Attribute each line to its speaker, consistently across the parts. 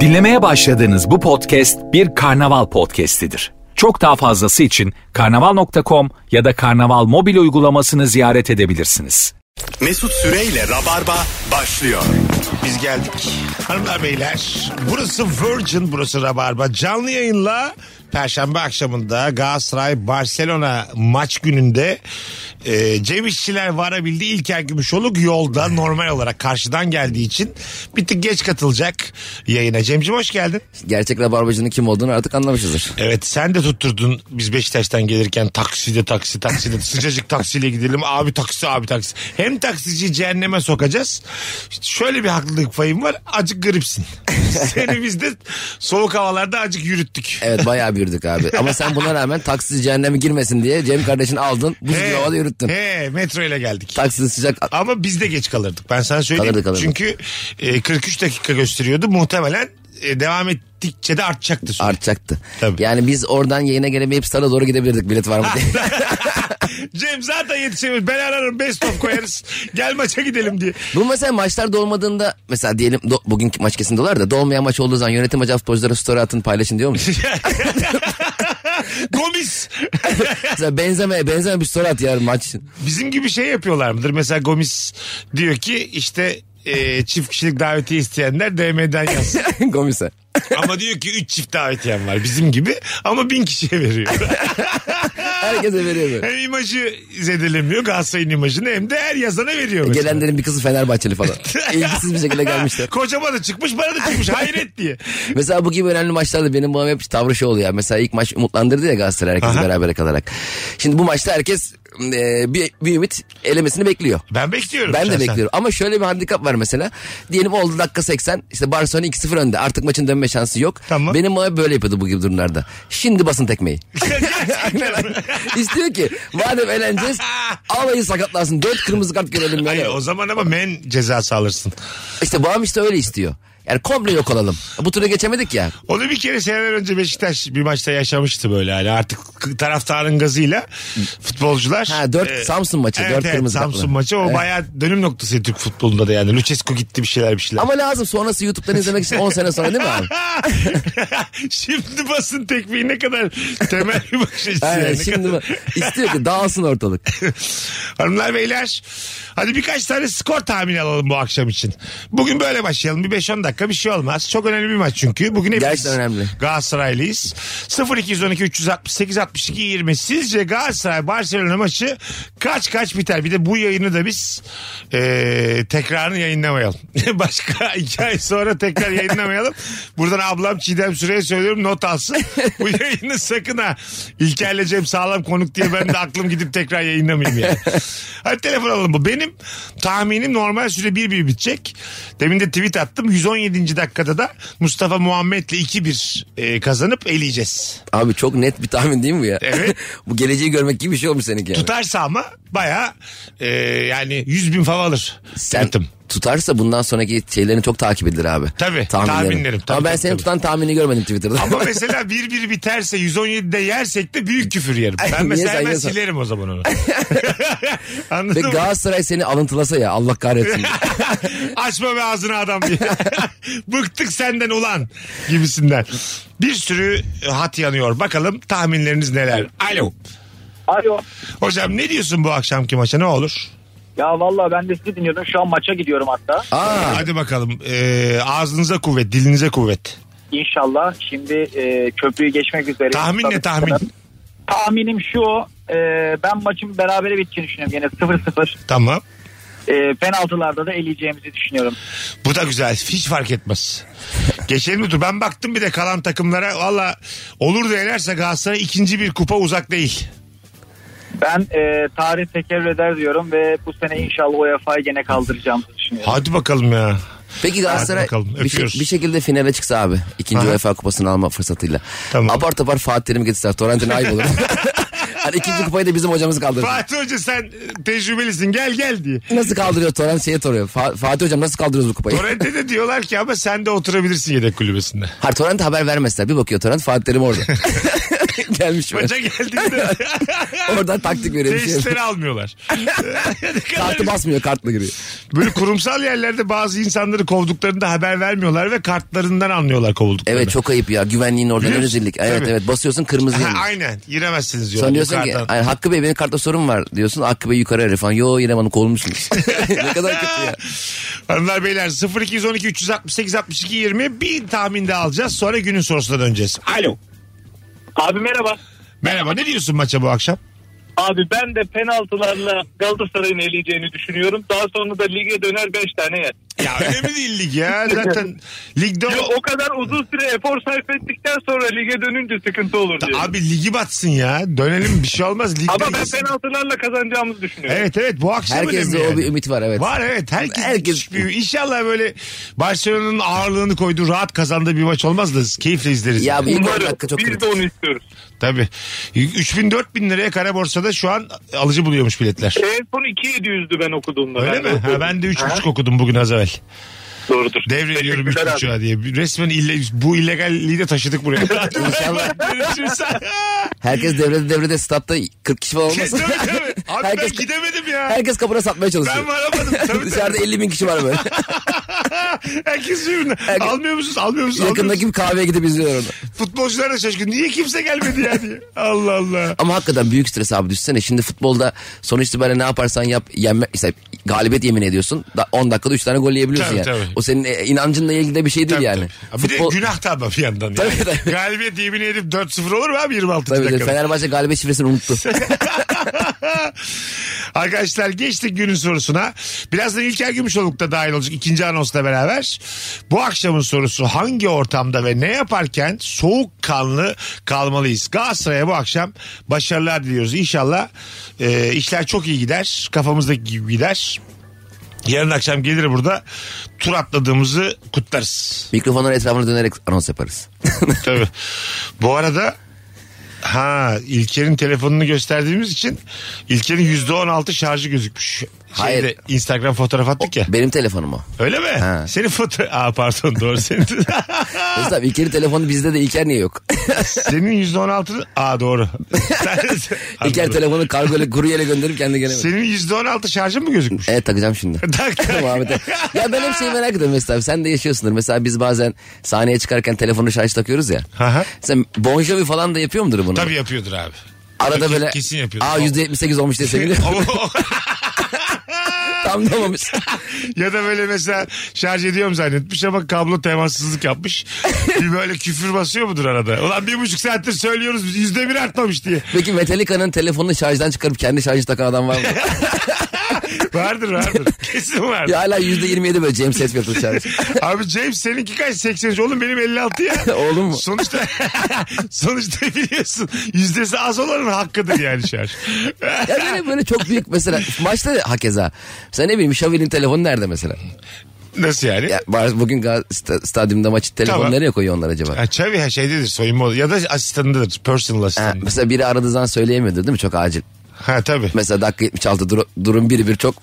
Speaker 1: Dinlemeye başladığınız bu podcast bir karnaval podcastidir. Çok daha fazlası için karnaval.com ya da karnaval mobil uygulamasını ziyaret edebilirsiniz.
Speaker 2: Mesut Süreyle Rabarba başlıyor.
Speaker 3: Biz geldik. Hanımlar beyler burası Virgin burası Rabarba. Canlı yayınla Perşembe akşamında Galatasaray Barcelona maç gününde e, Cem İşçiler varabildi. İlker Gümüşoluk yolda normal olarak karşıdan geldiği için bir tık geç katılacak yayına. Cem'ciğim hoş geldin.
Speaker 4: Gerçek rabarbacının kim olduğunu artık anlamışızdır.
Speaker 3: Evet sen de tutturdun biz Beşiktaş'tan gelirken takside taksi takside sıcacık taksiyle gidelim abi taksi abi taksi. Hem taksici cehenneme sokacağız. İşte şöyle bir haklılık payım var acık gripsin. Seni biz de soğuk havalarda acık yürüttük.
Speaker 4: Evet bayağı büyüdük abi. Ama sen buna rağmen taksi cehenneme girmesin diye Cem kardeşini aldın. Buz gibi havada yürüttün.
Speaker 3: He, metro ile geldik.
Speaker 4: Taksi sıcak.
Speaker 3: Ama biz de geç kalırdık. Ben sana söyleyeyim.
Speaker 4: Kalırdık, kalırdık.
Speaker 3: Çünkü e, 43 dakika gösteriyordu. Muhtemelen e, devam ettikçe de artacaktı. süre.
Speaker 4: Artacaktı.
Speaker 3: Tabii.
Speaker 4: Yani biz oradan yayına gelemeyip sana doğru gidebilirdik bilet var mı diye.
Speaker 3: Cem zaten yetişemiyor. Ben ararım best of koyarız. Gel maça gidelim diye.
Speaker 4: Bu mesela maçlar dolmadığında mesela diyelim do- bugünkü maç kesin dolar da dolmayan maç olduğu zaman yönetim acaba futbolculara story atın paylaşın diyor mu?
Speaker 3: Gomis.
Speaker 4: mesela benzeme benzeme bir story at ya maç için.
Speaker 3: Bizim gibi şey yapıyorlar mıdır? Mesela Gomis diyor ki işte e, çift kişilik davetiye isteyenler DM'den yazsın.
Speaker 4: Gomise.
Speaker 3: ama diyor ki 3 çift davetiyem var bizim gibi ama 1000 kişiye veriyor.
Speaker 4: Herkese veriyor böyle.
Speaker 3: Hem imajı zedelemiyor Galatasaray'ın imajını hem de her yazana
Speaker 4: E,
Speaker 3: veriyor. mesela.
Speaker 4: Gelenlerin bir kızı Fenerbahçeli falan. İlgisiz bir şekilde gelmişler.
Speaker 3: Kocama da çıkmış bana da çıkmış hayret diye.
Speaker 4: Mesela bu gibi önemli maçlarda benim babam hep tavrı şey oluyor. Mesela ilk maç umutlandırdı ya Galatasaray herkesi
Speaker 3: Aha.
Speaker 4: berabere kalarak. Şimdi bu maçta herkes e, bir, bir ümit elemesini bekliyor.
Speaker 3: Ben bekliyorum.
Speaker 4: Ben de
Speaker 3: şahsen.
Speaker 4: bekliyorum ama şöyle bir handikap var mesela. Diyelim oldu dakika 80 işte Barcelona 2-0 önde artık maçın dönme şansı yok.
Speaker 3: Tamam.
Speaker 4: Benim babam böyle yapıyordu bu gibi durumlarda. Şimdi basın tekmeyi.
Speaker 3: Gerçekten mi?
Speaker 4: İstiyor ki madem eleneceğiz alayı sakatlansın 4 kırmızı kart görelim.
Speaker 3: Hayır
Speaker 4: Yani.
Speaker 3: o zaman ama men cezası alırsın.
Speaker 4: İşte babam işte öyle istiyor. Yani komple yok olalım. Bu tura geçemedik ya.
Speaker 3: Onu bir kere seneler önce Beşiktaş bir maçta yaşamıştı böyle hani artık taraftarın gazıyla futbolcular. e,
Speaker 4: Ha, dört- Samsun maçı,
Speaker 3: evet,
Speaker 4: dört
Speaker 3: evet,
Speaker 4: kırmızı
Speaker 3: Samsun
Speaker 4: kartlı.
Speaker 3: maçı o
Speaker 4: Evet.
Speaker 3: bayağı dönüm noktası Türk futbolunda da yani. Lucescu gitti bir şeyler bir şeyler.
Speaker 4: Ama lazım sonrası YouTube'dan izlemek için 10 sene sonra değil mi abi?
Speaker 3: şimdi basın tekmeyi ne kadar temel bir bakış açısı.
Speaker 4: Aynen
Speaker 3: yani, ne
Speaker 4: şimdi
Speaker 3: kadar-
Speaker 4: bak, istiyor ki dağılsın ortalık.
Speaker 3: Hanımlar beyler hadi birkaç tane skor tahmini alalım bu akşam için. Bugün böyle başlayalım. Bir 5-10 dakika bir şey olmaz. Çok önemli bir maç çünkü. Bugün hepimiz
Speaker 4: Gerçekten önemli.
Speaker 3: Galatasaraylıyız. 0212 368 62 20 sizce Galatasaray Barcelona maçı kaç kaç biter? Bir de bu yayını da biz eee tekrarını yayınlamayalım. Başka iki ay sonra tekrar yayınlamayalım. Buradan ablam Çiğdem Süre'ye söylüyorum not alsın. Bu yayını sakın ha. İlker'le Cem sağlam konuk diye ben de aklım gidip tekrar yayınlamayayım yani. Hadi telefon alalım bu. Benim tahminim normal süre 1-1 bitecek. Demin de tweet attım. 117. dakikada da Mustafa Muhammed'le 2-1 e, kazanıp eleyeceğiz.
Speaker 4: Abi çok net bir tahmin değil mi bu ya?
Speaker 3: Evet.
Speaker 4: bu geleceği görmek gibi bir şey olmuş seninki yani.
Speaker 3: Tutarsa ama baya yani 100 bin fav alır.
Speaker 4: Sen
Speaker 3: Sen...
Speaker 4: tutarsa bundan sonraki şeylerini çok takip edilir abi.
Speaker 3: Tabii,
Speaker 4: Tahminlerin.
Speaker 3: tahminlerim, tabii,
Speaker 4: Ama ben
Speaker 3: tabii,
Speaker 4: senin
Speaker 3: tabii.
Speaker 4: tutan tahmini görmedim Twitter'da.
Speaker 3: Ama mesela 1-1 biterse 117'de yersek de büyük küfür yerim. Ben
Speaker 4: Niye
Speaker 3: mesela
Speaker 4: sen,
Speaker 3: hemen
Speaker 4: niye sen?
Speaker 3: silerim o zaman onu.
Speaker 4: Ve
Speaker 3: Anladın mı?
Speaker 4: Galatasaray seni alıntılasa ya Allah kahretsin.
Speaker 3: Açma be ağzını adam diye. Bıktık senden ulan gibisinden. Bir sürü hat yanıyor. Bakalım tahminleriniz neler? Alo.
Speaker 5: Alo.
Speaker 3: Hocam ne diyorsun bu akşamki maça ne olur?
Speaker 5: Ya valla ben de sizi dinliyordum. Şu an maça gidiyorum hatta.
Speaker 4: Aa,
Speaker 3: Hadi bakalım. Ee, ağzınıza kuvvet, dilinize kuvvet.
Speaker 5: İnşallah şimdi e, köprüyü geçmek üzere.
Speaker 3: Tahmin ne tahmin?
Speaker 5: Tahminim şu. e, ben maçın berabere bittiğini düşünüyorum. Yine 0-0.
Speaker 3: Tamam.
Speaker 5: E, penaltılarda da eleyeceğimizi düşünüyorum.
Speaker 3: Bu da güzel. Hiç fark etmez. Geçelim bir tur. Ben baktım bir de kalan takımlara. Valla olur da elerse Galatasaray ikinci bir kupa uzak değil.
Speaker 5: Ben e, tarih tekerrür eder diyorum ve bu sene inşallah UEFA'yı gene kaldıracağımızı düşünüyorum.
Speaker 3: Hadi bakalım ya.
Speaker 4: peki Galatasaray
Speaker 3: bakalım,
Speaker 4: bir, şey-
Speaker 3: öpüyoruz.
Speaker 4: bir şekilde finale çıksa abi. ikinci
Speaker 3: Aha.
Speaker 4: UEFA kupasını alma fırsatıyla.
Speaker 3: Tamam.
Speaker 4: Apar topar Fatih Terim'i getirseler. Torrent'in ayıp olur. hani ikinci kupayı da bizim hocamız kaldırdı.
Speaker 3: Fatih Hoca sen e, tecrübelisin gel gel diye.
Speaker 4: Nasıl kaldırıyor Torrent şeye soruyor. Fa- Fatih hocam nasıl kaldırıyoruz bu kupayı?
Speaker 3: Torrent'e de diyorlar ki ama sen de oturabilirsin yedek kulübesinde.
Speaker 4: Ha Torrent haber vermezler. Bir bakıyor Torrent Fatih Terim orada. Gelmiş mi?
Speaker 3: Maça geldiğinde
Speaker 4: Oradan taktik veriyor. bir şey yok.
Speaker 3: tesisleri almıyorlar. Ne kadar
Speaker 4: Kartı basmıyor kartla giriyor.
Speaker 3: Böyle kurumsal yerlerde bazı insanları kovduklarında haber vermiyorlar ve kartlarından anlıyorlar kovulduklarını.
Speaker 4: Evet çok ayıp ya güvenliğin oradan
Speaker 3: Biliyor
Speaker 4: ön
Speaker 3: musun?
Speaker 4: özellik. Evet
Speaker 3: Tabii.
Speaker 4: evet basıyorsun kırmızı
Speaker 3: Ha,
Speaker 4: yanıyor.
Speaker 3: aynen giremezsiniz diyor.
Speaker 4: Sonra
Speaker 3: Bu
Speaker 4: diyorsun ki
Speaker 3: karttan.
Speaker 4: "Ay, Hakkı Bey benim kartta sorun var diyorsun. Hakkı Bey yukarı arıyor falan. Yo İrem Hanım kovulmuşsunuz. ne kadar kötü ya.
Speaker 3: Hanımlar beyler 0212 368 62 20 bir tahmin daha alacağız sonra günün sorusuna döneceğiz. Alo.
Speaker 5: Abi merhaba.
Speaker 3: Merhaba ne diyorsun maça bu akşam?
Speaker 5: Abi ben de penaltılarla Galatasaray'ın eleyeceğini düşünüyorum. Daha sonra da lige döner 5 tane yer.
Speaker 3: Ya önemli değil lig ya zaten ligde
Speaker 5: Yo,
Speaker 3: o...
Speaker 5: o kadar uzun süre efor sarf ettikten sonra lige dönünce sıkıntı olur diyor.
Speaker 3: Abi ligi batsın ya dönelim bir şey olmaz. Ligde
Speaker 5: Ama ben
Speaker 3: iyisin.
Speaker 5: penaltılarla kazanacağımızı düşünüyorum.
Speaker 3: Evet evet bu akşam önemli
Speaker 4: Herkeste o bir
Speaker 3: Şey yani.
Speaker 4: ümit var evet.
Speaker 3: Var evet herkes,
Speaker 4: Herkes-
Speaker 3: müthiş bir- İnşallah böyle Barcelona'nın ağırlığını koyduğu rahat kazandığı bir maç olmaz da keyifle izleriz.
Speaker 4: Ya bu ilk on
Speaker 5: Umarım.
Speaker 4: dakika çok
Speaker 5: Biz
Speaker 4: kritik.
Speaker 5: de onu istiyoruz.
Speaker 3: Tabii. 3000 4000 liraya kara borsada şu an alıcı buluyormuş biletler.
Speaker 5: En son 2700'dü ben okuduğumda.
Speaker 3: Öyle
Speaker 5: Ben de
Speaker 3: mi? Ha,
Speaker 5: okudum.
Speaker 3: ben de
Speaker 5: Ha,
Speaker 3: 3.5 okudum bugün az evvel.
Speaker 5: Doğrudur.
Speaker 3: Devrediyorum
Speaker 5: Teşekkürler
Speaker 3: 3.5'a diye. Resmen ille, bu illegalliği de taşıdık buraya.
Speaker 4: İnşallah.
Speaker 3: Görüşürüz.
Speaker 4: Herkes devrede devrede statta 40 kişi falan
Speaker 3: tabii
Speaker 4: olmasın.
Speaker 3: Şey, tabii. Abi
Speaker 4: herkes,
Speaker 3: ben gidemedim ya.
Speaker 4: herkes kapına satmaya çalışıyor.
Speaker 3: Ben varamadım. Tabii
Speaker 4: Dışarıda
Speaker 3: tabii.
Speaker 4: 50 bin kişi var böyle.
Speaker 3: Herkes birbirine.
Speaker 4: Herkes-
Speaker 3: Almıyor musunuz? Almıyor musunuz? Almıyor
Speaker 4: Yakındaki
Speaker 3: musunuz?
Speaker 4: bir kahveye gidip izliyor onu.
Speaker 3: Futbolcular da şaşkın. Niye kimse gelmedi ya diye. Allah Allah.
Speaker 4: Ama hakikaten büyük stres abi düşsene. Şimdi futbolda sonuç itibariyle ne yaparsan yap yenme, işte galibiyet yemin ediyorsun. Da, 10 dakikada 3 tane gol yiyebiliyorsun
Speaker 3: Tabii,
Speaker 4: yani.
Speaker 3: tabii.
Speaker 4: O senin e, inancınla ilgili de bir şey değil
Speaker 3: Tabii,
Speaker 4: yani.
Speaker 3: tabii. Bir de günah da ama bir yandan. Yani.
Speaker 4: Tabii, tabii.
Speaker 3: Galibiyet yemin edip 4-0 olur mu abi 26.
Speaker 4: Tabii,
Speaker 3: dakikada?
Speaker 4: Fenerbahçe galibiyet şifresini unuttu.
Speaker 3: Arkadaşlar geçtik günün sorusuna. Birazdan İlker Gümüşoluk da dahil olacak ikinci anonsla beraber. Bu akşamın sorusu hangi ortamda ve ne yaparken soğukkanlı kalmalıyız? Galatasaray'a bu akşam başarılar diliyoruz. İnşallah e, işler çok iyi gider. Kafamızdaki gibi gider. Yarın akşam gelir burada tur atladığımızı kutlarız.
Speaker 4: Mikrofonların etrafına dönerek anons yaparız.
Speaker 3: Tabii. Bu arada ha İlker'in telefonunu gösterdiğimiz için İlker'in %16 şarjı gözükmüş. Hayır.
Speaker 4: Hayır.
Speaker 3: Instagram fotoğraf attık ya.
Speaker 4: Benim telefonum o.
Speaker 3: Öyle mi?
Speaker 4: Ha.
Speaker 3: Senin foto... Aa pardon doğru senin.
Speaker 4: Mesut abi İlker'in telefonu bizde de İlker niye yok?
Speaker 3: senin %16'ını... Aa doğru.
Speaker 4: İlker
Speaker 3: Anladım.
Speaker 4: telefonu kargoyla kuryeyle gönderip kendi gelemedi.
Speaker 3: Senin %16 şarjı mı gözükmüş?
Speaker 4: Evet takacağım şimdi.
Speaker 3: Tak, tak.
Speaker 4: Muhabbete. ya ben hep şeyi merak ediyorum Mesut abi. Sen de yaşıyorsundur. Mesela biz bazen sahneye çıkarken telefonu şarj takıyoruz ya.
Speaker 3: Aha.
Speaker 4: Sen Bon Jovi falan da yapıyor mudur bunu?
Speaker 3: Tabii yapıyordur abi.
Speaker 4: Arada
Speaker 3: Ke-
Speaker 4: böyle
Speaker 3: Kesin yapıyordur.
Speaker 4: Aa %78 olmuş diye seviniyorum. Tam da olmamış.
Speaker 3: ya da böyle mesela şarj ediyorum zannetmiş ama kablo temassızlık yapmış. bir böyle küfür basıyor mudur arada? Ulan bir buçuk saattir söylüyoruz yüzde bir artmamış diye.
Speaker 4: Peki Metallica'nın telefonunu şarjdan çıkarıp kendi şarjı takan adam var mı?
Speaker 3: Vardır vardır. Kesin vardır.
Speaker 4: ya hala %27 böyle James Hetfield şarjı.
Speaker 3: Abi James seninki kaç? 83 oğlum benim 56 ya.
Speaker 4: Oğlum mu?
Speaker 3: Sonuçta sonuçta biliyorsun yüzdesi az olanın hakkıdır yani şarj.
Speaker 4: Ya böyle, böyle çok büyük mesela maçta da hakeza. Sen ne bileyim Xavi'nin telefonu nerede mesela?
Speaker 3: Nasıl yani?
Speaker 4: Ya var- bugün Gal- sta- stadyumda maçı telefonu
Speaker 3: Tamam.
Speaker 4: nereye koyuyor onlar acaba?
Speaker 3: Ha, Çavi ha şeydedir soyunma odası. ya da asistanıdır personal
Speaker 4: Ha,
Speaker 3: asistanı.
Speaker 4: mesela biri aradığı zaman söyleyemiyordur değil mi? Çok acil.
Speaker 3: Ha tabii.
Speaker 4: Mesela dakika 76 dur- durum biri bir çok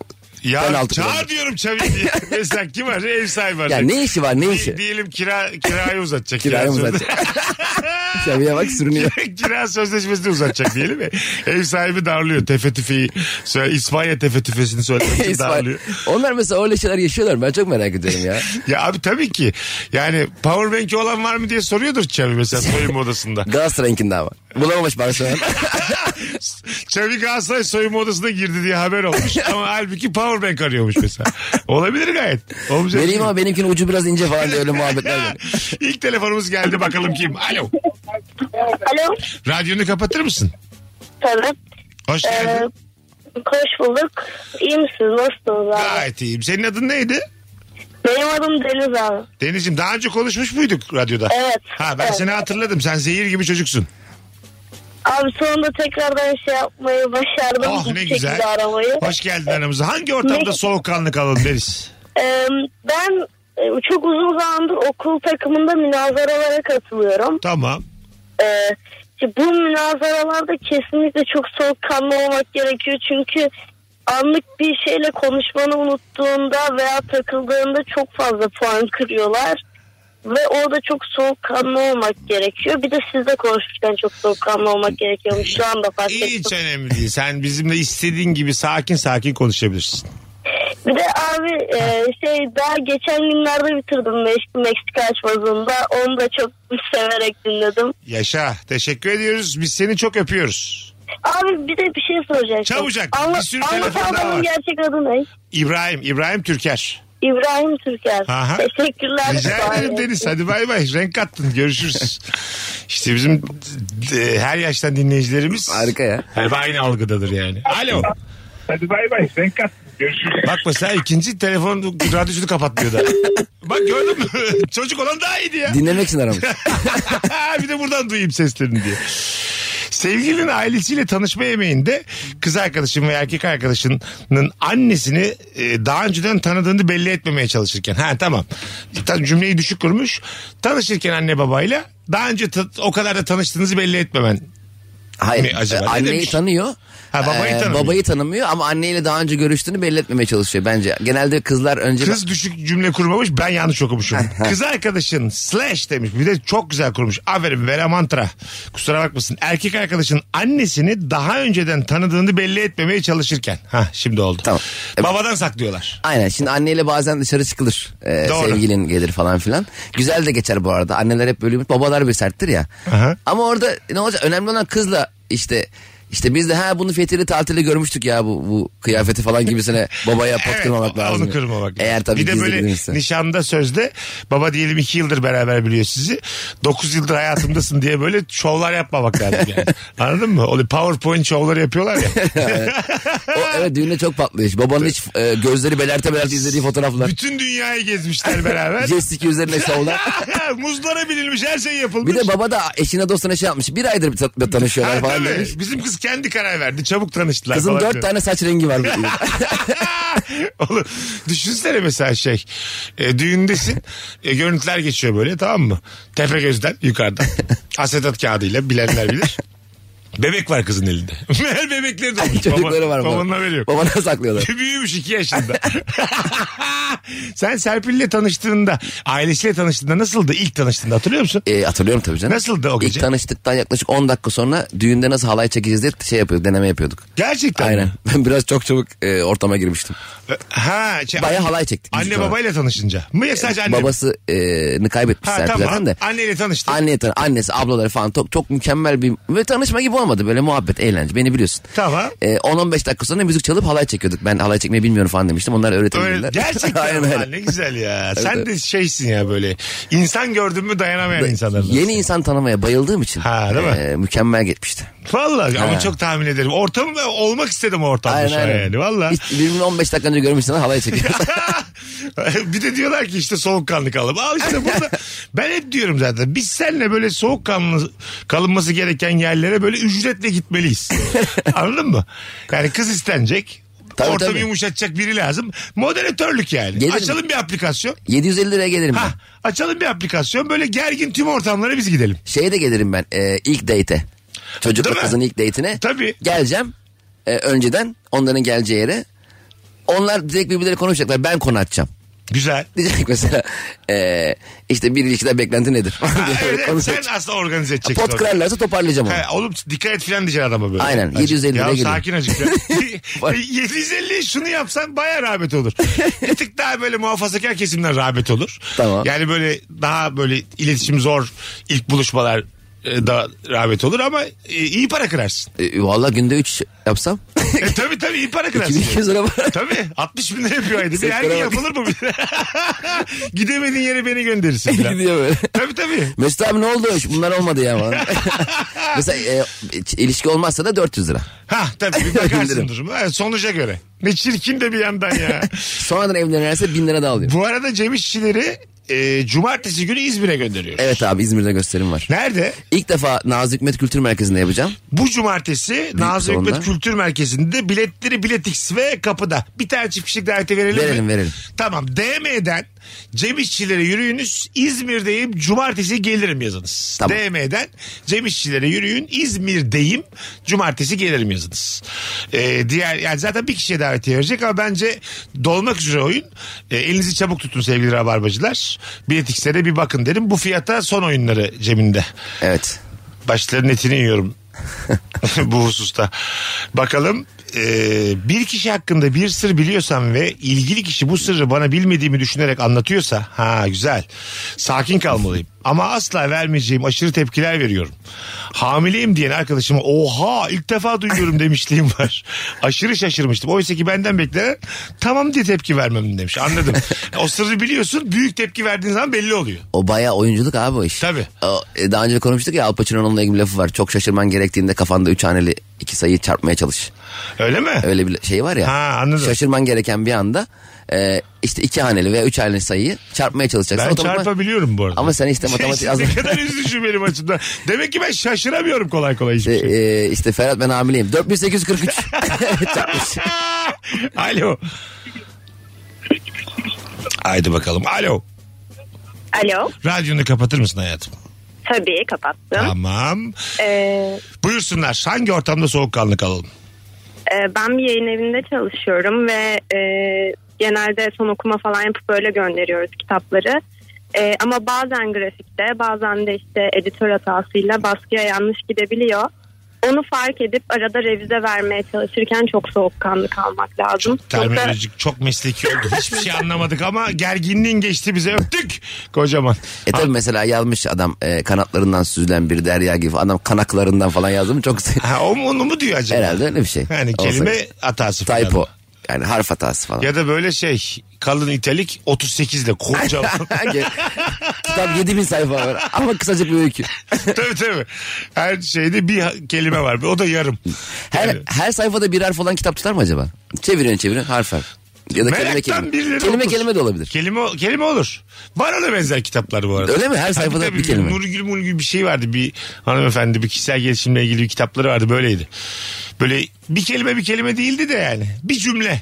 Speaker 3: Ya
Speaker 4: penaltı
Speaker 3: çağır
Speaker 4: kullandı.
Speaker 3: diyorum Çavi diye. Mesela kim var? Ev sahibi var.
Speaker 4: Ya ne işi var ne
Speaker 3: Di-
Speaker 4: işi?
Speaker 3: Diyelim kira, kirayı uzatacak.
Speaker 4: Kiraya mı
Speaker 3: Kira sözle-
Speaker 4: zaten? Xavi'ye bak sürünüyor.
Speaker 3: Kira sözleşmesini uzatacak diyelim mi? Ev sahibi darlıyor. Tefe tüfeği. Söyle, İspanya tefe tüfesini söylemek için
Speaker 4: İsmail.
Speaker 3: darlıyor.
Speaker 4: Onlar mesela öyle şeyler yaşıyorlar. Ben çok merak ediyorum ya.
Speaker 3: Ya abi tabii ki. Yani powerbank'i olan var mı diye soruyordur Çavi mesela soyunma odasında.
Speaker 4: Galatasaray'ınkinde ama. Bulamamış Barcelona.
Speaker 3: Çavi Galatasaray soyunma odasına girdi diye haber olmuş. Ama halbuki powerbank arıyormuş mesela. Olabilir gayet. Olacak
Speaker 4: Vereyim
Speaker 3: şey.
Speaker 4: ama benimkinin ucu biraz ince falan diye öyle muhabbetler var.
Speaker 3: İlk telefonumuz geldi bakalım kim? Alo.
Speaker 6: Alo.
Speaker 3: Radyonu kapatır mısın?
Speaker 6: Tabii.
Speaker 3: Hoş
Speaker 6: Ee,
Speaker 3: geldin.
Speaker 6: hoş bulduk. İyi misiniz? Nasılsınız abi?
Speaker 3: Gayet iyiyim. Senin adın neydi?
Speaker 6: Benim adım Deniz abi.
Speaker 3: Deniz'ciğim daha önce konuşmuş muyduk radyoda?
Speaker 6: Evet.
Speaker 3: Ha ben
Speaker 6: Evet.
Speaker 3: seni hatırladım. Sen zehir gibi çocuksun.
Speaker 6: Abi sonunda tekrardan şey yapmayı başardım.
Speaker 3: Oh
Speaker 6: Bu
Speaker 3: ne
Speaker 6: şekilde
Speaker 3: güzel.
Speaker 6: aramayı.
Speaker 3: Hoş geldin aramıza. Hangi ortamda
Speaker 6: Ne-
Speaker 3: soğukkanlı kalalım deriz?
Speaker 6: Ee, ben e, çok uzun zamandır okul takımında münazaralara katılıyorum.
Speaker 3: Tamam.
Speaker 6: Ee, işte bu münazaralarda kesinlikle çok soğukkanlı olmak gerekiyor. Çünkü anlık bir şeyle konuşmanı unuttuğunda veya takıldığında çok fazla puan kırıyorlar. Ve orada çok soğukkanlı olmak gerekiyor. Bir de sizle konuşurken çok soğukkanlı olmak gerekiyormuş. Şu anda fark ettim.
Speaker 3: Hiç önemli değil. Sen bizimle istediğin gibi sakin sakin konuşabilirsin.
Speaker 6: Bir de abi e, şey daha geçen günlerde bitirdim Meşgul Meksika açmazında. Onu da çok severek dinledim.
Speaker 3: Yaşa. Teşekkür ediyoruz. Biz seni çok öpüyoruz.
Speaker 6: Abi bir de bir şey soracaktım.
Speaker 3: Çabucak, bir
Speaker 6: Anla-
Speaker 3: sürü
Speaker 6: anlatan
Speaker 3: telefon daha
Speaker 6: adamın
Speaker 3: var.
Speaker 6: gerçek adı ne?
Speaker 3: İbrahim. İbrahim Türker.
Speaker 6: İbrahim Türker.
Speaker 3: Aha.
Speaker 6: Teşekkürler.
Speaker 3: Rica
Speaker 6: Sağ
Speaker 3: ederim
Speaker 6: olun.
Speaker 3: Deniz. Hadi bay bay. Renk kattın. Görüşürüz. İşte bizim e, her yaştan dinleyicilerimiz
Speaker 4: Harika ya.
Speaker 3: hep aynı algıdadır yani. Alo.
Speaker 7: Hadi bay bay. Ben kaç. Görüşürüz.
Speaker 3: Bak mesela ikinci telefon radyocunu kapatmıyor da. Bak gördün mü? Çocuk olan daha iyiydi ya.
Speaker 4: Dinlemek için aramış.
Speaker 3: bir de buradan duyayım seslerini diye. Sevgilinin ailesiyle tanışma yemeğinde kız arkadaşın ve erkek arkadaşının annesini e, daha önceden tanıdığını belli etmemeye çalışırken. Ha tamam. Ta- Cümleyi düşük kurmuş. Tanışırken anne babayla daha önce ta- o kadar da tanıştığınızı belli etmemen.
Speaker 4: Hayır.
Speaker 3: Mi acaba?
Speaker 4: e,
Speaker 3: Ne
Speaker 4: anneyi
Speaker 3: demiş?
Speaker 4: tanıyor.
Speaker 3: Ha, babayı
Speaker 4: E,
Speaker 3: tanımıyor.
Speaker 4: Babayı tanımıyor ama anneyle daha önce görüştüğünü belli etmemeye çalışıyor bence. Genelde kızlar önce...
Speaker 3: Kız düşük cümle kurmamış ben yanlış okumuşum. Kız arkadaşın slash demiş bir de çok güzel kurmuş. Aferin Vera Mantra. Kusura bakmasın. Erkek arkadaşın annesini daha önceden tanıdığını belli etmemeye çalışırken. Ha şimdi oldu.
Speaker 4: Tamam. E,
Speaker 3: Babadan saklıyorlar.
Speaker 4: Aynen şimdi anneyle bazen dışarı çıkılır. E,
Speaker 3: Doğru.
Speaker 4: sevgilin gelir falan filan. Güzel de geçer bu arada. Anneler hep böyle babalar bir serttir ya.
Speaker 3: Aha.
Speaker 4: Ama orada ne olacak önemli olan kızla işte işte biz de ha bunu Fethi'li tatilde görmüştük ya bu, bu kıyafeti falan gibisine babaya pot kırmamak lazım.
Speaker 3: Onu kırmamak.
Speaker 4: Eğer tabii
Speaker 3: bir de
Speaker 4: gizli
Speaker 3: böyle
Speaker 4: bilinirse.
Speaker 3: nişanda sözde baba diyelim iki yıldır beraber biliyor sizi. Dokuz yıldır hayatımdasın diye böyle şovlar yapmamak lazım yani. Anladın mı? O PowerPoint şovları yapıyorlar ya.
Speaker 4: O, evet düğünde çok patlıyor. iş. Babanın hiç e, gözleri belerte belerte izlediği fotoğraflar.
Speaker 3: Bütün dünyayı gezmişler beraber.
Speaker 4: Jestik üzerine şovlar.
Speaker 3: Muzlara bilinmiş her şey yapılmış.
Speaker 4: Bir de baba da eşine dostuna şey yapmış. Bir aydır bir ta- tanışıyorlar
Speaker 3: Ha,
Speaker 4: falan
Speaker 3: tabii.
Speaker 4: demiş.
Speaker 3: Bizim kız kendi karar verdi. Çabuk tanıştılar.
Speaker 4: Kızın
Speaker 3: falan
Speaker 4: dört
Speaker 3: diyor.
Speaker 4: tane saç rengi var.
Speaker 3: Oğlum düşünsene mesela şey. E, düğündesin. E, görüntüler geçiyor böyle tamam mı? Tepe gözden yukarıdan. Asetat kağıdıyla bilenler bilir. Bebek var kızın elinde. Meğer bebekleri de olmuş.
Speaker 4: Çocukları
Speaker 3: Baba-
Speaker 4: var.
Speaker 3: Babanın haberi yok.
Speaker 4: Babana saklıyorlar.
Speaker 3: Büyümüş iki yaşında. Sen Serpil'le tanıştığında, ailesiyle tanıştığında nasıldı? İlk tanıştığında hatırlıyor musun?
Speaker 4: E, hatırlıyorum tabii canım.
Speaker 3: Nasıldı o gece?
Speaker 4: İlk tanıştıktan yaklaşık 10 dakika sonra düğünde nasıl halay çekeceğiz diye şey yapıyorduk, deneme yapıyorduk.
Speaker 3: Gerçekten mi?
Speaker 4: Aynen. Ben biraz çok çabuk e, ortama girmiştim.
Speaker 3: Ha, şey,
Speaker 4: Bayağı halay çektik. biz
Speaker 3: Anne
Speaker 4: sonra.
Speaker 3: babayla tanışınca. Mı ya sadece anne?
Speaker 4: Babasını kaybetmiş
Speaker 3: Ha,
Speaker 4: Serpil
Speaker 3: tamam.
Speaker 4: zaten de.
Speaker 3: Anneyle tanıştı.
Speaker 4: Anne, tan- annesi, ablaları falan çok, çok mükemmel bir... Ve tanışma gibi olmadı böyle muhabbet, eğlence. Beni biliyorsun.
Speaker 3: Tamam.
Speaker 4: E, 10-15 dakika sonra müzik çalıp halay çekiyorduk. Ben halay çekmeyi bilmiyorum falan demiştim. Onlar
Speaker 3: Öyle,
Speaker 4: öğretebilirler.
Speaker 3: gerçekten
Speaker 4: Aynen
Speaker 3: ama
Speaker 4: öyle.
Speaker 3: ne güzel ya. Sen de şeysin ya böyle. İnsan gördün mü dayanamayan insanlar.
Speaker 4: Yeni insan tanımaya bayıldığım için
Speaker 3: Ha, değil mi?
Speaker 4: e, mükemmel geçmişti.
Speaker 3: Vallahi ama
Speaker 4: Ha.
Speaker 3: çok tahmin ederim. Ortamda olmak istedim o ortamda şu an yani. Valla.
Speaker 4: Hiç birbirini 15 dakika önce görmüşsün halay çekiyor.
Speaker 3: bir de diyorlar ki işte soğukkanlı kalalım. Al işte burada ben hep diyorum zaten biz seninle böyle soğukkanlı kalınması gereken yerlere böyle ücretle gitmeliyiz. Anladın mı? Yani kız istenecek.
Speaker 4: Tabii,
Speaker 3: ortamı
Speaker 4: tabii.
Speaker 3: yumuşatacak biri lazım. Moderatörlük yani.
Speaker 4: Gelirim.
Speaker 3: Açalım bir aplikasyon.
Speaker 4: 750 liraya gelirim
Speaker 3: Ha,
Speaker 4: ben.
Speaker 3: açalım bir aplikasyon. Böyle gergin tüm ortamlara biz gidelim.
Speaker 4: Şeye de gelirim ben e, ilk date'e. Çocukla
Speaker 3: Değil mi?
Speaker 4: kızın ilk date'ine.
Speaker 3: Tabii.
Speaker 4: Geleceğim e, önceden onların geleceği yere. Onlar direkt birbirleri konuşacaklar ben konu açacağım.
Speaker 3: Güzel.
Speaker 4: Diyecek mesela e, işte bir ilişkiden beklenti nedir? falan
Speaker 3: Ha,
Speaker 4: diye
Speaker 3: evet, evet.
Speaker 4: konuşacak.
Speaker 3: sen aslında organize edeceksin.
Speaker 4: Pot
Speaker 3: orayı.
Speaker 4: kırarlarsa toparlayacağım onu.
Speaker 3: Ha, oğlum dikkat et filan diyeceksin adama böyle.
Speaker 4: Aynen,
Speaker 3: Azıcık.
Speaker 4: 750
Speaker 3: ya,
Speaker 4: lira geliyor.
Speaker 3: sakin azıcık ya. 750 şunu yapsan baya rağbet olur. Bir tık daha böyle muhafazakar kesimden rağbet olur.
Speaker 4: Tamam.
Speaker 3: Yani böyle daha böyle iletişim zor ilk buluşmalar e, da rağbet olur ama e, iyi para kırarsın.
Speaker 4: E, Valla günde 3 yapsam
Speaker 3: E, tabii tabii iyi para kırarsın.
Speaker 4: 2200 lira var.
Speaker 3: Tabii 60 bin lira yapıyor ayda. Bir her gün
Speaker 4: Sektöre bak.
Speaker 3: yapılır mı? Gidemediğin yere beni gönderirsin. falan.
Speaker 4: Gidiyor böyle.
Speaker 3: Tabii tabii.
Speaker 4: Mesut abi ne oldu? Bunlar olmadı ya. falan. mesela e, ilişki olmazsa da 400 lira.
Speaker 3: Ha tabii bir bakarsın
Speaker 4: Bildirim.
Speaker 3: duruma. Evet, Sonuca göre. Ne çirkin de bir yandan ya.
Speaker 4: Sonradan evlenirse 1000 lira da alıyor.
Speaker 3: Bu arada Cem İşçileri e, cumartesi günü İzmir'e gönderiyoruz.
Speaker 4: Evet abi İzmir'de gösterim var.
Speaker 3: Nerede?
Speaker 4: İlk defa Nazlı Hikmet Kültür Merkezi'nde yapacağım.
Speaker 3: Bu cumartesi Nazım
Speaker 4: salonda.
Speaker 3: Hikmet Kültür Merkezi'nde biletleri Biletix ve kapıda. Bir tane çift kişilik davete verelim mi?
Speaker 4: Verelim, verelim.
Speaker 3: Tamam DM'den Cem İşçilere yürüyünüz İzmir'deyim cumartesi gelirim yazınız.
Speaker 4: Tamam.
Speaker 3: DM'den Cem İşçilere yürüyün İzmir'deyim cumartesi gelirim yazınız. Ee, diğer yani zaten bir kişiye davetiye verecek ama bence dolmak üzere oyun. Ee, elinizi çabuk tutun sevgili rabarbacılar. var. Bilet X'e de bir bakın derim. Bu fiyata son oyunları cebinde.
Speaker 4: Evet.
Speaker 3: Başlarının etini yiyorum bu hususta. Bakalım eee, bir kişi hakkında bir sır biliyorsam ve ilgili kişi bu sırrı bana bilmediğimi düşünerek anlatıyorsa ha güzel sakin kalmalıyım. Ama asla vermeyeceğim aşırı tepkiler veriyorum. Hamileyim diyen arkadaşıma oha ilk defa duyuyorum demişliğim var. Aşırı şaşırmıştım. Oysa ki benden beklenen tamam diye tepki vermem demiş. Anladım. o sırrı biliyorsun büyük tepki verdiğin zaman belli oluyor.
Speaker 4: O bayağı oyunculuk abi o iş.
Speaker 3: Tabii.
Speaker 4: O, e, daha önce konuştuk ya Al Pacino'nun ilgili bir lafı var. Çok şaşırman gerektiğinde kafanda üç haneli iki sayıyı çarpmaya çalış.
Speaker 3: Öyle mi?
Speaker 4: Öyle bir şey var ya.
Speaker 3: Ha, anladım.
Speaker 4: Şaşırman gereken bir anda e, işte iki haneli veya üç haneli sayıyı çarpmaya çalışacaksın.
Speaker 3: Ben
Speaker 4: Otomatik-
Speaker 3: çarpabiliyorum bu arada.
Speaker 4: E,
Speaker 3: Şey,
Speaker 4: Ama sen işte matematik az...
Speaker 3: ne kadar üzücü benim açımdan. Demek ki ben şaşıramıyorum kolay kolay
Speaker 4: E,
Speaker 3: hiçbir şey.
Speaker 4: e, işte Ferhat ben hamileyim. 4843 çarpmış.
Speaker 3: Alo. Haydi bakalım. Alo.
Speaker 8: Alo.
Speaker 3: Radyonu kapatır mısın hayatım?
Speaker 8: Tabii kapattım.
Speaker 3: Tamam.
Speaker 8: Ee,
Speaker 3: Buyursunlar. Hangi ortamda soğukkanlı kalalım?
Speaker 8: e, ben bir yayın evinde çalışıyorum ve e, genelde son okuma falan yapıp böyle gönderiyoruz kitapları. E, ama bazen grafikte bazen de işte editör hatasıyla baskıya yanlış gidebiliyor. Onu fark edip arada revize vermeye çalışırken çok soğukkanlı kalmak lazım.
Speaker 3: Çok
Speaker 8: Yoksa-
Speaker 3: terminolojik, çok mesleki oldu. Hiçbir şey anlamadık ama gerginliğin geçti bize öptük. Kocaman.
Speaker 4: E tabi mesela yazmış adam e, kanatlarından süzülen bir derya gibi. Adam kanaklarından falan yazdı mı çok
Speaker 3: Ha, o mu onu mu diyor acaba?
Speaker 4: herhalde öyle bir şey.
Speaker 3: Yani
Speaker 4: Olsa-
Speaker 3: kelime hatası. falan.
Speaker 4: Typo. Yani harf hatası falan.
Speaker 3: Ya da böyle şey kalın italik 38 ile kocaman.
Speaker 4: Kitap 7000 sayfa var ama kısacık bir öykü.
Speaker 3: tabii tabii. Her şeyde bir ha- kelime var. O da yarım.
Speaker 4: Her,
Speaker 3: Yani
Speaker 4: her sayfada bir harf olan kitap tutar mı acaba? Çeviriyorsun çeviriyorsun harf harf. Ya da kelime
Speaker 3: Meraktan
Speaker 4: kelime.
Speaker 3: birileri
Speaker 4: Kelime
Speaker 3: okur.
Speaker 4: kelime de olabilir.
Speaker 3: kelime kelime olur. Var ona benzer kitaplar bu arada.
Speaker 4: Öyle mi? Her sayfada bir kelime.
Speaker 3: Nurgül Mulgül bir şey vardı. Bir hanımefendi bir kişisel gelişimle ilgili bir kitapları vardı. Böyleydi. Böyle bir kelime bir kelime değildi de yani. Bir cümle.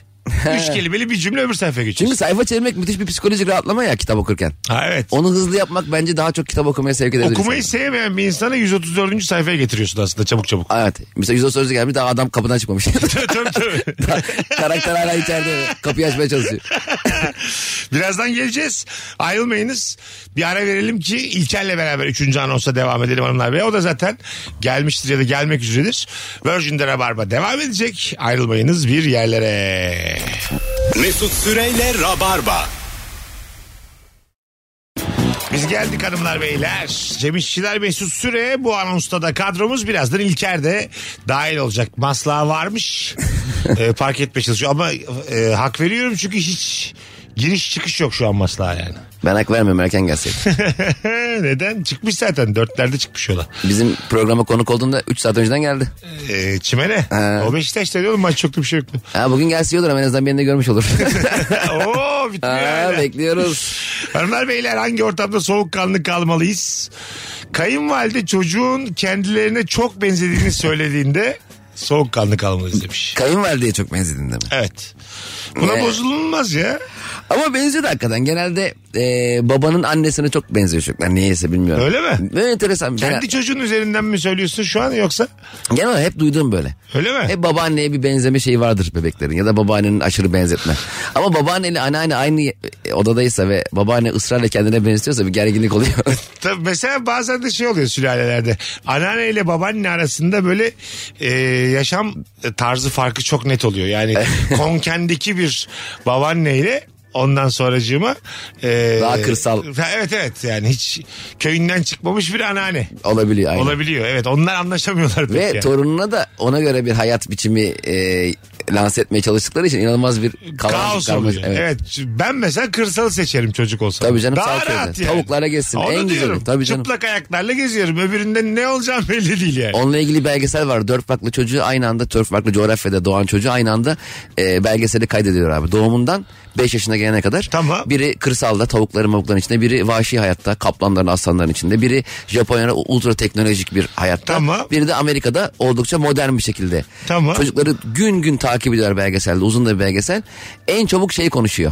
Speaker 3: Üç kelimeli bir cümle öbür sayfaya geçiyor.
Speaker 4: Çünkü sayfa çevirmek müthiş bir psikolojik rahatlama ya kitap okurken.
Speaker 3: Ha evet.
Speaker 4: Onu hızlı yapmak bence daha çok kitap okumaya sevk edebilir.
Speaker 3: Okumayı
Speaker 4: insanı.
Speaker 3: sevmeyen bir insanı 134. sayfaya getiriyorsun aslında çabuk çabuk.
Speaker 4: Evet. Mesela yüz sözlü gelmiş daha adam kapıdan çıkmamış.
Speaker 3: tabii tabii. tabii.
Speaker 4: Karakter hala içeride. Kapıyı açmaya çalışıyor.
Speaker 3: Birazdan geleceğiz. Ayrılmayınız. Bir ara verelim ki İlker'le beraber 3. anonsa devam edelim hanımlar beyler. O da zaten gelmiştir ya da gelmek üzeredir. Virgin'de Rabarba devam edecek. Ayrılmayınız bir yerlere.
Speaker 2: Mesut Süreyle Rabarba.
Speaker 3: Biz geldik hanımlar beyler. Cem İşçiler Mesut Süre bu anonsta da kadromuz birazdan İlker de dahil olacak. Maslağı varmış. e, park etmeye çalışıyor ama e, hak veriyorum çünkü hiç giriş çıkış yok şu an maslağa yani.
Speaker 4: Ben hak vermiyorum erken gelseydi.
Speaker 3: Neden? Çıkmış zaten. Dörtlerde çıkmış yola.
Speaker 4: Bizim programa konuk olduğunda 3 saat önceden geldi.
Speaker 3: Ee, çimene.
Speaker 4: Ha.
Speaker 3: O Beşiktaş'ta diyorum maç yoktu bir şey yoktu.
Speaker 4: Ha, bugün gelse iyi olur ama en azından birini de görmüş olur.
Speaker 3: Oo bitmiyor.
Speaker 4: ha,
Speaker 3: hala.
Speaker 4: bekliyoruz.
Speaker 3: Hanımlar beyler hangi ortamda soğukkanlı kalmalıyız? Kayınvalide çocuğun kendilerine çok benzediğini söylediğinde soğukkanlı kalmalıyız demiş.
Speaker 4: Kayınvalideye çok benzedin de mi?
Speaker 3: Evet. Buna
Speaker 4: Ne?
Speaker 3: bozulmaz ya.
Speaker 4: Ama benziyor da hakikaten. Genelde e, babanın annesine çok benziyor çocuklar. Niyeyse bilmiyorum.
Speaker 3: Öyle mi?
Speaker 4: Böyle enteresan. Genel,
Speaker 3: Kendi çocuğun üzerinden mi söylüyorsun şu an yoksa?
Speaker 4: genel olarak hep duyduğum böyle.
Speaker 3: Öyle mi?
Speaker 4: Hep babaanneye bir benzeme şeyi vardır bebeklerin ya da babaannenin aşırı benzetme. Ama babaanneyle anneanne aynı e, odadaysa ve babaanne ısrarla kendine benziyorsa bir gerginlik oluyor.
Speaker 3: Tabii mesela bazen de şey oluyor sülalelerde. Anneanne ile babaanne arasında böyle e, yaşam tarzı farkı çok net oluyor. Yani konkendeki bir babaanne ile ondan sonracığıma e,
Speaker 4: Daha kırsal.
Speaker 3: Ha, Evet evet yani hiç köyünden çıkmamış bir anneanne
Speaker 4: Olabiliyor aynı.
Speaker 3: olabiliyor. Evet onlar anlaşamıyorlar pek
Speaker 4: Ve
Speaker 3: yani.
Speaker 4: torununa da ona göre bir hayat biçimi e, lanse etmeye çalıştıkları için inanılmaz bir kaos,
Speaker 3: Kaos oluyor. Evet. Ben mesela kırsalı seçerim çocuk olsam.
Speaker 4: Tabii canım,
Speaker 3: Daha
Speaker 4: sağ köyde.
Speaker 3: rahat yani.
Speaker 4: Tavuklara gezsin.
Speaker 3: Onu
Speaker 4: En güzeli.
Speaker 3: diyorum.
Speaker 4: Tabii canım.
Speaker 3: Çıplak ayaklarla geziyorum. Öbüründe ne olacağım belli değil yani.
Speaker 4: Onunla ilgili belgesel var. Dört farklı çocuğu aynı anda, dört farklı coğrafyada doğan çocuğu aynı anda e, belgeseli kaydediyor abi. Doğumundan 5 yaşına gelene kadar.
Speaker 3: Tamam.
Speaker 4: Biri kırsalda tavukların mavukların içinde, biri vahşi hayatta kaplanların aslanların içinde, biri Japonya'da ultra teknolojik bir hayatta.
Speaker 3: Tamam.
Speaker 4: Biri de Amerika'da oldukça modern bir şekilde.
Speaker 3: Tamam.
Speaker 4: Çocukları gün gün takip ediyor belgeselde uzun da bir belgesel. En çabuk şey konuşuyor.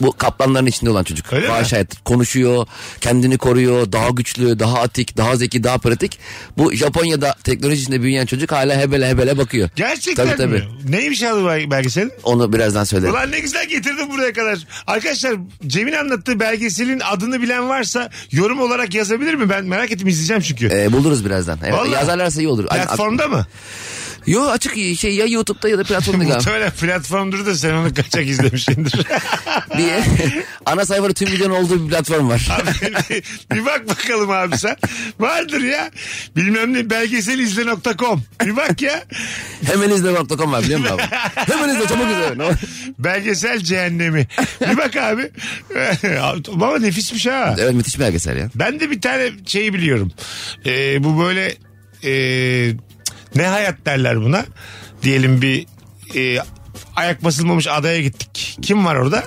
Speaker 4: bu kaplanların içinde olan çocuk.
Speaker 3: Öyle mi?
Speaker 4: Vahşi hayat. Konuşuyor, kendini koruyor, daha güçlü, daha atik, daha zeki, daha pratik. Bu Japonya'da teknoloji içinde büyüyen çocuk hala hebele hebele bakıyor.
Speaker 3: Gerçekten
Speaker 4: tabii,
Speaker 3: mi?
Speaker 4: tabii.
Speaker 3: Neymiş abi belgeselin?
Speaker 4: Onu birazdan söylerim.
Speaker 3: Ulan ne güzel getirdin buraya kadar. Arkadaşlar Cem'in anlattığı belgeselin adını bilen varsa yorum olarak yazabilir mi? Ben merak ettim izleyeceğim çünkü.
Speaker 4: Ee, buluruz birazdan. Evet,
Speaker 3: Vallahi.
Speaker 4: yazarlarsa iyi olur. Ay- ak-
Speaker 3: Platformda mı?
Speaker 4: Yo açık şey ya YouTube'da ya da platformda galiba.
Speaker 3: Muhtemelen platformdur da sen onu kaçak izlemişsindir.
Speaker 4: Bir- ana sayfada tüm videonun olduğu bir platform var.
Speaker 3: bir, bir bak bakalım abi sen. Vardır ya. Bilmem ne belgeselizle.com. Bir bak ya.
Speaker 4: Hemen izle.com var biliyor musun abi? Hemen izle çabuk izle. Ne-
Speaker 3: Belgesel cehennemi. Bir bak abi. Baba nefismiş ha.
Speaker 4: Evet müthiş belgesel ya.
Speaker 3: Ben de bir tane şeyi biliyorum. Ee, bu böyle e, ne hayat derler buna? Diyelim bir e, ayak basılmamış adaya gittik. Kim var orada?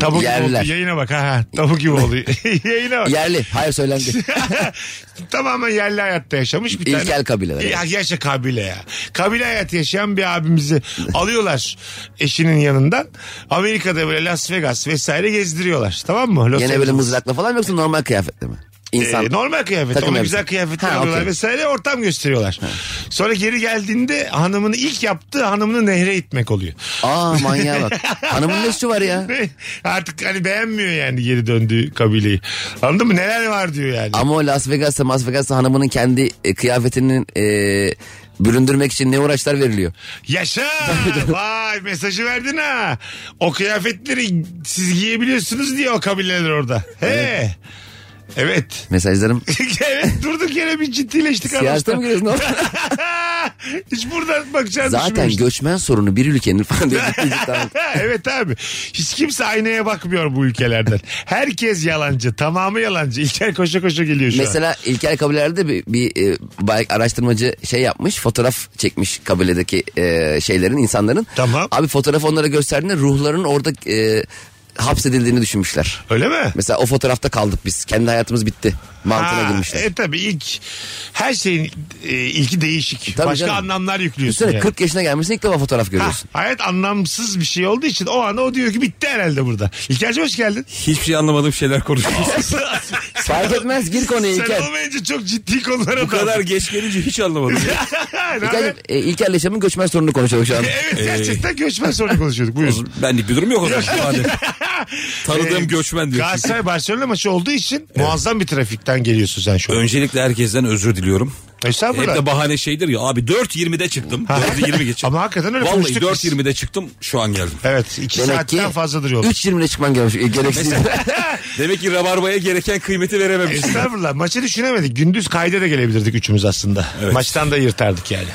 Speaker 3: Tavuk gibi
Speaker 4: Yerliler.
Speaker 3: oldu. Yayına bak ha, ha. Tavuk gibi oldu. Yayına bak.
Speaker 4: Yerli. Hayır söylendi.
Speaker 3: Tamamen yerli hayatta yaşamış bir tane.
Speaker 4: İlkel kabileler.
Speaker 3: Ya yaşa kabile ya. Kabile hayatı yaşayan bir abimizi alıyorlar eşinin yanından. Amerika'da böyle Las Vegas vesaire gezdiriyorlar. Tamam mı? Los
Speaker 4: Yine böyle
Speaker 3: Angeles.
Speaker 4: mızrakla falan mı yoksa normal kıyafetle mi? İnsan.
Speaker 3: Ee, normal kıyafet.
Speaker 4: Takım
Speaker 3: Ona
Speaker 4: elbise.
Speaker 3: güzel kıyafetler
Speaker 4: Ha,
Speaker 3: alıyorlar
Speaker 4: okey.
Speaker 3: vesaire ortam gösteriyorlar. Sonra geri geldiğinde hanımını ilk yaptığı hanımını nehre itmek oluyor.
Speaker 4: Aa manyağa bak. Hanımın ne suçu var ya?
Speaker 3: Ve Artık hani beğenmiyor yani geri döndüğü kabileyi. Anladın mı? Neler var diyor yani.
Speaker 4: Ama o Las Vegas'ta Las Vegas'ta hanımının kendi e, kıyafetinin e, büründürmek için ne uğraşlar veriliyor.
Speaker 3: Yaşa! Vay mesajı verdin ha. O kıyafetleri siz giyebiliyorsunuz diye o kabileler orada. He. Evet.
Speaker 4: Mesajlarım.
Speaker 3: evet durduk yere bir ciddileştik
Speaker 4: Siyasete mi
Speaker 3: anlaşılan.
Speaker 4: giriyorsun? oğlum?
Speaker 3: Hiç buradan bakacağını
Speaker 4: Zaten
Speaker 3: düşünmemiştim.
Speaker 4: göçmen sorunu bir ülkenin falan diye. ciddi ciddi anlat-
Speaker 3: evet abi. Hiç kimse aynaya bakmıyor bu ülkelerden. Herkes yalancı. Tamamı yalancı. İlker koşa koşa geliyor şu an.
Speaker 4: Mesela ilkel kabilelerde bir, bir e, bay- araştırmacı şey yapmış fotoğraf çekmiş kabiledeki e, şeylerin insanların.
Speaker 3: Tamam.
Speaker 4: Abi fotoğrafı onlara gösterdiğinde ruhların orada e, hapsedildiğini düşünmüşler.
Speaker 3: Öyle mi?
Speaker 4: Mesela o fotoğrafta kaldık biz. Kendi hayatımız bitti. Mantığına
Speaker 3: Ha,
Speaker 4: girmişler.
Speaker 3: E tabii ilk her şeyin e, ilki değişik.
Speaker 4: Tabii
Speaker 3: Başka
Speaker 4: canım.
Speaker 3: anlamlar yüklüyorsun.
Speaker 4: Üstelik
Speaker 3: yani.
Speaker 4: 40 yaşına gelmişsin ilk defa fotoğraf
Speaker 3: Ha,
Speaker 4: görüyorsun.
Speaker 3: hayat anlamsız bir şey olduğu için o anda o diyor ki bitti herhalde burada. İlker'cim hoş geldin.
Speaker 9: Hiçbir şey anlamadığım şeyler konuşuyoruz.
Speaker 4: Fark etmez gir konuya
Speaker 3: Sen
Speaker 4: İlker.
Speaker 3: olmayınca çok ciddi konulara
Speaker 9: Bu kadar
Speaker 3: daldın.
Speaker 9: geç gelince hiç anlamadım.
Speaker 3: Ne haber?
Speaker 4: İlker, e, İlker'le Şam'ın göçmen sorununu konuşalım şu an.
Speaker 3: Evet gerçekten göçmen sorunu konuşuyorduk. Buyurun.
Speaker 9: Ee, Benlik bir durum yok o zaman. Madem. Tanıdığım
Speaker 3: Ee,
Speaker 9: göçmen diyor. çünkü.
Speaker 3: Galatasaray Barcelona maçı olduğu için muazzam bir trafikten geliyorsun sen şu an.
Speaker 9: Öncelikle herkesten özür diliyorum. Hep
Speaker 3: Estağfurullah.
Speaker 9: de bahane şeydir ya abi 4.20'de çıktım. 4.20 geçe.
Speaker 3: Ama hakikaten öyle
Speaker 9: Vallahi
Speaker 3: konuştuk biz.
Speaker 9: 4.20'de çıktım şu an geldim.
Speaker 3: Evet iki
Speaker 4: Demek ki
Speaker 3: saatten fazladır yol.
Speaker 4: 3.20'de çıkman gelmiş. E, gereksiz.
Speaker 9: Demek ki rabarbaya gereken kıymeti
Speaker 3: E,
Speaker 9: verememişim.
Speaker 3: Estağfurullah maçı düşünemedik. Gündüz kayda da gelebilirdik üçümüz aslında. Maçtan da yırtardık yani.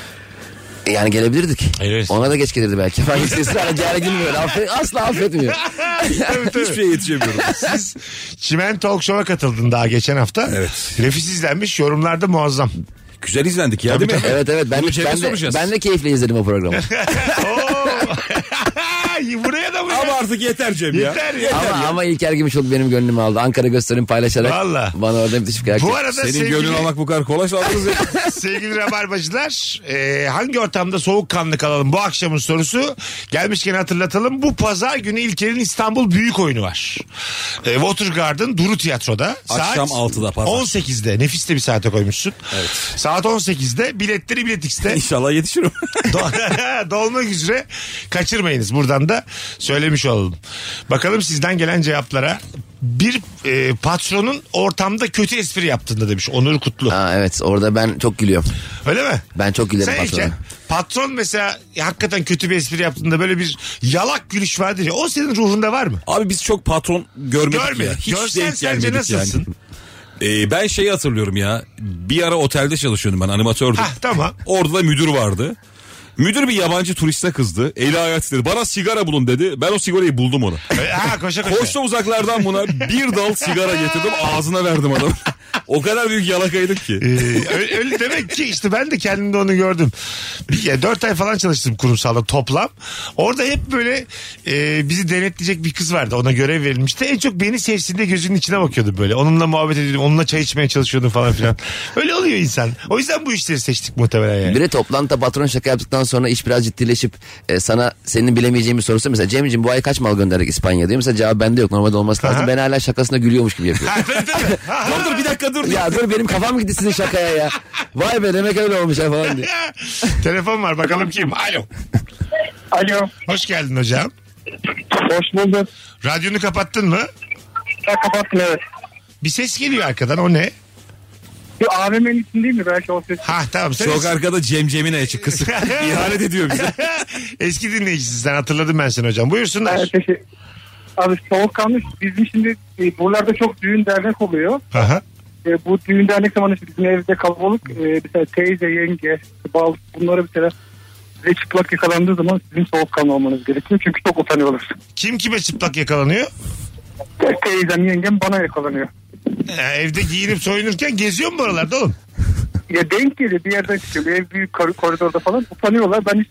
Speaker 4: E, yani gelebilirdik.
Speaker 3: Evet.
Speaker 4: Ona da geç gelirdi belki. Ben hiç ısrarla geri gülmüyor. Affet, asla affetmiyor.
Speaker 3: Tabii, tabii.
Speaker 9: Hiçbir şey şeye yetişemiyorum.
Speaker 3: Siz Çimen Talk Show'a katıldın daha geçen hafta.
Speaker 9: Evet.
Speaker 3: Nefis izlenmiş yorumlarda muazzam.
Speaker 9: Güzel izlendik ya değil mi?
Speaker 4: Evet evet ben,
Speaker 9: Bunu Cem'e
Speaker 4: ben, de,
Speaker 9: soracağız.
Speaker 4: ben de keyifle izledim o programı.
Speaker 3: Oo. Buraya da buraya.
Speaker 9: Ama artık yeter Cem ya.
Speaker 3: Yeter ya.
Speaker 4: ama, ama İlker gibi çok benim gönlümü aldı. Ankara gösterim paylaşarak
Speaker 3: Vallahi.
Speaker 4: bana orada müthiş bir karakter.
Speaker 3: Bu arada
Speaker 9: Senin
Speaker 3: sevgili,
Speaker 9: gönlünü almak bu kadar kolay sağladınız ya.
Speaker 3: sevgili rabarbacılar e, hangi ortamda soğukkanlı kalalım bu akşamın sorusu. Gelmişken hatırlatalım bu pazar günü İlker'in İstanbul Büyük Oyunu var. E, Watergarden Duru Tiyatro'da.
Speaker 9: Akşam 6'da pazar.
Speaker 3: 18'de nefis de bir saate koymuşsun. Evet. Saat 18'de biletleri biletix'te.
Speaker 9: İnşallah yetişirim.
Speaker 3: Do- Dolmak üzere kaçırmayınız. Buradan da söylemiş olalım. Bakalım sizden gelen cevaplara. Bir e, patronun ortamda kötü espri yaptığında demiş Onur Kutlu.
Speaker 4: Aa, evet orada ben çok gülüyorum.
Speaker 3: Öyle mi?
Speaker 4: Ben çok gülerim
Speaker 3: Sen
Speaker 4: patrona.
Speaker 3: Eken, patron mesela e, hakikaten kötü bir espri yaptığında böyle bir yalak gülüş vardır ya. O senin ruhunda var mı?
Speaker 9: Abi biz çok patron görmedik
Speaker 3: Görmedik.
Speaker 9: ya. Hiç
Speaker 3: Görsen
Speaker 9: denk
Speaker 3: sence
Speaker 9: gelmedik
Speaker 3: nasılsın?
Speaker 9: yani. Ee, ben şeyi hatırlıyorum ya. Bir ara otelde çalışıyordum ben animatördüm.
Speaker 3: Hah tamam.
Speaker 9: Orada da müdür vardı. Müdür bir yabancı turiste kızdı. Eli hayat dedi. Bana sigara bulun dedi. Ben o sigarayı buldum ona.
Speaker 3: E, Ha koşa koşa.
Speaker 9: Koştum uzaklardan buna bir dal sigara getirdim ağzına verdim adamı. O kadar büyük yalakaydım ki.
Speaker 3: Ee, öyle, öyle demek ki işte ben de kendimde onu gördüm. Bir, ya, dört ay falan çalıştım kurumsalda toplam. Orada hep böyle e, bizi denetleyecek bir kız vardı. Ona görev verilmişti. En çok beni sevsiğinde gözünün içine bakıyordu böyle. Onunla muhabbet ediyordum. Onunla çay içmeye çalışıyordum falan filan. Öyle oluyor insan. O yüzden bu işleri seçtik muhtemelen yani.
Speaker 4: Bir de toplantıda patron şaka yaptıktan sonra iş biraz ciddileşip e, sana senin bilemeyeceğin bir sorusu mesela Cem'ciğim bu ay kaç mal gönderdik İspanya diyor. Mesela cevap bende yok normalde olması lazım. Ben hala şakasına gülüyormuş gibi yapıyorum.
Speaker 3: Ha, tabii, tabii.
Speaker 9: Dur dur bir dakika dur.
Speaker 4: ya dur benim kafam gitti sizin şakaya ya. Vay be demek öyle olmuş ya falan diye.
Speaker 3: Telefon var bakalım kim? Alo.
Speaker 7: Alo.
Speaker 3: Hoş geldin hocam.
Speaker 7: Hoş bulduk.
Speaker 3: Radyonu kapattın mı?
Speaker 7: Ben kapattım evet.
Speaker 3: Bir ses geliyor arkadan o ne?
Speaker 7: Bir AVM'nin için değil mi? Belki o ses.
Speaker 3: Ha tamam. Sen
Speaker 9: Çok arkada Cem Cem'in açık kısık. İhanet ediyor bize.
Speaker 3: Eski dinleyicisin sen hatırladım ben seni hocam. Buyursunlar.
Speaker 7: Evet, teşekkür- Abi soğukkanlı bizim şimdi e, buralarda çok düğün dernek oluyor.
Speaker 3: Aha.
Speaker 7: E, bu düğün dernek zamanı işte bizim evde kalabalık e, mesela teyze, yenge, bal bunlara mesela size çıplak yakalandığı zaman sizin soğukkanlı olmanız gerekiyor. Çünkü çok utanıyorlar.
Speaker 3: Kim kime çıplak yakalanıyor?
Speaker 7: Te- Teyzem, yengem bana yakalanıyor.
Speaker 3: Ha, evde giyinip soyunurken geziyor mu buralarda oğlum?
Speaker 7: Ya denk geliyor bir yerden çıkıyor. Bir Ev büyük kor- koridorda falan utanıyorlar. Ben hiç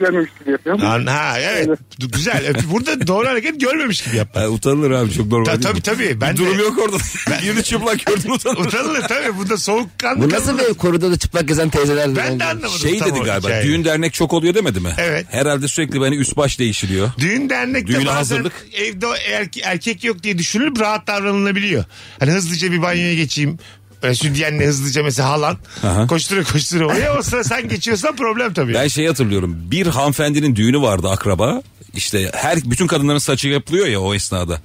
Speaker 7: görmemiş gibi yapıyorum.
Speaker 3: Lan, ha evet. Du- Güzel. Öp- Burada doğru hareket görmemiş gibi yap.
Speaker 9: Ha, utanılır abi çok normal
Speaker 3: Ta,
Speaker 9: değil
Speaker 3: tabii
Speaker 9: mi?
Speaker 3: tabii. Ben
Speaker 9: Bir durum
Speaker 3: de-
Speaker 9: yok orada. Birini çıplak gördün utanılır.
Speaker 3: Utanılır tabii. Burada soğukkanlı.
Speaker 4: Bu nasıl
Speaker 3: kadınlar.
Speaker 4: bir koridorda çıplak gezen teyzeler?
Speaker 3: Ben de anlamadım.
Speaker 9: Şey
Speaker 3: tam
Speaker 9: dedi
Speaker 3: o
Speaker 9: galiba
Speaker 3: hikayeyi.
Speaker 9: düğün dernek çok oluyor demedi mi?
Speaker 3: Evet.
Speaker 9: Herhalde sürekli beni üst baş değişiliyor.
Speaker 3: Düğün dernekte
Speaker 9: Düğüne
Speaker 3: bazen
Speaker 9: hazırlık.
Speaker 3: evde erke- erkek yok diye düşünülüp rahat davranılabiliyor. Hani hızlıca bir banyoya geçeyim. Böyle sütyenle hızlıca mesela halan.
Speaker 9: Aha.
Speaker 3: Koştura koştura oraya. O sıra sen geçiyorsan problem tabii.
Speaker 9: Ben şey hatırlıyorum. Bir hanımefendinin düğünü vardı akraba. İşte her bütün kadınların saçı yapılıyor ya o esnada.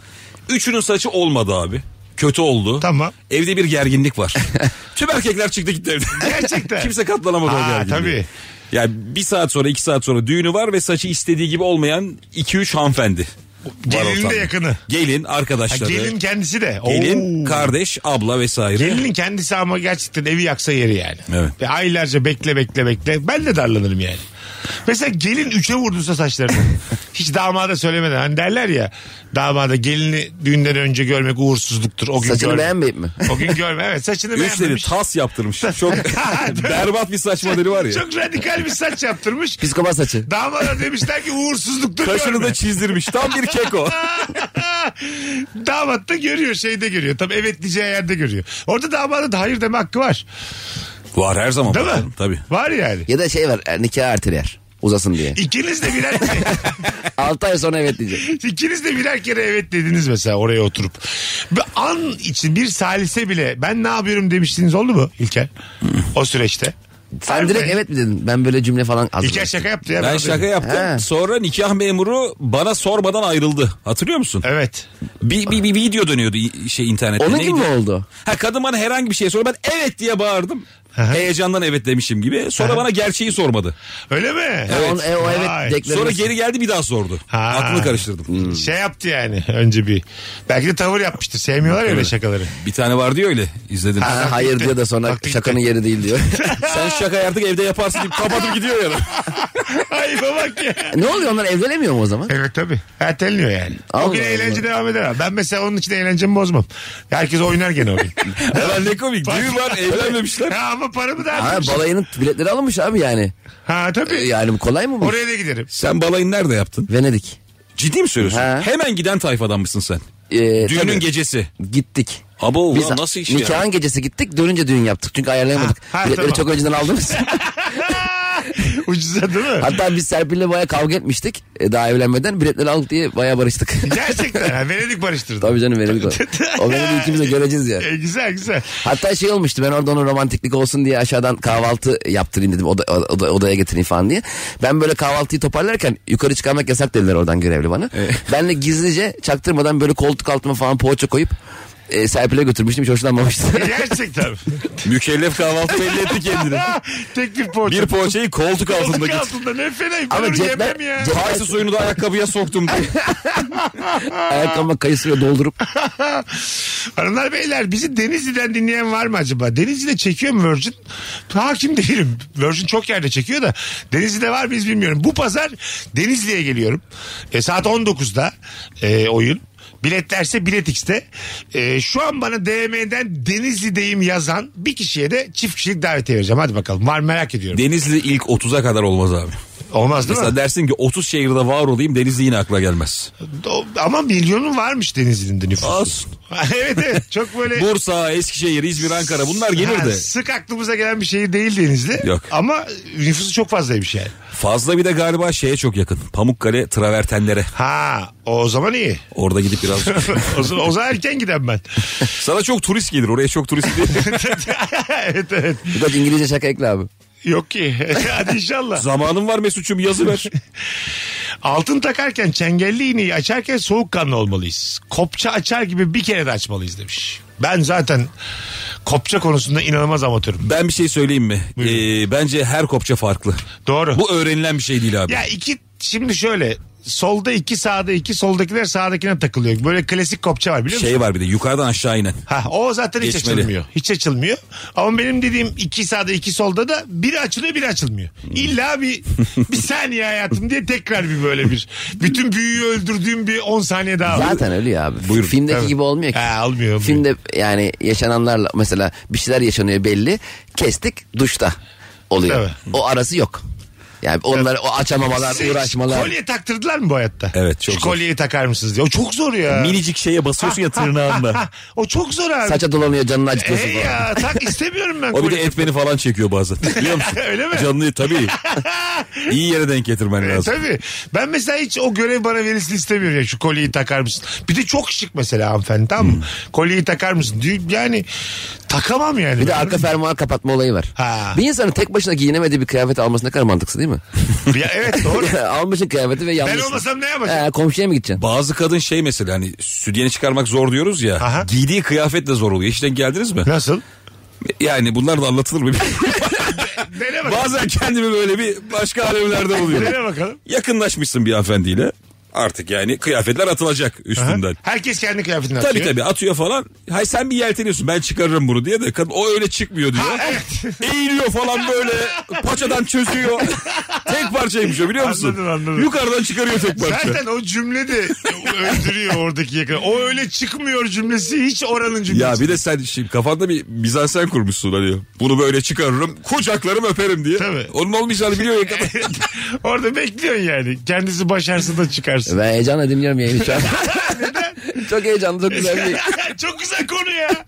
Speaker 9: Üçünün saçı olmadı abi. Kötü oldu.
Speaker 3: Tamam.
Speaker 9: Evde bir gerginlik var. Tüm erkekler çıktı gitti evden.
Speaker 3: Gerçekten.
Speaker 9: Kimse katlanamadı o
Speaker 3: Ha,
Speaker 9: gerginliğe.
Speaker 3: tabii.
Speaker 9: Yani bir saat sonra iki saat sonra düğünü var ve saçı istediği gibi olmayan iki üç hanımefendi. var
Speaker 3: Gelinin de
Speaker 9: ortamda.
Speaker 3: yakını.
Speaker 9: Gelin
Speaker 3: Ha,
Speaker 9: arkadaşları.
Speaker 3: gelin kendisi de.
Speaker 9: gelin,
Speaker 3: Oo.
Speaker 9: kardeş, abla vesaire.
Speaker 3: Gelinin kendisi ama gerçekten evi yaksa yeri yani.
Speaker 9: Evet.
Speaker 3: Ve aylarca bekle bekle bekle. Ben de darlanırım yani. Mesela gelin üçe vurduysa saçlarını. Hiç damada söylemeden. Hani derler ya damada gelini düğünden önce görmek uğursuzluktur. O gün
Speaker 4: Saçını
Speaker 3: görme.
Speaker 4: beğenmeyip mi?
Speaker 3: O gün görme. Evet saçını
Speaker 9: Üç dedi
Speaker 3: beğenmemiş.
Speaker 9: tas yaptırmış. Çok berbat bir saç modeli var ya.
Speaker 3: Çok radikal bir saç yaptırmış.
Speaker 4: Psikopat saçı.
Speaker 3: Damada demişler ki uğursuzluktur
Speaker 9: Kaşını
Speaker 3: görme.
Speaker 9: da çizdirmiş. Tam bir keko.
Speaker 3: damat da görüyor şeyde görüyor. Tabii evet diyeceği yerde görüyor. Orada damadın da hayır deme hakkı var.
Speaker 9: Var her zaman.
Speaker 3: Değil mi?
Speaker 9: bakalım, Tabii.
Speaker 3: Var yani.
Speaker 4: Ya da şey var e, nikah erteler. Uzasın diye.
Speaker 3: İkiniz de birer
Speaker 4: Altı ay sonra evet diyecek.
Speaker 3: ikiniz de birer kere evet dediniz mesela oraya oturup. Bir an için bir salise bile ben ne yapıyorum demiştiniz oldu mu İlker?
Speaker 9: Hmm.
Speaker 3: O süreçte.
Speaker 4: Sen direkt evet mi dedin? Ben böyle cümle falan
Speaker 3: İlker
Speaker 4: hazırladım.
Speaker 3: şaka yaptı ya.
Speaker 9: Ben şaka yaptım.
Speaker 4: He.
Speaker 9: Sonra nikah memuru bana sormadan ayrıldı. Hatırlıyor musun?
Speaker 3: Evet.
Speaker 9: Bir, bir, bir video dönüyordu i- şey internette.
Speaker 4: Onun
Speaker 9: Ne
Speaker 4: gibi mi
Speaker 9: gidiyor?
Speaker 4: oldu?
Speaker 9: Ha kadın bana herhangi bir şey sordu. Ben evet diye bağırdım. Heyecandan evet demişim gibi. Sonra bana gerçeği sormadı.
Speaker 3: Öyle mi?
Speaker 4: Evet. o- e, o evet
Speaker 3: Vay.
Speaker 4: deklar-
Speaker 9: Sonra
Speaker 4: Bilemezsin.
Speaker 9: geri geldi bir daha sordu.
Speaker 3: Ha.
Speaker 9: Aklını karıştırdım.
Speaker 3: Şey yaptı yani önce bir. Belki de tavır yapmıştır. Sevmiyorlar ya öyle şakaları.
Speaker 9: Bir tane vardı ya öyle izledim.
Speaker 4: Ha,
Speaker 3: Bak
Speaker 4: hayır
Speaker 3: gitti.
Speaker 4: diyor da sonra
Speaker 3: Bak gitti.
Speaker 4: şakanın yeri değil diyor.
Speaker 9: Sen şaka artık evde yaparsın deyip kapatıp gidiyor ya.
Speaker 3: Ay bak ya.
Speaker 4: ne oluyor onlar evlenemiyor mu o zaman?
Speaker 3: Evet tabii. Erteleniyor yani. o
Speaker 4: Allah
Speaker 3: gün
Speaker 4: Allah.
Speaker 3: eğlence devam eder. abi. Ben mesela onun için eğlencemi bozmam. Herkes oynar gene o gün.
Speaker 9: Ulan ne komik. Düğün var evlenmemişler.
Speaker 3: Ha, ama paramı da
Speaker 4: Ha,
Speaker 3: harcamışım.
Speaker 4: balayının biletleri alınmış abi yani.
Speaker 3: Ha
Speaker 4: E,
Speaker 3: tabii.
Speaker 4: Yani kolay mı bu?
Speaker 3: Oraya da giderim.
Speaker 9: Sen balayını nerede yaptın?
Speaker 4: Venedik.
Speaker 9: Ciddi mi söylüyorsun?
Speaker 4: Ha.
Speaker 9: Hemen giden tayfadanmışsın sen.
Speaker 4: Ee,
Speaker 9: Düğünün
Speaker 4: tabii.
Speaker 9: gecesi.
Speaker 4: Gittik.
Speaker 9: Abo ulan
Speaker 4: Biz
Speaker 9: nasıl iş
Speaker 4: nikahın
Speaker 9: ya?
Speaker 4: gecesi gittik dönünce düğün yaptık. Çünkü ayarlayamadık.
Speaker 3: Ha, ha,
Speaker 4: Biletleri
Speaker 3: tamam.
Speaker 4: çok önceden aldınız.
Speaker 3: Ucuza değil mi?
Speaker 4: Hatta biz Serpil'le baya kavga etmiştik. E, daha evlenmeden biletleri aldık diye baya barıştık.
Speaker 3: Gerçekten. Ha, Venedik barıştırdı.
Speaker 4: Tabii canım verelim. o. O beni ikimiz de göreceğiz ya.
Speaker 3: E, güzel güzel.
Speaker 4: Hatta şey olmuştu ben orada onun romantiklik olsun diye aşağıdan kahvaltı yaptırayım dedim oda, oda- odaya getireyim falan diye. Ben böyle kahvaltıyı toparlarken yukarı çıkarmak yasak dediler oradan görevli bana. Ben de gizlice çaktırmadan böyle koltuk altıma falan poğaça koyup e, Serpil'e götürmüştüm hiç hoşlanmamıştı.
Speaker 3: E, Gerçekten.
Speaker 9: Mükellef kahvaltı belli etti kendini.
Speaker 3: Ha, Tek bir poğaça.
Speaker 9: Bir poğaçayı koltuk altında
Speaker 3: Koltuk
Speaker 9: git.
Speaker 3: altında ne fena. Ben
Speaker 4: Ama
Speaker 3: onu
Speaker 4: cepler-
Speaker 3: yemem ya.
Speaker 4: cep-
Speaker 9: Kayısı suyunu da ayakkabıya soktum diye.
Speaker 4: Ayakkabıma kayısıyla doldurup
Speaker 3: Hanımlar beyler bizi Denizli'den dinleyen var mı acaba? Denizli'de çekiyor mu Virgin? Hakim değilim. Virgin çok yerde çekiyor da Denizli'de var mıyız bilmiyorum. Bu pazar Denizli'ye geliyorum. E, saat 19'da e, oyun. Biletlerse biletix'te. Ee, şu an bana DM'den Denizli'deyim yazan bir kişiye de çift kişilik davetiye vereceğim. Hadi bakalım var mı merak ediyorum.
Speaker 9: Denizli ilk 30'a kadar olmaz abi.
Speaker 3: Olmaz değil
Speaker 9: Mesela
Speaker 3: mi?
Speaker 9: dersin ki 30 şehirde var olayım Denizli yine akla gelmez.
Speaker 3: Do- Ama milyonun varmış Denizli'nin de nüfusu.
Speaker 9: Olsun.
Speaker 3: evet evet çok böyle...
Speaker 9: Bursa, Eskişehir, İzmir, Ankara bunlar gelir
Speaker 3: Ha,
Speaker 9: de.
Speaker 3: sık aklımıza gelen bir şehir değil Denizli.
Speaker 9: Yok.
Speaker 3: Ama nüfusu çok fazlaymış yani.
Speaker 9: Fazla bir de galiba şeye çok yakın. Pamukkale travertenlere.
Speaker 3: Ha o zaman iyi.
Speaker 9: Orada gidip biraz.
Speaker 3: o, zaman, o zaman erken giden ben.
Speaker 9: Sana çok turist gelir. Oraya çok turist gelir.
Speaker 3: evet evet.
Speaker 4: Birkaç İngilizce şaka ekle abi.
Speaker 3: Yok ki. Hadi inşallah.
Speaker 9: Zamanın var Mesut'cum yazı ver.
Speaker 3: Altın takarken çengelli iğneyi açarken soğukkanlı olmalıyız. Kopça açar gibi bir kere de açmalıyız demiş. Ben zaten kopça konusunda inanılmaz amatörüm.
Speaker 9: Ben bir şey söyleyeyim mi?
Speaker 3: Buyurun.
Speaker 9: Ee, bence her kopça farklı.
Speaker 3: Doğru.
Speaker 9: Bu öğrenilen bir şey değil abi.
Speaker 3: Ya iki şimdi şöyle solda iki sağda iki soldakiler sağdakine takılıyor. Böyle klasik kopça var biliyor musun?
Speaker 9: şey var bir de yukarıdan aşağı inen.
Speaker 3: Ha, o zaten hiç
Speaker 9: Geçmeli.
Speaker 3: açılmıyor. Hiç açılmıyor. Ama benim dediğim iki sağda iki solda da biri açılıyor biri açılmıyor. İlla bir bir saniye hayatım diye tekrar bir böyle bir. Bütün büyüyü öldürdüğüm bir 10 saniye daha var.
Speaker 4: Zaten öyle ya abi.
Speaker 9: Buyurun.
Speaker 4: Filmdeki
Speaker 3: Evet.
Speaker 4: gibi olmuyor ki.
Speaker 3: Ha, olmuyor, olmuyor.
Speaker 4: Filmde yani yaşananlarla mesela bir şeyler yaşanıyor belli. Kestik duşta oluyor.
Speaker 3: Tabii.
Speaker 4: O arası yok. Yani onlar o açamamalar,
Speaker 3: Siz
Speaker 4: uğraşmalar.
Speaker 3: Kolye taktırdılar mı bu hayatta?
Speaker 9: Evet, çok
Speaker 3: Şu
Speaker 9: zor.
Speaker 3: kolyeyi takar mısınız diye. O çok zor ya.
Speaker 9: Minicik şeye basıyorsun ya tırnağınla.
Speaker 3: Ha, o çok zor abi.
Speaker 4: Saça dolanıyor canını acıtıyorsun
Speaker 3: Hey
Speaker 4: falan.
Speaker 3: ya tak istemiyorum ben
Speaker 9: O bir de
Speaker 3: kolyeyi.
Speaker 9: etmeni falan çekiyor bazen. Biliyor musun?
Speaker 3: Öyle mi?
Speaker 9: Canlı tabii. İyi yere denk getirmen
Speaker 3: E,
Speaker 9: lazım.
Speaker 3: tabii. Ben mesela hiç o görev bana verilsin istemiyorum ya şu kolyeyi takar mısın? Bir de çok şık mesela hanımefendi tamam
Speaker 9: Hmm.
Speaker 3: mı? Kolyeyi takar mısın? Diyor, Yani takamam yani.
Speaker 4: Bir de arka fermuar kapatma olayı var.
Speaker 3: Ha.
Speaker 4: Bir insanın tek başına giyinemediği bir kıyafet alması ne kadar mantıksız değil mi?
Speaker 3: Ya, evet doğru.
Speaker 4: Almışsın kıyafeti ve yanlış.
Speaker 3: ben olmasam ne yapacağım?
Speaker 4: komşuya mı gideceksin?
Speaker 9: Bazı kadın şey mesela hani sütyeni çıkarmak zor diyoruz ya.
Speaker 3: Aha.
Speaker 9: Giydiği kıyafet de zor oluyor. Hiç denk geldiniz mi?
Speaker 3: Nasıl?
Speaker 9: Yani bunlar da anlatılır mı?
Speaker 3: Dene bakalım.
Speaker 9: Bazen kendimi böyle bir başka alemlerde
Speaker 3: Dene
Speaker 9: buluyorum.
Speaker 3: bakalım.
Speaker 9: Yakınlaşmışsın bir hanımefendiyle. Artık yani kıyafetler atılacak
Speaker 3: Aha.
Speaker 9: üstünden.
Speaker 3: Herkes kendi kıyafetini
Speaker 9: Tabii
Speaker 3: atıyor.
Speaker 9: tabii atıyor falan. Hay sen bir yelteniyorsun ben çıkarırım bunu diye de kadın o öyle çıkmıyor diyor.
Speaker 3: evet.
Speaker 9: Eğiliyor falan böyle paçadan çözüyor. tek parçaymış o biliyor musun?
Speaker 3: Anladım, anladım.
Speaker 9: Yukarıdan çıkarıyor tek parça.
Speaker 3: Zaten o cümle de öldürüyor oradaki yakın. O öyle çıkmıyor cümlesi hiç oranın cümlesi.
Speaker 9: Ya bir de sen şimdi kafanda bir mizansen kurmuşsun hani. Bunu böyle çıkarırım, kucaklarım öperim diye.
Speaker 3: Tabii.
Speaker 9: Onun olmayacağını biliyor ya.
Speaker 3: Orada bekliyorsun yani. Kendisi başarsın da çıkarsın.
Speaker 4: Ben heyecanla dinliyorum yayını şu an. çok heyecanlı, çok güzel bir...
Speaker 3: Çok güzel konu ya.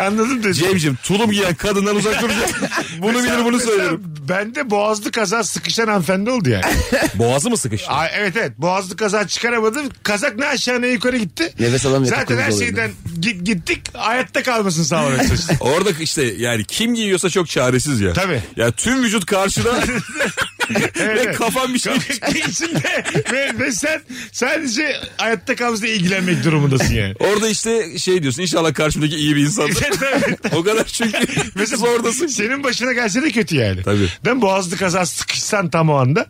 Speaker 3: Anladım da.
Speaker 9: Cemcim tulum giyen kadından uzak duracak. bunu
Speaker 3: Mesela-
Speaker 9: bilir bunu
Speaker 3: mesela
Speaker 9: söylerim.
Speaker 3: Bende boğazlı kaza sıkışan hanımefendi oldu yani.
Speaker 9: Boğazı mı sıkıştı?
Speaker 3: Ay, evet evet boğazlı kaza çıkaramadım. Kazak ne aşağı ne yukarı gitti.
Speaker 4: Nefes alamıyor,
Speaker 3: Zaten
Speaker 4: takıldı
Speaker 3: her
Speaker 4: oluyor.
Speaker 3: şeyden gi- gittik hayatta kalmasın sağlamak için.
Speaker 9: Orada işte yani kim giyiyorsa çok çaresiz ya.
Speaker 3: Tabii.
Speaker 9: Ya tüm vücut karşıda ve kafan bir şey.
Speaker 3: İçinde ve, ve sen sadece hayatta kalmasına ilgilenmek durumundasın yani.
Speaker 9: Orada işte şey diyorsun inşallah karşımdaki iyi bir insandır. o kadar çünkü
Speaker 3: Mesela
Speaker 9: zordasın.
Speaker 3: Senin başına gelse de kötü yani.
Speaker 9: Tabii.
Speaker 3: Ben boğazlı kaza sıkışsan tam o anda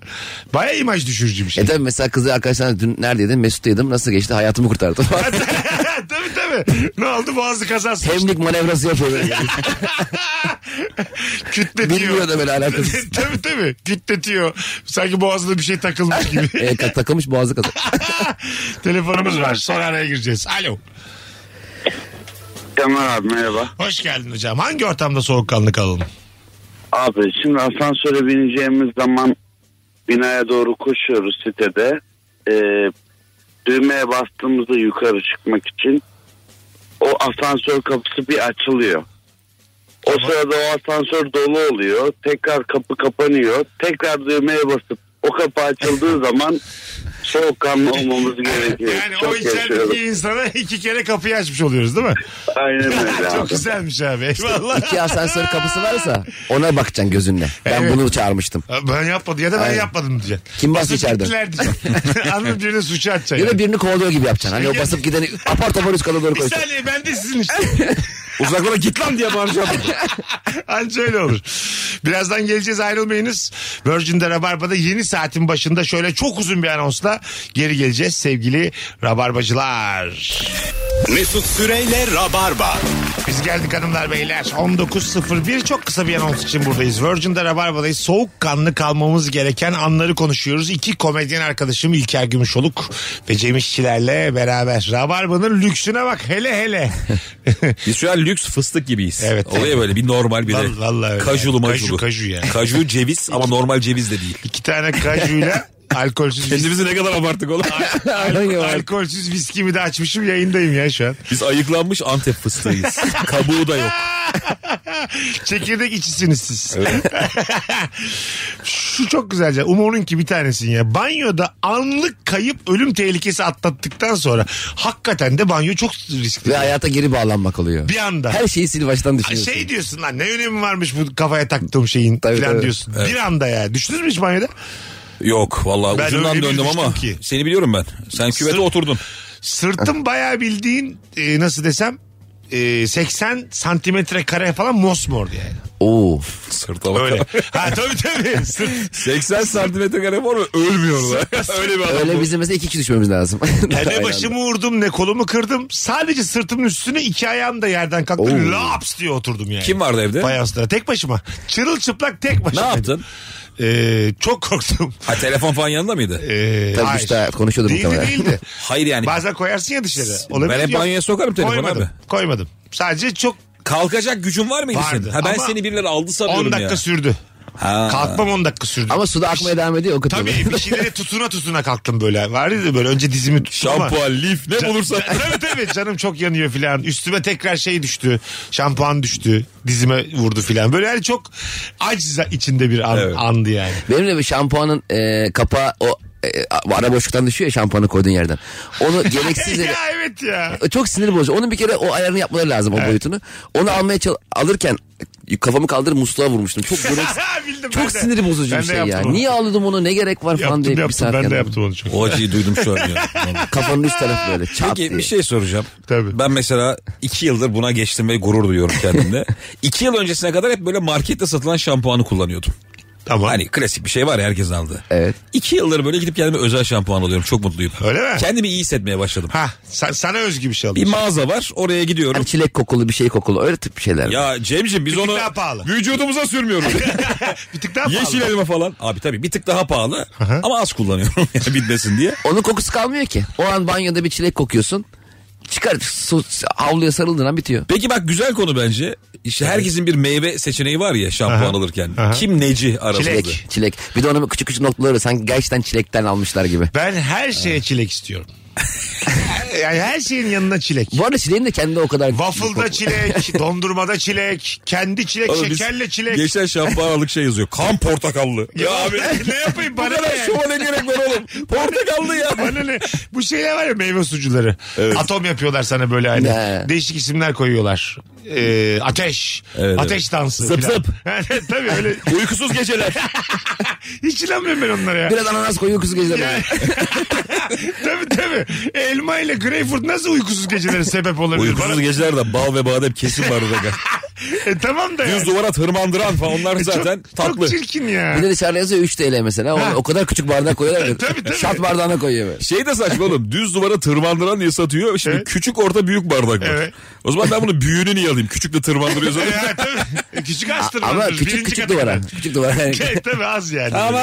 Speaker 3: baya imaj düşürücü bir şey.
Speaker 4: E tabii mesela kızı arkadaşlar dün neredeydin? Mesut'taydım. Nasıl geçti? Hayatımı kurtardı.
Speaker 3: tabii tabii. Ne oldu boğazlı kaza sıkıştı.
Speaker 4: Hemlik manevrası yapıyor böyle.
Speaker 3: kütletiyor.
Speaker 4: Bilmiyor da böyle alakası.
Speaker 3: tabii tabii kütletiyor. Sanki boğazına bir şey takılmış gibi.
Speaker 4: E, ka- takılmış boğazı kadar.
Speaker 3: Telefonumuz var sonra araya gireceğiz. Alo.
Speaker 5: Kemal abi merhaba.
Speaker 3: Hoş geldin hocam. Hangi ortamda soğukkanlı kalalım?
Speaker 5: Abi şimdi asansöre bineceğimiz zaman binaya doğru koşuyoruz sitede. Ee, düğmeye bastığımızda yukarı çıkmak için o asansör kapısı bir açılıyor. O sırada o asansör dolu oluyor. Tekrar kapı kapanıyor. Tekrar düğmeye basıp o kapı açıldığı zaman soğukkanlı olmamız gerekiyor.
Speaker 3: Yani o
Speaker 5: Çok yaşıyorum.
Speaker 3: içerideki insana iki kere kapıyı açmış oluyoruz değil mi?
Speaker 5: Aynen öyle abi.
Speaker 3: Çok güzelmiş abi. Eyvallah.
Speaker 4: İki asansör kapısı varsa ona bakacaksın gözünle. Ben
Speaker 3: Evet.
Speaker 4: bunu çağırmıştım.
Speaker 3: Ben yapmadım ya da ben
Speaker 4: Aynen.
Speaker 3: yapmadım diyeceksin.
Speaker 4: Kim bastı
Speaker 3: Basıp
Speaker 4: içeride?
Speaker 3: gittiler diyeceksin. Anladın birine suçu
Speaker 4: Ya da
Speaker 3: atacaksın. Yani.
Speaker 4: birini kovalıyor gibi yapacaksın. Hani o basıp gideni apar topar üst kata doğru
Speaker 3: Bir
Speaker 4: koyacaksın.
Speaker 3: saniye ben de sizin işte.
Speaker 9: Uzaklara git lan diye bağıracağım.
Speaker 3: Anca öyle olur. Birazdan geleceğiz ayrılmayınız. Virgin'de Rabarba'da yeni saatin başında şöyle çok uzun bir anonsla geri geleceğiz sevgili Rabarbacılar.
Speaker 2: Mesut Süreyle Rabarba.
Speaker 3: Biz geldik hanımlar beyler. 19.01 çok kısa bir anons için buradayız. Virgin'de Rabarba'dayız. Soğukkanlı kalmamız gereken anları konuşuyoruz. İki komedyen arkadaşım İlker Gümüşoluk ve Cem İşçilerle beraber. Rabarba'nın lüksüne bak hele hele.
Speaker 9: Biz şu an lüks fıstık gibiyiz.
Speaker 3: Evet.
Speaker 9: Olaya böyle bir normal bir de.
Speaker 3: Vallahi- vallahi öyle.
Speaker 9: Kajulu
Speaker 3: Kaju,
Speaker 9: majulu.
Speaker 3: kaju yani.
Speaker 9: Kaju ceviz ama normal ceviz de değil.
Speaker 3: İki tane kajuyla alkolsüz viski.
Speaker 9: Kendimizi ne kadar abarttık oğlum.
Speaker 3: Alkol, alkolsüz viskimi de açmışım yayındayım ya şu an.
Speaker 9: Biz ayıklanmış Antep fıstığıyız. Kabuğu da yok.
Speaker 3: Çekirdek içisiniz siz. Şu çok güzelce. Umur'un ki bir tanesin ya. Banyoda anlık kayıp ölüm tehlikesi atlattıktan sonra hakikaten de banyo çok riskli.
Speaker 4: Ve hayata geri bağlanmak oluyor.
Speaker 3: Bir anda.
Speaker 4: Her şeyi sil baştan düşünüyorsun.
Speaker 3: Şey diyorsun lan ne önemi varmış bu kafaya taktığım şeyin
Speaker 4: Tabii,
Speaker 3: falan
Speaker 4: tabii.
Speaker 3: diyorsun. Bir anda ya. Düştünüz mü hiç banyoda?
Speaker 9: Yok vallahi
Speaker 3: Ben öyle
Speaker 9: ucundan
Speaker 3: bir
Speaker 9: döndüm
Speaker 3: düştüm
Speaker 9: ama
Speaker 3: ki.
Speaker 9: seni biliyorum ben. Sen küvete
Speaker 3: Sırf-
Speaker 9: oturdun.
Speaker 3: Sırtım bayağı bildiğin e, nasıl desem e, 80 santimetre kare falan mosmordu yani.
Speaker 4: Oo.
Speaker 9: Sırta
Speaker 3: Öyle. ha tabii tabii. Sırt,
Speaker 9: 80 santimetre kare var mı? Ölmüyorum lan. Öyle bir adam.
Speaker 4: Öyle bizim mesela iki kişi düşmemiz lazım.
Speaker 3: Ya
Speaker 4: Aynen.
Speaker 3: ne başımı vurdum ne kolumu kırdım. Sadece sırtımın üstüne iki ayağım da yerden kalktı.
Speaker 4: Oo.
Speaker 3: Laps diye oturdum yani.
Speaker 9: Kim vardı evde?
Speaker 3: Fayanslara tek başıma. Çırılçıplak tek
Speaker 9: ne
Speaker 3: başıma.
Speaker 9: yaptın?
Speaker 3: Ee, çok korktum.
Speaker 9: Ha telefon falan yanında mıydı?
Speaker 3: Ee,
Speaker 4: Tabii
Speaker 3: hayır.
Speaker 4: işte konuşuyordum
Speaker 3: değildi
Speaker 4: muhtemelen.
Speaker 3: değildi.
Speaker 9: Hayır yani.
Speaker 3: Bazen koyarsın ya dışarı.
Speaker 9: Ben hep
Speaker 3: Yok.
Speaker 9: banyoya sokarım telefonu
Speaker 3: koymadım,
Speaker 9: abi.
Speaker 3: Koymadım. Sadece çok
Speaker 9: Kalkacak gücün var mıydı
Speaker 3: Vardı
Speaker 9: senin? Ha ben
Speaker 3: ama
Speaker 9: seni birileri aldı
Speaker 3: 10
Speaker 9: sanıyorum
Speaker 3: dakika
Speaker 9: ya.
Speaker 3: sürdü.
Speaker 9: Ha.
Speaker 3: Kalkmam 10 dakika sürdü.
Speaker 4: Ama suda akmaya devam ediyor o kıtlığı.
Speaker 3: Tabii bir şeylere tutuna tutuna kalktım böyle. Var ya böyle önce dizimi tuttum ama.
Speaker 9: Şampuan, lif ne bulursan.
Speaker 3: tabii tabii canım çok yanıyor filan. Üstüme tekrar şey düştü. Şampuan düştü. Dizime vurdu filan. Böyle yani çok aciz içinde bir an,
Speaker 9: Evet.
Speaker 3: andı yani.
Speaker 4: Benim de bir şampuanın e, kapağı o e, ara boşluktan düşüyor ya şampuanı koyduğun yerden. Onu gereksiz yere...
Speaker 3: ya evet ya.
Speaker 4: O Çok sinir bozucu. Onun bir kere o ayarını yapmaları lazım o boyutunu. Onu almaya çal- alırken kafamı kaldırıp musluğa vurmuştum. Çok gereksiz.
Speaker 3: Bildim ben
Speaker 4: çok
Speaker 3: de.
Speaker 4: sinir bozucu
Speaker 3: Ben
Speaker 4: bir
Speaker 3: de
Speaker 4: şey
Speaker 3: yaptım
Speaker 4: ya.
Speaker 3: onu.
Speaker 4: Niye aldım onu ne gerek var falan
Speaker 3: Yaptım
Speaker 4: diye bir
Speaker 3: yaptım
Speaker 4: saat
Speaker 3: ben de
Speaker 4: yandım.
Speaker 3: yaptım onu çok.
Speaker 9: O acıyı duydum şu an ya.
Speaker 4: Kafanın üst tarafı böyle çat
Speaker 9: Peki
Speaker 4: diye.
Speaker 9: bir şey soracağım.
Speaker 3: Tabii.
Speaker 9: Ben mesela iki yıldır buna geçtim ve gurur duyuyorum kendimle. iki yıl öncesine kadar hep böyle markette satılan şampuanı kullanıyordum.
Speaker 3: Tamam.
Speaker 9: Hani klasik bir şey var ya herkesin aldığı.
Speaker 4: Evet.
Speaker 9: İki yıldır böyle gidip kendime özel şampuan alıyorum. Çok mutluyum.
Speaker 3: Öyle mi?
Speaker 9: Kendimi iyi hissetmeye başladım.
Speaker 3: Ha sa- sana özgü bir şey
Speaker 9: Bir
Speaker 3: aldım.
Speaker 9: mağaza var oraya gidiyorum.
Speaker 4: Hani çilek kokulu bir şey kokulu öyle tip şeyler.
Speaker 9: Ya Cemciğim biz
Speaker 3: Bir tık
Speaker 9: onu
Speaker 3: daha pahalı.
Speaker 9: vücudumuza sürmüyoruz.
Speaker 3: bir tık daha pahalı.
Speaker 9: Yeşil elma falan. Abi tabii bir tık daha pahalı ama az kullanıyorum yani bitmesin diye.
Speaker 4: Onun kokusu kalmıyor ki. O an banyoda bir çilek kokuyorsun. Çıkar su, havluya sarıldığın an bitiyor.
Speaker 9: Peki bak güzel konu bence. İşte herkesin bir meyve seçeneği var ya şampuan
Speaker 3: Aha.
Speaker 9: alırken.
Speaker 3: Aha.
Speaker 9: Kim neci aramızda.
Speaker 3: Çilek.
Speaker 4: Çilek. Bir de onun küçük küçük noktaları sanki gerçekten çilekten almışlar gibi.
Speaker 3: Ben her şeye çilek istiyorum. yani her şeyin yanına çilek.
Speaker 4: Bu arada çileğin de kendi o kadar...
Speaker 3: Waffle'da çilek, dondurmada çilek, kendi çilek,
Speaker 9: Oğlum biz
Speaker 3: şekerle çilek.
Speaker 9: Geçen şampuan aldık şey yazıyor. Kan portakallı.
Speaker 3: Ya abi ne yapayım
Speaker 9: Bu
Speaker 3: bana ne
Speaker 9: kadar
Speaker 3: yani?
Speaker 9: şova ne gerek var oğlum? Portakallı ya.
Speaker 3: Bana ne? Bu şeyler var ya meyve sucuları. Atom yapıyorlar sana böyle hani.
Speaker 4: Ne?
Speaker 3: Değişik isimler koyuyorlar. Ee, ateş.
Speaker 9: Evet,
Speaker 3: ateş
Speaker 9: evet.
Speaker 3: dansı.
Speaker 9: Zıp
Speaker 3: filan.
Speaker 9: zıp.
Speaker 3: Tabii öyle.
Speaker 9: Uykusuz geceler.
Speaker 3: Hiç inanmıyorum ben onlara ya.
Speaker 4: Biraz ananas koyuyor kuzu
Speaker 3: Yani-
Speaker 4: geceler.
Speaker 3: tabii tabii. Elma ile greyfurt nasıl uykusuz gecelere sebep olabilir?
Speaker 9: Uykusuz
Speaker 3: Bana-
Speaker 9: geceler de bal ve badem kesin var orada.
Speaker 3: E, tamam da ya.
Speaker 9: Düz duvara tırmandıran falan onlar
Speaker 3: E, Çok-
Speaker 9: zaten tatlı.
Speaker 3: Çok çirkin ya.
Speaker 4: Bir de dışarıda yazıyor 3 TL mesela. Onu o kadar küçük bardağa koyuyorlar ki.
Speaker 3: Tabii, tabii.
Speaker 4: Şat bardağına koyuyor böyle.
Speaker 9: Şey de saçma oğlum. Düz duvara tırmandıran diye satıyor. Şimdi
Speaker 3: Evet.
Speaker 9: küçük orta büyük bardak var.
Speaker 3: Evet.
Speaker 9: O zaman ben bunu büyüğünü niye alayım? Küçükle tırmandırıyoruz.
Speaker 3: E, ha, tabii. Küçük astırma.
Speaker 4: Ama küçük küçük duvara. Küçük duvara.
Speaker 3: Evet tabii az yani.
Speaker 9: Ama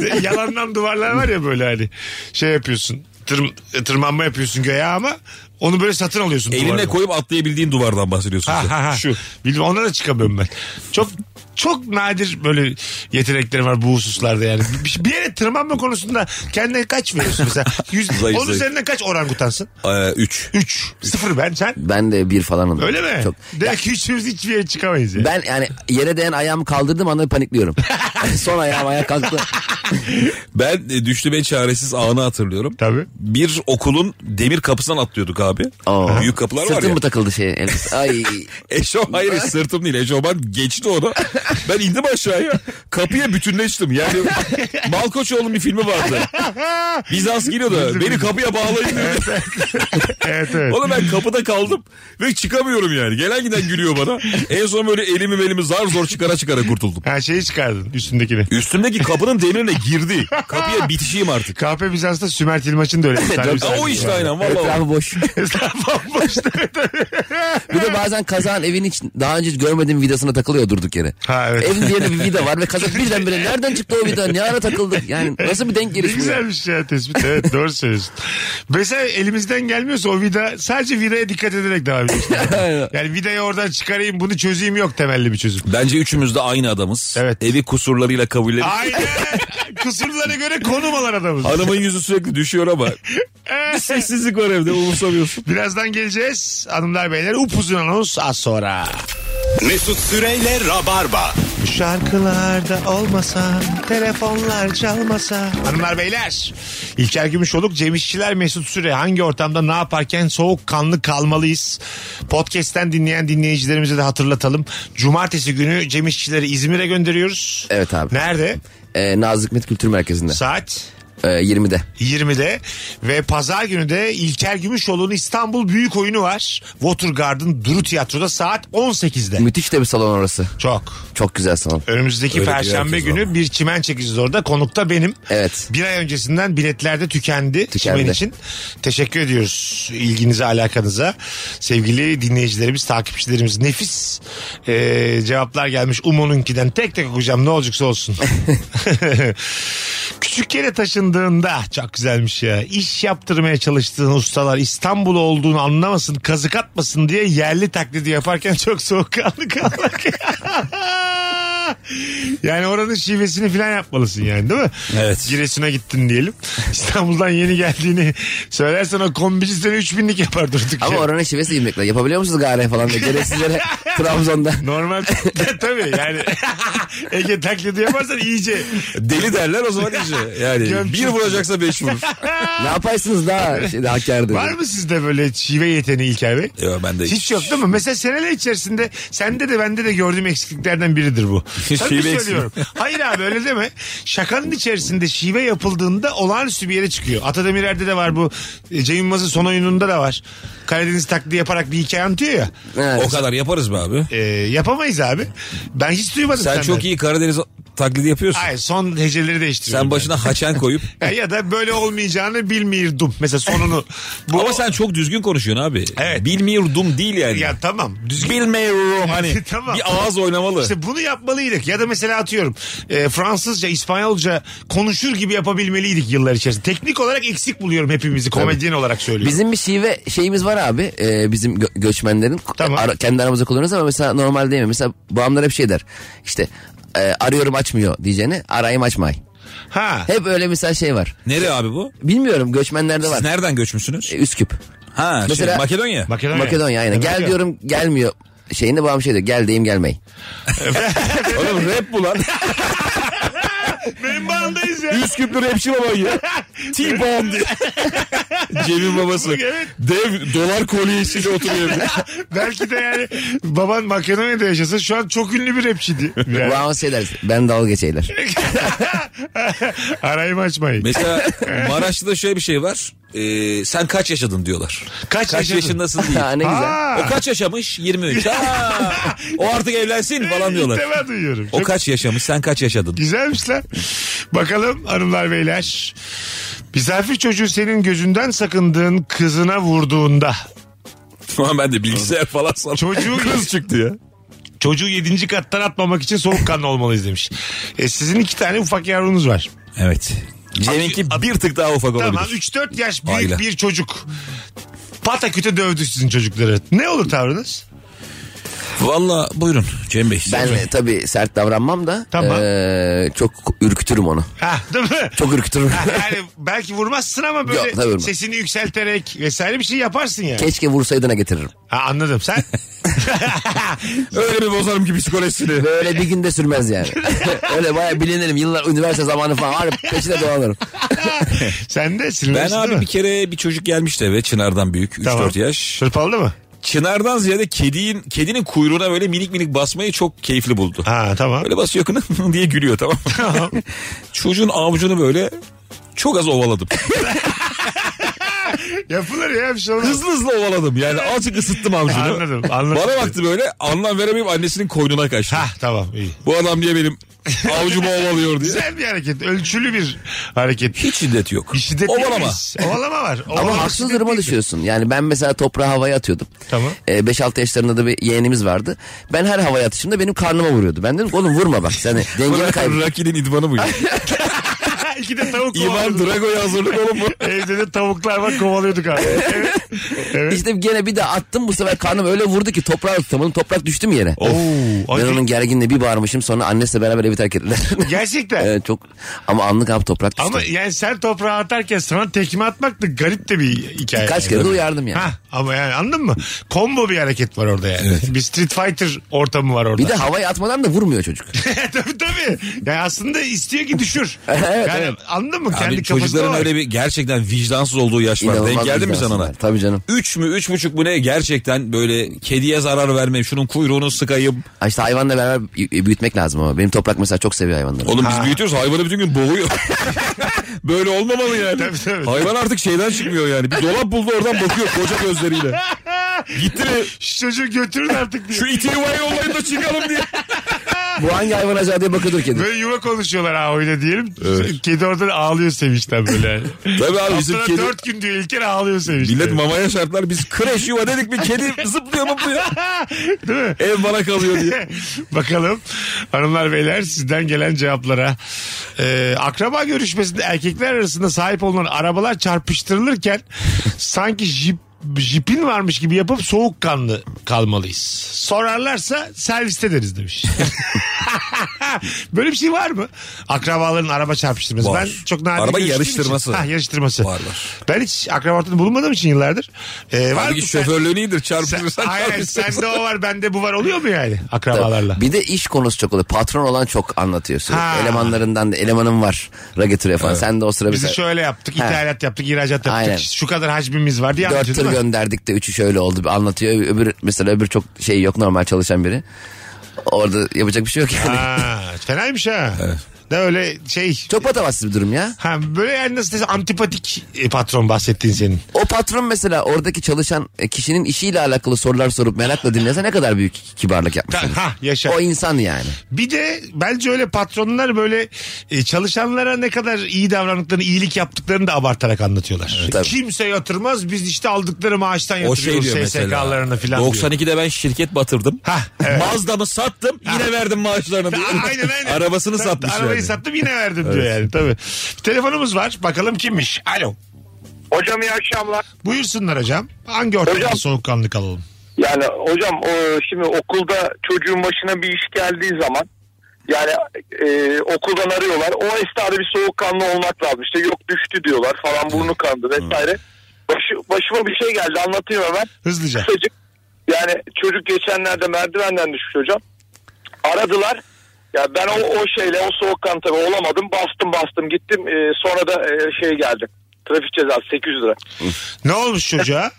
Speaker 3: Böyle Yalandan duvarlar var ya böyle hani. Şey yapıyorsun. tırm- tırmanma yapıyorsun göğe ama onu böyle satın alıyorsun.
Speaker 9: elinle
Speaker 3: duvardan.
Speaker 9: koyup atlayabildiğin duvardan bahsediyorsun.
Speaker 3: Ha,
Speaker 9: sen.
Speaker 3: ha, ha.
Speaker 9: Şu.
Speaker 3: Bilmem ona da çıkamıyorum ben. Çok çok nadir böyle yeteneklerim var bu hususlarda yani. Bir, bir yere tırmanma konusunda kendine kaç veriyorsun mesela? Yüz,
Speaker 9: Zayıf,
Speaker 3: onun
Speaker 9: zayıf.
Speaker 3: üzerinden kaç orangutansın?
Speaker 9: Ee, üç.
Speaker 3: 3. 0 ben sen.
Speaker 4: Ben de bir falan alırım.
Speaker 3: Öyle mi?
Speaker 4: Çok.
Speaker 3: Demek ki üçümüz hiçbir yere çıkamayız yani.
Speaker 4: Ben yani yere değen ayağımı kaldırdığım anda panikliyorum. Son ayağım ayak kalktı.
Speaker 9: Ben e, düştü ben çaresiz anı hatırlıyorum.
Speaker 3: Tabii.
Speaker 9: Bir okulun demir kapısından atlıyorduk abi.
Speaker 4: Oo.
Speaker 9: Büyük kapılar var
Speaker 4: Sırtım
Speaker 9: ya.
Speaker 4: mı takıldı şeye? elbise? Ay.
Speaker 9: Eşo hayır sırtım değil. Eşofman geçti onu. Ben indim aşağıya. Kapıya bütünleştim. Yani Malkoçoğlu'nun bir filmi vardı. Bizans geliyordu. Beni kapıya bağlayın diyordu.
Speaker 3: Evet evet.
Speaker 9: Oğlum ben kapıda kaldım ve çıkamıyorum yani. Gelen giden gülüyor bana. En son böyle elimi elimi zar zor çıkara çıkara kurtuldum.
Speaker 3: Her şeyi çıkardın. üstündekini.
Speaker 9: Üstümdeki kapının demirine girdi. Kapıya bitişeyim artık.
Speaker 3: KP Bizans'ta Sümer Tilmaç'ın da öyle bir tane.
Speaker 4: Dört-
Speaker 3: bir sahnesi
Speaker 9: o işte
Speaker 3: var.
Speaker 9: aynen valla.
Speaker 4: Etrafı boş.
Speaker 3: Bomboş.
Speaker 4: Bir de bazen kazan evin hiç daha önce hiç görmediğim vidasına takılıyor durduk yere.
Speaker 3: Ha, evet.
Speaker 4: Evin bir yerinde bir vida var ve kazak birdenbire nereden çıktı o vida? Ne ara takıldık? Yani nasıl bir denk
Speaker 3: Ne
Speaker 4: geliş bu? ya?
Speaker 3: güzelmiş ya tespit. Evet doğru söylüyorsun. Mesela elimizden gelmiyorsa o vida sadece vidaya dikkat ederek devam ediyorsun.
Speaker 4: Aynen.
Speaker 3: yani vidayı oradan çıkarayım bunu çözeyim yok temelli bir çözüm.
Speaker 9: Bence üçümüz de aynı adamız.
Speaker 3: Evet.
Speaker 9: Evi kusurlarıyla kabul edip.
Speaker 3: Aynen. Kusurlara göre konum alan adamız.
Speaker 9: Hanımın yüzü sürekli düşüyor ama. bir sessizlik var evde umursamıyorsun.
Speaker 3: Birazdan geleceğiz. Hanımlar beyler upuzun anons az sonra.
Speaker 2: Mesut Süreyle Rabarba.
Speaker 3: Şarkılarda olmasa, telefonlar çalmasa. Hanımlar beyler, İlker Gümüşoluk, Cem İşçiler, Mesut Süre hangi ortamda ne yaparken soğukkanlı kalmalıyız? Podcast'ten dinleyen dinleyicilerimize de hatırlatalım. Cumartesi günü Cem İşçileri İzmir'e gönderiyoruz.
Speaker 4: Evet abi.
Speaker 3: Nerede?
Speaker 4: Ee, Nazlı Hikmet Kültür Merkezi'nde.
Speaker 3: Saat
Speaker 4: Ee, 20'de.
Speaker 3: 20'de ve pazar günü de İlker Gümüşoğlu'nun İstanbul Büyük Oyunu var. Watergarden Duru Tiyatro'da saat 18'de.
Speaker 4: Müthiş de bir salon orası.
Speaker 3: Çok.
Speaker 4: Çok güzel salon.
Speaker 3: Önümüzdeki
Speaker 9: Öyle bir
Speaker 3: perşembe
Speaker 9: herkes
Speaker 3: günü bir çimen çekeceğiz orada. Konukta benim.
Speaker 4: Evet.
Speaker 3: Bir ay öncesinden biletler de tükendi,
Speaker 4: Tükendi.
Speaker 3: çimen için. Teşekkür ediyoruz ilginize, alakanıza. Sevgili dinleyicilerimiz, takipçilerimiz nefis e, cevaplar gelmiş. Umo'nunkinden tek tek okuyacağım ne olacaksa olsun. Küçük yere taşındığında çok güzelmiş ya. İş yaptırmaya çalıştığın ustalar İstanbul olduğunu anlamasın, kazık atmasın diye yerli taklidi yaparken çok soğukkanlı kalmak. yani oranın şivesini falan yapmalısın yani değil mi?
Speaker 9: Evet.
Speaker 3: Giresun'a gittin diyelim. İstanbul'dan yeni geldiğini söylersen o kombici seni 3000'lik yapar durduk
Speaker 4: Ama
Speaker 3: yere.
Speaker 4: oranın şivesi yemekler. Yapabiliyor musunuz gare falan? diye. Gereksiz yere Trabzon'da.
Speaker 3: Normal tabii yani Ege taklidi yaparsan iyice
Speaker 9: Deli derler o zaman iyice. Yani
Speaker 3: Gömçün.
Speaker 9: bir vuracaksa beş vurur.
Speaker 4: ne yaparsınız daha? Şey, Hakkari'de.
Speaker 3: var mı sizde böyle şive yeteneği İlker Bey?
Speaker 9: Yo, ben de
Speaker 3: Hiç, yok değil mi? Mesela seneler içerisinde sende de bende de gördüğüm eksikliklerden biridir bu.
Speaker 9: Şive
Speaker 3: Tabii
Speaker 9: eksikliği.
Speaker 3: söylüyorum. Hayır abi öyle deme. Şakanın içerisinde şive yapıldığında olağanüstü bir yere çıkıyor. Atademirer'de de var bu. E, Cem Yılmaz'ın son oyununda da var. Karadeniz taklidi yaparak bir hikaye anlatıyor ya.
Speaker 4: Evet.
Speaker 9: O kadar yaparız mı abi?
Speaker 3: E, yapamayız abi. Ben hiç duymadım
Speaker 9: Sen
Speaker 3: senden.
Speaker 9: çok iyi Karadeniz taklidi yapıyorsun.
Speaker 3: Hayır son heceleri değiştiriyorum. ben.
Speaker 9: Sen başına haçen koyup.
Speaker 3: Ya, ya da böyle olmayacağını bilmiyordum. Mesela sonunu. Bu
Speaker 9: Ama sen çok düzgün konuşuyorsun abi.
Speaker 3: Evet.
Speaker 9: Bilmiyordum değil yani.
Speaker 3: ya tamam. Düzgün
Speaker 9: Bilmiyorum hani.
Speaker 3: Tamam.
Speaker 9: Bir ağız oynamalı.
Speaker 3: İşte bunu yapmalıydık. Ya da mesela atıyorum e, Fransızca, İspanyolca konuşur gibi yapabilmeliydik yıllar içerisinde. Teknik olarak eksik buluyorum hepimizi komedyen olarak söylüyorum.
Speaker 4: Bizim bir şive şeyimiz var abi. Ee, bizim gö- göçmenlerin
Speaker 3: Tamam.
Speaker 4: Ara- kendi aramızda kullanıyoruz ama mesela normal değil mi? Mesela babamlar hep şey der. İşte e, arıyorum açmıyor diyeceğini arayayım açmay.
Speaker 3: Ha.
Speaker 4: Hep öyle mesela şey var.
Speaker 9: Nereye abi bu?
Speaker 4: Bilmiyorum göçmenlerde
Speaker 9: Siz
Speaker 4: var.
Speaker 9: nereden göçmüşsünüz?
Speaker 4: E, Üsküp.
Speaker 9: Ha
Speaker 4: Mesela-
Speaker 9: şey, Makedonya.
Speaker 3: Makedonya.
Speaker 4: Makedonya aynen.
Speaker 3: Evet,
Speaker 4: Gel
Speaker 3: evet.
Speaker 4: diyorum gelmiyor. Şeyinde babam şey diyor gel deyim gelmey.
Speaker 9: Oğlum rap bu lan.
Speaker 3: Benim bandayız ya.
Speaker 9: Üsküplü rapçi baban ya. T-Bone diye. Cem'in babası.
Speaker 3: Evet.
Speaker 9: Dev dolar kolyesiyle oturuyor evde.
Speaker 3: Belki de yani baban Makedonya'da yaşasa şu an çok ünlü bir rapçiydi. Yani.
Speaker 4: Babam şey der ben dalga geçeyler.
Speaker 3: Arayı açmayın.
Speaker 9: Mesela Maraşlı'da şöyle bir şey var. Ee, sen kaç yaşadın diyorlar.
Speaker 3: Kaç
Speaker 9: Kaç
Speaker 3: yaşadın?
Speaker 9: yaşındasın diye.
Speaker 4: Ha, ne güzel.
Speaker 3: Ha.
Speaker 9: O kaç yaşamış? 23. Ha, o artık evlensin falan diyorlar.
Speaker 3: İlk defa duyuyorum.
Speaker 9: O
Speaker 3: Çok
Speaker 9: kaç yaşamış sen kaç yaşadın?
Speaker 3: Güzelmiş lan. Bakalım hanımlar beyler. Misafir çocuğu senin gözünden sakındığın kızına vurduğunda
Speaker 9: Tamam ben de bilgisayar falan sandım.
Speaker 3: Çocuğu-
Speaker 9: kız çıktı ya.
Speaker 3: çocuğu yedinci kattan atmamak için soğukkanlı olmalıyız demiş. E, sizin iki tane ufak yavrunuz var.
Speaker 9: Evet. Cem'inki bir tık daha ufak olabilir.
Speaker 3: Tamam 3-4 yaş büyük
Speaker 9: Aile.
Speaker 3: bir çocuk. Pataküte dövdü sizin çocukları. Ne olur tavrınız?
Speaker 9: Valla buyurun Cem Bey.
Speaker 4: Ben de tabii sert davranmam da
Speaker 3: Tamam.
Speaker 4: e, çok ürkütürüm onu.
Speaker 3: Ha, değil mi?
Speaker 4: Çok ürkütürüm.
Speaker 3: Ha, yani belki vurmazsın ama
Speaker 4: Yok, tabii
Speaker 3: böyle
Speaker 4: vurmam.
Speaker 3: sesini yükselterek vesaire bir şey yaparsın yani.
Speaker 4: Keşke vursaydına getiririm.
Speaker 3: Ha, anladım sen.
Speaker 9: Öyle bir bozarım ki psikolojisini.
Speaker 4: Böyle bir günde sürmez yani. Öyle bayağı bilinirim. Yıllar üniversite zamanı falan var. Peşine dolanırım.
Speaker 3: sen de
Speaker 9: Ben
Speaker 3: sinirlenirsin değil
Speaker 9: abi
Speaker 3: mi?
Speaker 9: bir kere bir çocuk gelmişti eve Çınar'dan büyük 3-4
Speaker 3: Tamam.
Speaker 9: yaş.
Speaker 3: Hırpaladı mı?
Speaker 9: Çınar'dan ziyade kedinin, kedinin kuyruğuna böyle minik minik basmayı çok keyifli buldu.
Speaker 3: Ha tamam.
Speaker 9: Böyle basıyor kını diye gülüyor tamam mı? Çocuğun avucunu böyle çok az ovaladım.
Speaker 3: Yapılır ya bir şey olmaz.
Speaker 9: Hızlı hızlı ovaladım yani azıcık ısıttım avucunu.
Speaker 3: Anladım, anladım.
Speaker 9: Bana baktı böyle anlam veremeyip annesinin koynuna kaçtı.
Speaker 3: Ha tamam iyi.
Speaker 9: Bu adam diye benim Avucuma ovalıyor diye.
Speaker 3: Güzel bir hareket. Ölçülü bir hareket.
Speaker 9: Hiç şiddet yok.
Speaker 3: Bir şiddet
Speaker 9: Ovalama.
Speaker 3: değiliz. Ovalama var. Ovalama
Speaker 4: Ama haksız
Speaker 3: şiddet
Speaker 4: duruma
Speaker 3: değildir.
Speaker 4: düşüyorsun. Yani ben mesela toprağa havaya atıyordum.
Speaker 3: Tamam.
Speaker 4: Ee, 5-6 yaşlarında da bir yeğenimiz vardı. Ben her havaya atışımda benim karnıma vuruyordu. Ben dedim ki, oğlum vurma bak. Yani dengeni kaybı.
Speaker 9: Raki'nin idmanı bu ya.
Speaker 3: Ha, İki de tavuk
Speaker 9: İvan
Speaker 3: kovalıyorduk.
Speaker 9: Drago'ya hazırlık oğlum bu.
Speaker 3: Evde de tavuklar var kovalıyorduk abi. Evet. evet.
Speaker 4: İşte gene bir de attım bu sefer karnım öyle vurdu ki toprağa tutamadım. Toprak düştüm yere.
Speaker 3: Oo,
Speaker 4: Ben
Speaker 3: acı-
Speaker 4: onun gerginle bir bağırmışım sonra annesiyle beraber evi terk ettiler.
Speaker 3: Gerçekten.
Speaker 4: Evet, çok ama anlık abi toprak düştü.
Speaker 3: Ama yani sen toprağa atarken sana tekme atmak da garip de bir hikaye.
Speaker 4: Kaç kere de uyardım yani.
Speaker 3: Ha, ama yani anladın mı? Kombo bir hareket var orada yani. Bir Street Fighter ortamı var orada.
Speaker 4: Bir de havaya atmadan da vurmuyor çocuk.
Speaker 3: tabii tabii. Yani aslında istiyor ki düşür.
Speaker 4: Evet,
Speaker 3: yani
Speaker 4: evet.
Speaker 3: anladın mı? Kendi
Speaker 9: Abi
Speaker 3: kafasında
Speaker 9: çocukların
Speaker 3: var.
Speaker 9: öyle bir gerçekten vicdansız olduğu yaş var.
Speaker 4: İnanılmaz
Speaker 9: Denk geldin mi
Speaker 4: vicdansız
Speaker 9: sen ona?
Speaker 4: var. Tabii canım.
Speaker 9: 3 mü üç buçuk mu ne gerçekten böyle kediye zarar vermeyeyim şunun kuyruğunu sıkayım.
Speaker 4: Ha İşte hayvanla beraber y- büyütmek lazım ama. Benim toprak mesela çok seviyor hayvanları.
Speaker 9: Oğlum biz büyütüyoruz hayvanı bütün gün boğuyor. böyle olmamalı yani.
Speaker 3: Tabii, tabii.
Speaker 9: Hayvan artık şeyden çıkmıyor yani. Bir dolap buldu oradan bakıyor koca gözleriyle. Gitti mi?
Speaker 3: Şu çocuğu götürün artık diye.
Speaker 9: Şu iti yuvaya yollayın da çıkalım diye.
Speaker 4: Bu hangi hayvan acaba diye bakıyordur kedi.
Speaker 3: Böyle yuva konuşuyorlar ha öyle diyelim. Kedi oradan ağlıyor sevinçten böyle.
Speaker 9: Tabii abi bizim
Speaker 3: Haftada
Speaker 9: kedi...
Speaker 3: dört gün diyor İlker ağlıyor sevinçten.
Speaker 9: Millet mamaya şartlar biz kreş yuva dedik mi kedi zıplıyor mıplıyor.
Speaker 3: Değil mi?
Speaker 9: Ev bana kalıyor diye.
Speaker 3: Bakalım hanımlar beyler sizden gelen cevaplara. Ee, akraba görüşmesinde erkekler arasında sahip olunan arabalar çarpıştırılırken sanki jip jipin varmış gibi yapıp soğukkanlı kalmalıyız. Sorarlarsa serviste deriz demiş. Böyle bir şey var mı? Akrabaların araba çarpıştırması.
Speaker 9: Var.
Speaker 3: Ben çok nadir
Speaker 9: Araba
Speaker 3: görüştüğüm
Speaker 9: yarıştırması.
Speaker 3: Için, ha, yarıştırması.
Speaker 9: Var, var.
Speaker 3: Ben hiç akraba ortamında bulunmadığım için yıllardır. Ee, var
Speaker 9: Halbuki
Speaker 3: mı sen-
Speaker 9: şoförlüğün iyidir
Speaker 3: sen,
Speaker 9: çarpışırsan
Speaker 3: hayır, hayır,
Speaker 9: çarpışırsın.
Speaker 3: sende o var bende bu var oluyor mu yani akrabalarla?
Speaker 4: Bir de iş konusu çok oluyor. Patron olan çok anlatıyor sürekli.
Speaker 3: Ha.
Speaker 4: Elemanlarından da elemanım var. Ra getiriyor falan. Sen de o sıra
Speaker 3: Bizi
Speaker 4: bize
Speaker 3: şöyle yaptık,
Speaker 4: Ha.
Speaker 3: ithalat yaptık, ihracat yaptık.
Speaker 4: Aynen.
Speaker 3: Şu kadar hacmimiz var diye
Speaker 4: dört
Speaker 3: anlatıyor,
Speaker 4: tır
Speaker 3: değil mi?
Speaker 4: gönderdik de üçü şöyle oldu. Bir Anlatıyor. Öbür, mesela öbür çok şey yok normal çalışan biri. Orada yapacak bir şey yok yani.
Speaker 3: Ha, fenaymış ha. De öyle şey.
Speaker 4: Çok patavatsız bir durum ya.
Speaker 3: Ha, böyle yani nasıl desem antipatik e, patron bahsettiğin senin.
Speaker 4: O patron mesela oradaki çalışan e, kişinin işiyle alakalı sorular sorup merakla dinlese ne kadar büyük kibarlık yapmış. olur.
Speaker 3: Ha şey. yaşa.
Speaker 4: O insan yani.
Speaker 3: Bir de bence öyle patronlar böyle e, çalışanlara ne kadar iyi davrandıklarını, iyilik yaptıklarını da abartarak anlatıyorlar.
Speaker 4: tabii.
Speaker 3: Kimse yatırmaz. Biz işte aldıkları maaştan
Speaker 9: O şey
Speaker 3: yatırıyoruz
Speaker 9: diyor
Speaker 3: SSK'larını
Speaker 9: mesela.
Speaker 3: filan. diyor.
Speaker 9: 92'de ben şirket batırdım.
Speaker 3: Ha, evet.
Speaker 9: Mazda'mı sattım yine verdim maaşlarını. diyor.
Speaker 3: Aa, aynen aynen.
Speaker 9: Arabasını
Speaker 3: Tabii,
Speaker 9: satmış
Speaker 3: Arabayı
Speaker 9: yani.
Speaker 3: sattım yine verdim diyor yani tabii. Bir telefonumuz var bakalım kimmiş. Alo.
Speaker 5: Hocam iyi akşamlar.
Speaker 3: Buyursunlar hocam. Hangi ortamda
Speaker 5: Hocam.
Speaker 3: soğukkanlı kalalım?
Speaker 5: Yani hocam o, şimdi okulda çocuğun başına bir iş geldiği zaman yani e, okuldan arıyorlar. O esnada bir soğukkanlı olmak lazım. İşte yok düştü diyorlar falan burnu kandı vesaire. Başı, başıma bir şey geldi anlatayım hemen.
Speaker 3: Hızlıca.
Speaker 5: Çocuk yani çocuk geçenlerde merdivenden düşmüş hocam. Aradılar. Ya ben o, o şeyle o soğukkan tabii olamadım. Bastım bastım gittim. E, sonra da e, şey geldi. Trafik cezası 800 lira.
Speaker 3: Ne olmuş çocuğa?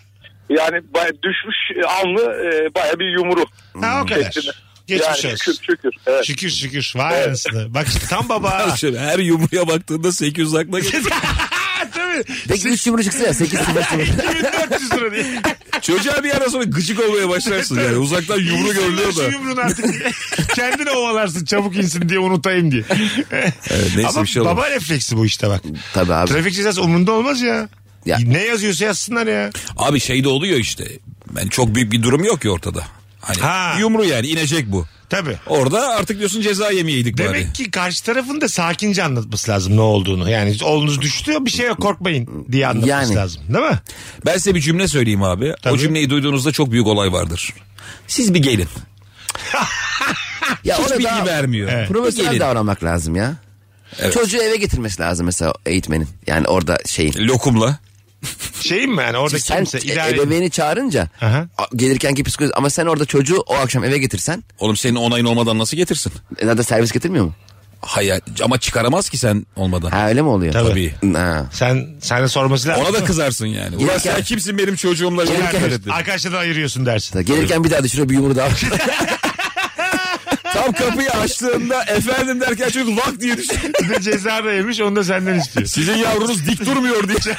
Speaker 5: Yani baya düşmüş e, anlı e, baya bir yumru.
Speaker 3: ha o kadar.
Speaker 5: Şeklinde.
Speaker 3: Geçmiş
Speaker 5: yani,
Speaker 3: olsun.
Speaker 5: şükür, şükür. Evet.
Speaker 3: Şükür şükür. Vay anasını. Bak işte tam baba.
Speaker 9: Şöyle Her yumruya baktığında 800 akla geliyor.
Speaker 3: Tabii.
Speaker 4: Peki 3 yumru çıksa ya 8 yumru çıksa.
Speaker 3: 2400 lira diye.
Speaker 9: Çocuğa bir yerden sonra gıcık olmaya başlarsın yani. Uzaktan yumru
Speaker 3: İnsinler
Speaker 9: görülüyor
Speaker 3: şu
Speaker 9: da.
Speaker 3: yumruğunu şey artık. Kendini ovalarsın çabuk insin diye unutayım diye.
Speaker 9: neyse
Speaker 3: Ama
Speaker 9: bir şey olmaz.
Speaker 3: baba refleksi bu işte bak.
Speaker 4: Tabii abi.
Speaker 3: Trafik cezası umurunda olmaz ya.
Speaker 4: Ya.
Speaker 3: Ne yazıyorsa yazsınlar ya.
Speaker 9: Abi şey de oluyor işte. Ben çok büyük bir durum yok ki ortada. Hani
Speaker 3: Ha.
Speaker 9: yumru yani inecek bu.
Speaker 3: Tabii.
Speaker 9: Orada artık diyorsun ceza yemeyeydik bari.
Speaker 3: Demek ki karşı tarafın da sakince anlatması lazım ne olduğunu. Yani oğlunuz düştü bir şey yok korkmayın diye anlatması
Speaker 4: Yani.
Speaker 3: lazım. Değil mi?
Speaker 9: Ben size bir cümle söyleyeyim abi.
Speaker 3: Tabii.
Speaker 9: O cümleyi duyduğunuzda çok büyük olay vardır. Siz bir gelin.
Speaker 4: Ya
Speaker 9: Hiç
Speaker 4: orada
Speaker 9: bilgi
Speaker 4: daha
Speaker 9: vermiyor.
Speaker 4: Profesyonel
Speaker 9: Gelin.
Speaker 4: davranmak lazım ya. Çocuğu eve getirmesi lazım mesela eğitmenin. Yani orada şeyin.
Speaker 9: Lokumla.
Speaker 3: Şeyim mi yani orada
Speaker 4: Sen
Speaker 3: kimse
Speaker 4: e-
Speaker 3: idare
Speaker 4: ebeveyni çağırınca
Speaker 3: Aha.
Speaker 4: a- gelirkenki psikoloji ama sen orada çocuğu o akşam eve getirsen
Speaker 9: Oğlum senin onayın olmadan nasıl getirsin?
Speaker 4: e, zaten servis getirmiyor mu?
Speaker 9: Hayır ama çıkaramaz ki sen olmadan.
Speaker 4: Ha öyle mi oluyor?
Speaker 3: Tabii.
Speaker 9: Tabii.
Speaker 4: Ha.
Speaker 3: Sen sana sorması lazım.
Speaker 9: Ona da kızarsın yani. Ulan
Speaker 4: Gelirken-
Speaker 9: sen kimsin benim çocuğumla?
Speaker 4: Gelirken-
Speaker 9: Gelirken-
Speaker 3: Arkadaşlardan ayırıyorsun dersin.
Speaker 4: Gelirken bir daha düşürüyor bir yumru daha.
Speaker 9: Tam kapıyı açtığında efendim derken çocuk vak diye düştü.
Speaker 3: Bir de ceza da yemiş onu da senden istiyor.
Speaker 9: Sizin yavrunuz dik durmuyor diye.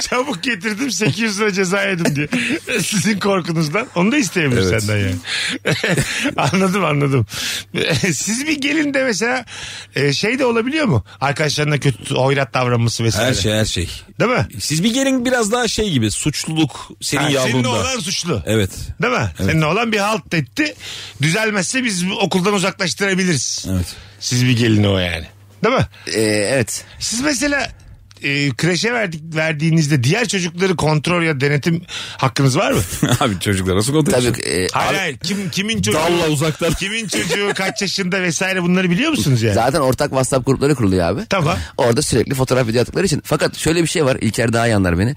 Speaker 3: Çabuk getirdim 800 lira ceza yedim diye. Sizin korkunuzdan. Onu da isteyebilir senden yani. anladım anladım. Siz bir gelin de mesela e, şey de olabiliyor mu? Arkadaşlarına kötü hoyrat davranması vesaire.
Speaker 9: Her şey her şey.
Speaker 3: Değil mi?
Speaker 9: Siz bir gelin biraz daha şey gibi suçluluk senin
Speaker 3: Ha, senin
Speaker 9: yavrunda.
Speaker 3: oğlan suçlu.
Speaker 9: Evet.
Speaker 3: Değil mi? Senin oğlan bir halt etti. Düzelmezse biz bu okuldan uzaklaştırabiliriz.
Speaker 9: Evet.
Speaker 3: Siz bir gelin o yani. Değil mi?
Speaker 4: Ee, evet.
Speaker 3: Siz mesela e, kreşe verdik, verdiğinizde diğer çocukları kontrol ya denetim hakkınız var mı?
Speaker 9: Abi çocuklar nasıl konuşuyor?
Speaker 4: Tabii e,
Speaker 3: Hayır
Speaker 4: abi-
Speaker 3: hayır. Kim, kimin çocuğu?
Speaker 9: Dalla uzaktan.
Speaker 3: Kimin çocuğu kaç yaşında vesaire bunları biliyor musunuz yani?
Speaker 4: Zaten ortak WhatsApp grupları kuruluyor abi.
Speaker 3: Tamam.
Speaker 4: Orada sürekli fotoğraf video attıkları için. Fakat şöyle bir şey var. İlker daha iyi anlar beni.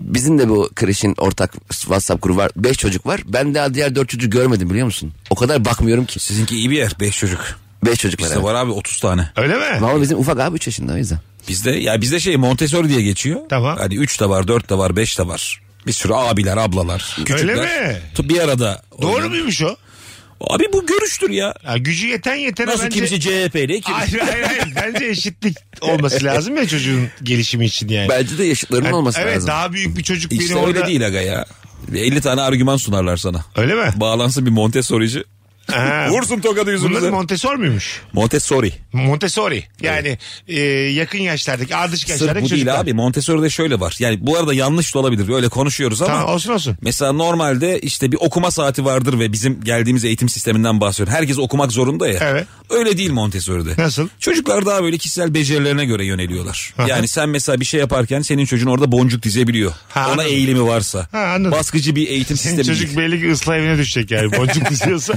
Speaker 4: Bizim de bu kreşin ortak WhatsApp grubu var. 5 çocuk var. Ben daha diğer 4 çocuğu görmedim biliyor musun? O kadar bakmıyorum ki.
Speaker 9: Sizinki iyi bir yer. Beş çocuk.
Speaker 4: 5 çocuk var.
Speaker 9: Bizde
Speaker 4: evet.
Speaker 9: var abi 30 tane.
Speaker 3: Öyle mi?
Speaker 4: Ama bizim ufak abi 3 yaşında o yüzden.
Speaker 9: Bizde ya bizde şey Montessori diye geçiyor.
Speaker 3: Tamam.
Speaker 9: Hani 3 de var, 4 de var, 5 de var. Bir sürü abiler, ablalar, küçükler.
Speaker 3: mi?
Speaker 9: Tu- Bir arada.
Speaker 3: Doğru
Speaker 9: oynuyor.
Speaker 3: muymuş o?
Speaker 9: Abi bu görüştür ya.
Speaker 3: Ya gücü yeten yetene
Speaker 9: Nasıl
Speaker 3: bence...
Speaker 9: kimisi CHP'li, kimisi...
Speaker 3: Hayır hayır hayır. Bence eşitlik olması lazım ya çocuğun gelişimi için yani.
Speaker 4: Bence de yaşıtlarının
Speaker 3: Yani,
Speaker 4: olması
Speaker 3: evet,
Speaker 4: lazım.
Speaker 3: daha büyük bir çocuk biri
Speaker 9: İşte
Speaker 3: orada.
Speaker 9: öyle değil aga ya. Bir 50 tane argüman sunarlar sana.
Speaker 3: Öyle mi?
Speaker 9: Bağlansın bir Montessori'ci.
Speaker 3: Ha.
Speaker 9: Vursun tokadı
Speaker 3: Bunların
Speaker 9: yüzümüze.
Speaker 3: Montessori muymuş?
Speaker 9: Montessori.
Speaker 3: Montessori. Yani e, yakın yaşlardaki, ardışık
Speaker 9: Sırf bu
Speaker 3: yaşlardaki
Speaker 9: değil
Speaker 3: çocuklar.
Speaker 9: abi. Montessori'de şöyle var. Yani bu arada yanlış da olabilir. Öyle konuşuyoruz ama.
Speaker 3: Tamam olsun olsun.
Speaker 9: Mesela normalde işte bir okuma saati vardır ve bizim geldiğimiz eğitim sisteminden bahsediyorum. Herkes okumak zorunda ya.
Speaker 3: Evet.
Speaker 9: Öyle değil Montessori'de.
Speaker 3: Nasıl?
Speaker 9: Çocuklar daha böyle kişisel becerilerine göre yöneliyorlar.
Speaker 3: Aha.
Speaker 9: yani sen mesela bir şey yaparken senin çocuğun orada boncuk dizebiliyor.
Speaker 3: Ha,
Speaker 9: Ona
Speaker 3: anladım.
Speaker 9: eğilimi varsa.
Speaker 3: Ha, anladım.
Speaker 9: Baskıcı bir eğitim
Speaker 3: Senin
Speaker 9: sistemi
Speaker 3: çocuk
Speaker 9: değil.
Speaker 3: belli ki ıslah evine düşecek yani. Boncuk diziyorsa.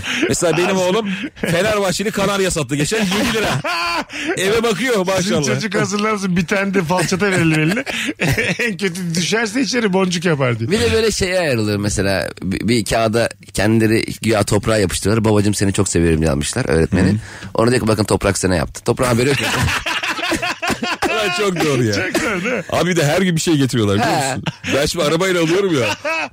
Speaker 9: Mesela benim oğlum Fenerbahçeli kanarya sattı geçen 7 lira. Eve bakıyor
Speaker 3: Sizin
Speaker 9: maşallah.
Speaker 3: çocuk hazırlansın bir tane de falçata verilir eline. en kötü düşerse içeri boncuk yapar diyor.
Speaker 4: Bir de böyle şeye ayrılıyor mesela bir, bir kağıda kendileri güya toprağa yapıştırıyorlar. Babacım seni çok seviyorum diye almışlar öğretmeni. Ona diyor ki bakın toprak sana yaptı. Toprağa haberi yok.
Speaker 9: Ulan çok doğru ya.
Speaker 3: Çok zor değil mi?
Speaker 9: Abi bir de her gün bir şey getiriyorlar biliyor musun? Ben şimdi arabayla alıyorum ya.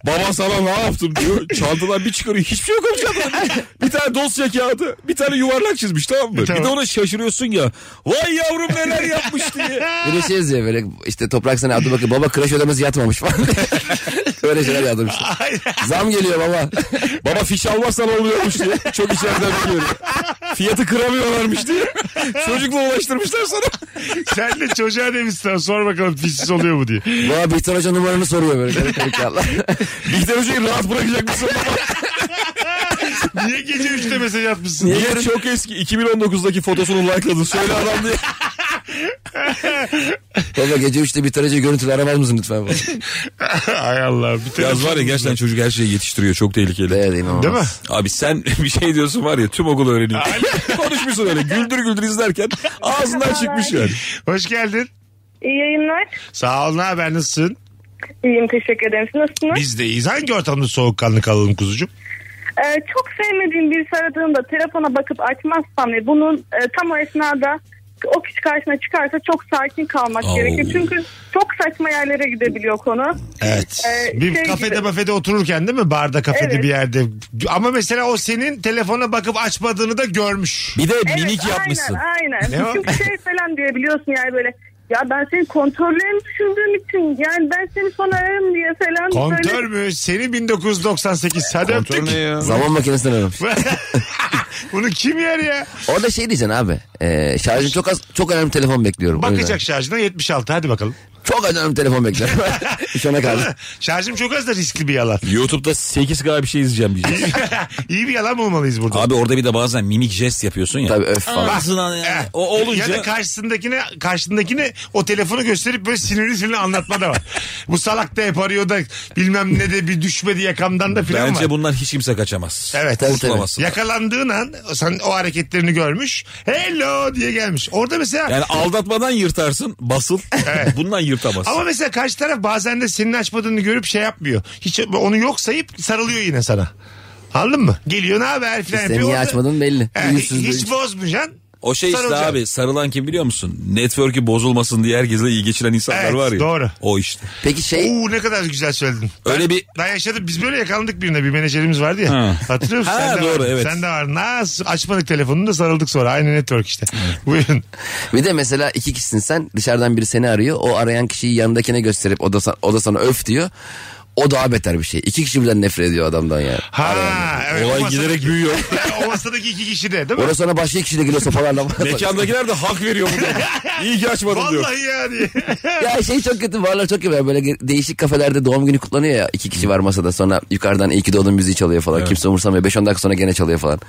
Speaker 9: Baba sana ne yaptım diyor. Çantadan bir çıkarıyor. Hiçbir şey yokmuş çantada. Bir tane dosya kağıdı. Bir tane yuvarlak çizmiş tamam mı?
Speaker 3: Tamam.
Speaker 9: Bir de ona şaşırıyorsun ya. Vay yavrum neler yapmış diye.
Speaker 4: Bir de şey yazıyor böyle işte toprak sana yaptı bakın baba kreş ödemesi yatmamış falan. Öyle şeyler yazmışlar.
Speaker 3: Ay,
Speaker 4: Zam geliyor baba.
Speaker 9: Baba fiş almazsan olmuyormuş diye. Çok içeriden biliyorum. Fiyatı kıramıyorlarmış diye. Çocukla ulaştırmışlar sana.
Speaker 3: Sen de çocuğa demişsin sor bakalım pisiz oluyor mu diye.
Speaker 4: Baba Bihter Hoca numaranı soruyor böyle. garip garip yallah.
Speaker 9: Bihter Hoca'yı rahat bırakacak mısın?
Speaker 3: Niye gece 3'te mesaj atmışsın?
Speaker 9: Niye çok eski 2019'daki fotosunu like'ladın? Söyle adam diye.
Speaker 4: baba gece 3'te Bihter Hoca'yı görüntülü aramaz mısın lütfen? baba?
Speaker 3: Ay Allah. Bir
Speaker 9: Yaz var ya gerçekten çocuk her şeyi yetiştiriyor. Çok tehlikeli.
Speaker 4: Evet inanılmaz.
Speaker 3: Değil mi?
Speaker 9: Abi sen bir şey diyorsun var ya tüm okul öğreniyor. Konuşmuşsun öyle güldür güldür izlerken ağzından çıkmış yani.
Speaker 3: Hoş geldin.
Speaker 8: İyi yayınlar.
Speaker 3: Sağ ol ne haber nasılsın?
Speaker 8: İyiyim teşekkür ederim. Siz nasılsınız?
Speaker 3: Biz de iyiyiz. Hangi ortamda soğukkanlı kalalım kuzucuğum?
Speaker 8: Ee, çok sevmediğim birisi aradığında telefona bakıp açmazsam ve bunun e, tam o esnada o kişi karşına çıkarsa çok sakin kalmak
Speaker 9: Oo.
Speaker 8: gerekiyor. Çünkü çok saçma yerlere gidebiliyor konu.
Speaker 3: Evet.
Speaker 8: Ee,
Speaker 3: bir
Speaker 8: şey
Speaker 3: kafede
Speaker 8: gibi.
Speaker 3: mafede otururken değil mi? Barda kafede
Speaker 8: Evet.
Speaker 3: bir yerde. Ama mesela o senin telefona bakıp açmadığını da görmüş.
Speaker 9: Bir de
Speaker 8: Evet,
Speaker 9: minik yapmışsın.
Speaker 8: Aynen
Speaker 3: Ne o?
Speaker 8: aynen. Çünkü şey falan diyebiliyorsun yani böyle ya ben senin kontrollerini düşündüğüm için yani ben seni sonra ararım diye falan.
Speaker 3: Kontör
Speaker 8: böyle-
Speaker 3: mü? Seni 1998. Hadi öptük.
Speaker 4: Zaman makinesini aramış.
Speaker 3: Bunu kim yer ya?
Speaker 4: Orada şey diyeceksin abi. E, şarjım çok az. Çok önemli telefon bekliyorum. O yüzden.
Speaker 3: Bakacak şarjına 76. Hadi bakalım.
Speaker 4: Çok önemli telefon bekliyorum. Hiç ona kaldı.
Speaker 3: Şarjım çok az da riskli bir yalan.
Speaker 9: YouTube'da 8K bir şey izleyeceğim diyeceğiz.
Speaker 3: İyi bir yalan bulmalıyız burada.
Speaker 9: Abi orada bir de bazen minik jest yapıyorsun ya.
Speaker 4: Tabii öf falan.
Speaker 9: Ağzından
Speaker 3: Eh.
Speaker 9: yani. O
Speaker 3: Ya da
Speaker 9: olunca
Speaker 3: karşısındakine karşısındakine o telefonu gösterip böyle sinirli sinirli anlatma da var. Bu salak da hep arıyor da bilmem ne de bir düşmedi yakamdan da filan var.
Speaker 9: bence bundan hiç kimse kaçamaz.
Speaker 3: Evet.
Speaker 4: Tabii, tabii.
Speaker 9: Kurtulamazsın.
Speaker 3: Yakalandığın an sen o hareketlerini görmüş. Hello diye gelmiş. Orada mesela
Speaker 9: Yani aldatmadan yırtarsın basıl. Bundan yırtamazsın.
Speaker 3: ama mesela karşı taraf bazen de senin açmadığını görüp şey yapmıyor. Hiç onu yok sayıp sarılıyor yine sana. Anladın mı? Geliyor ne haber filan
Speaker 4: Sen niye
Speaker 3: Orada-
Speaker 4: açmadın belli.
Speaker 3: He,
Speaker 4: Yüzsüz
Speaker 3: hiç
Speaker 4: böyle.
Speaker 3: bozmayacaksın.
Speaker 9: O şey işte
Speaker 3: Sarılacağım.
Speaker 9: abi sarılan kim biliyor musun? Network'ü bozulmasın diye herkesle iyi geçilen insanlar
Speaker 3: Evet,
Speaker 9: var ya.
Speaker 3: doğru.
Speaker 9: O işte.
Speaker 4: Peki şey
Speaker 3: Oo ne kadar güzel söyledin.
Speaker 9: Öyle bir
Speaker 3: Ben yaşadım. Biz böyle yakalandık birine. Bir menajerimiz vardı ya.
Speaker 9: Ha.
Speaker 3: Hatırlıyor musun?
Speaker 9: Ha,
Speaker 3: Sen de
Speaker 9: doğru,
Speaker 3: vardın.
Speaker 9: evet.
Speaker 3: Sen de var. Nasıl açmadık telefonunu da sarıldık sonra. Aynı network işte. Buyurun.
Speaker 4: bir de mesela iki kişisin sen dışarıdan biri seni arıyor. O arayan kişiyi yanındakine gösterip o da, sa- o da sana öf diyor. O daha beter bir şey. İki kişi birden nefret ediyor adamdan yani.
Speaker 3: Ha, evet, o
Speaker 9: olay
Speaker 3: masadaki-
Speaker 9: giderek büyüyor.
Speaker 3: o masadaki iki kişi de değil mi?
Speaker 4: Orada sonra başka iki kişi de geliyor sopalarla.
Speaker 9: Mekandakiler de hak veriyor buna. İyi ki açmadım diyor.
Speaker 3: Vallahi yani.
Speaker 4: ya şey çok kötü varlar çok kötü. Böyle ge- değişik kafelerde doğum günü kutlanıyor ya. iki kişi var masada sonra yukarıdan iyi ki doğdun müziği çalıyor falan. Kimse umursamıyor. 5-10 dakika sonra gene çalıyor falan.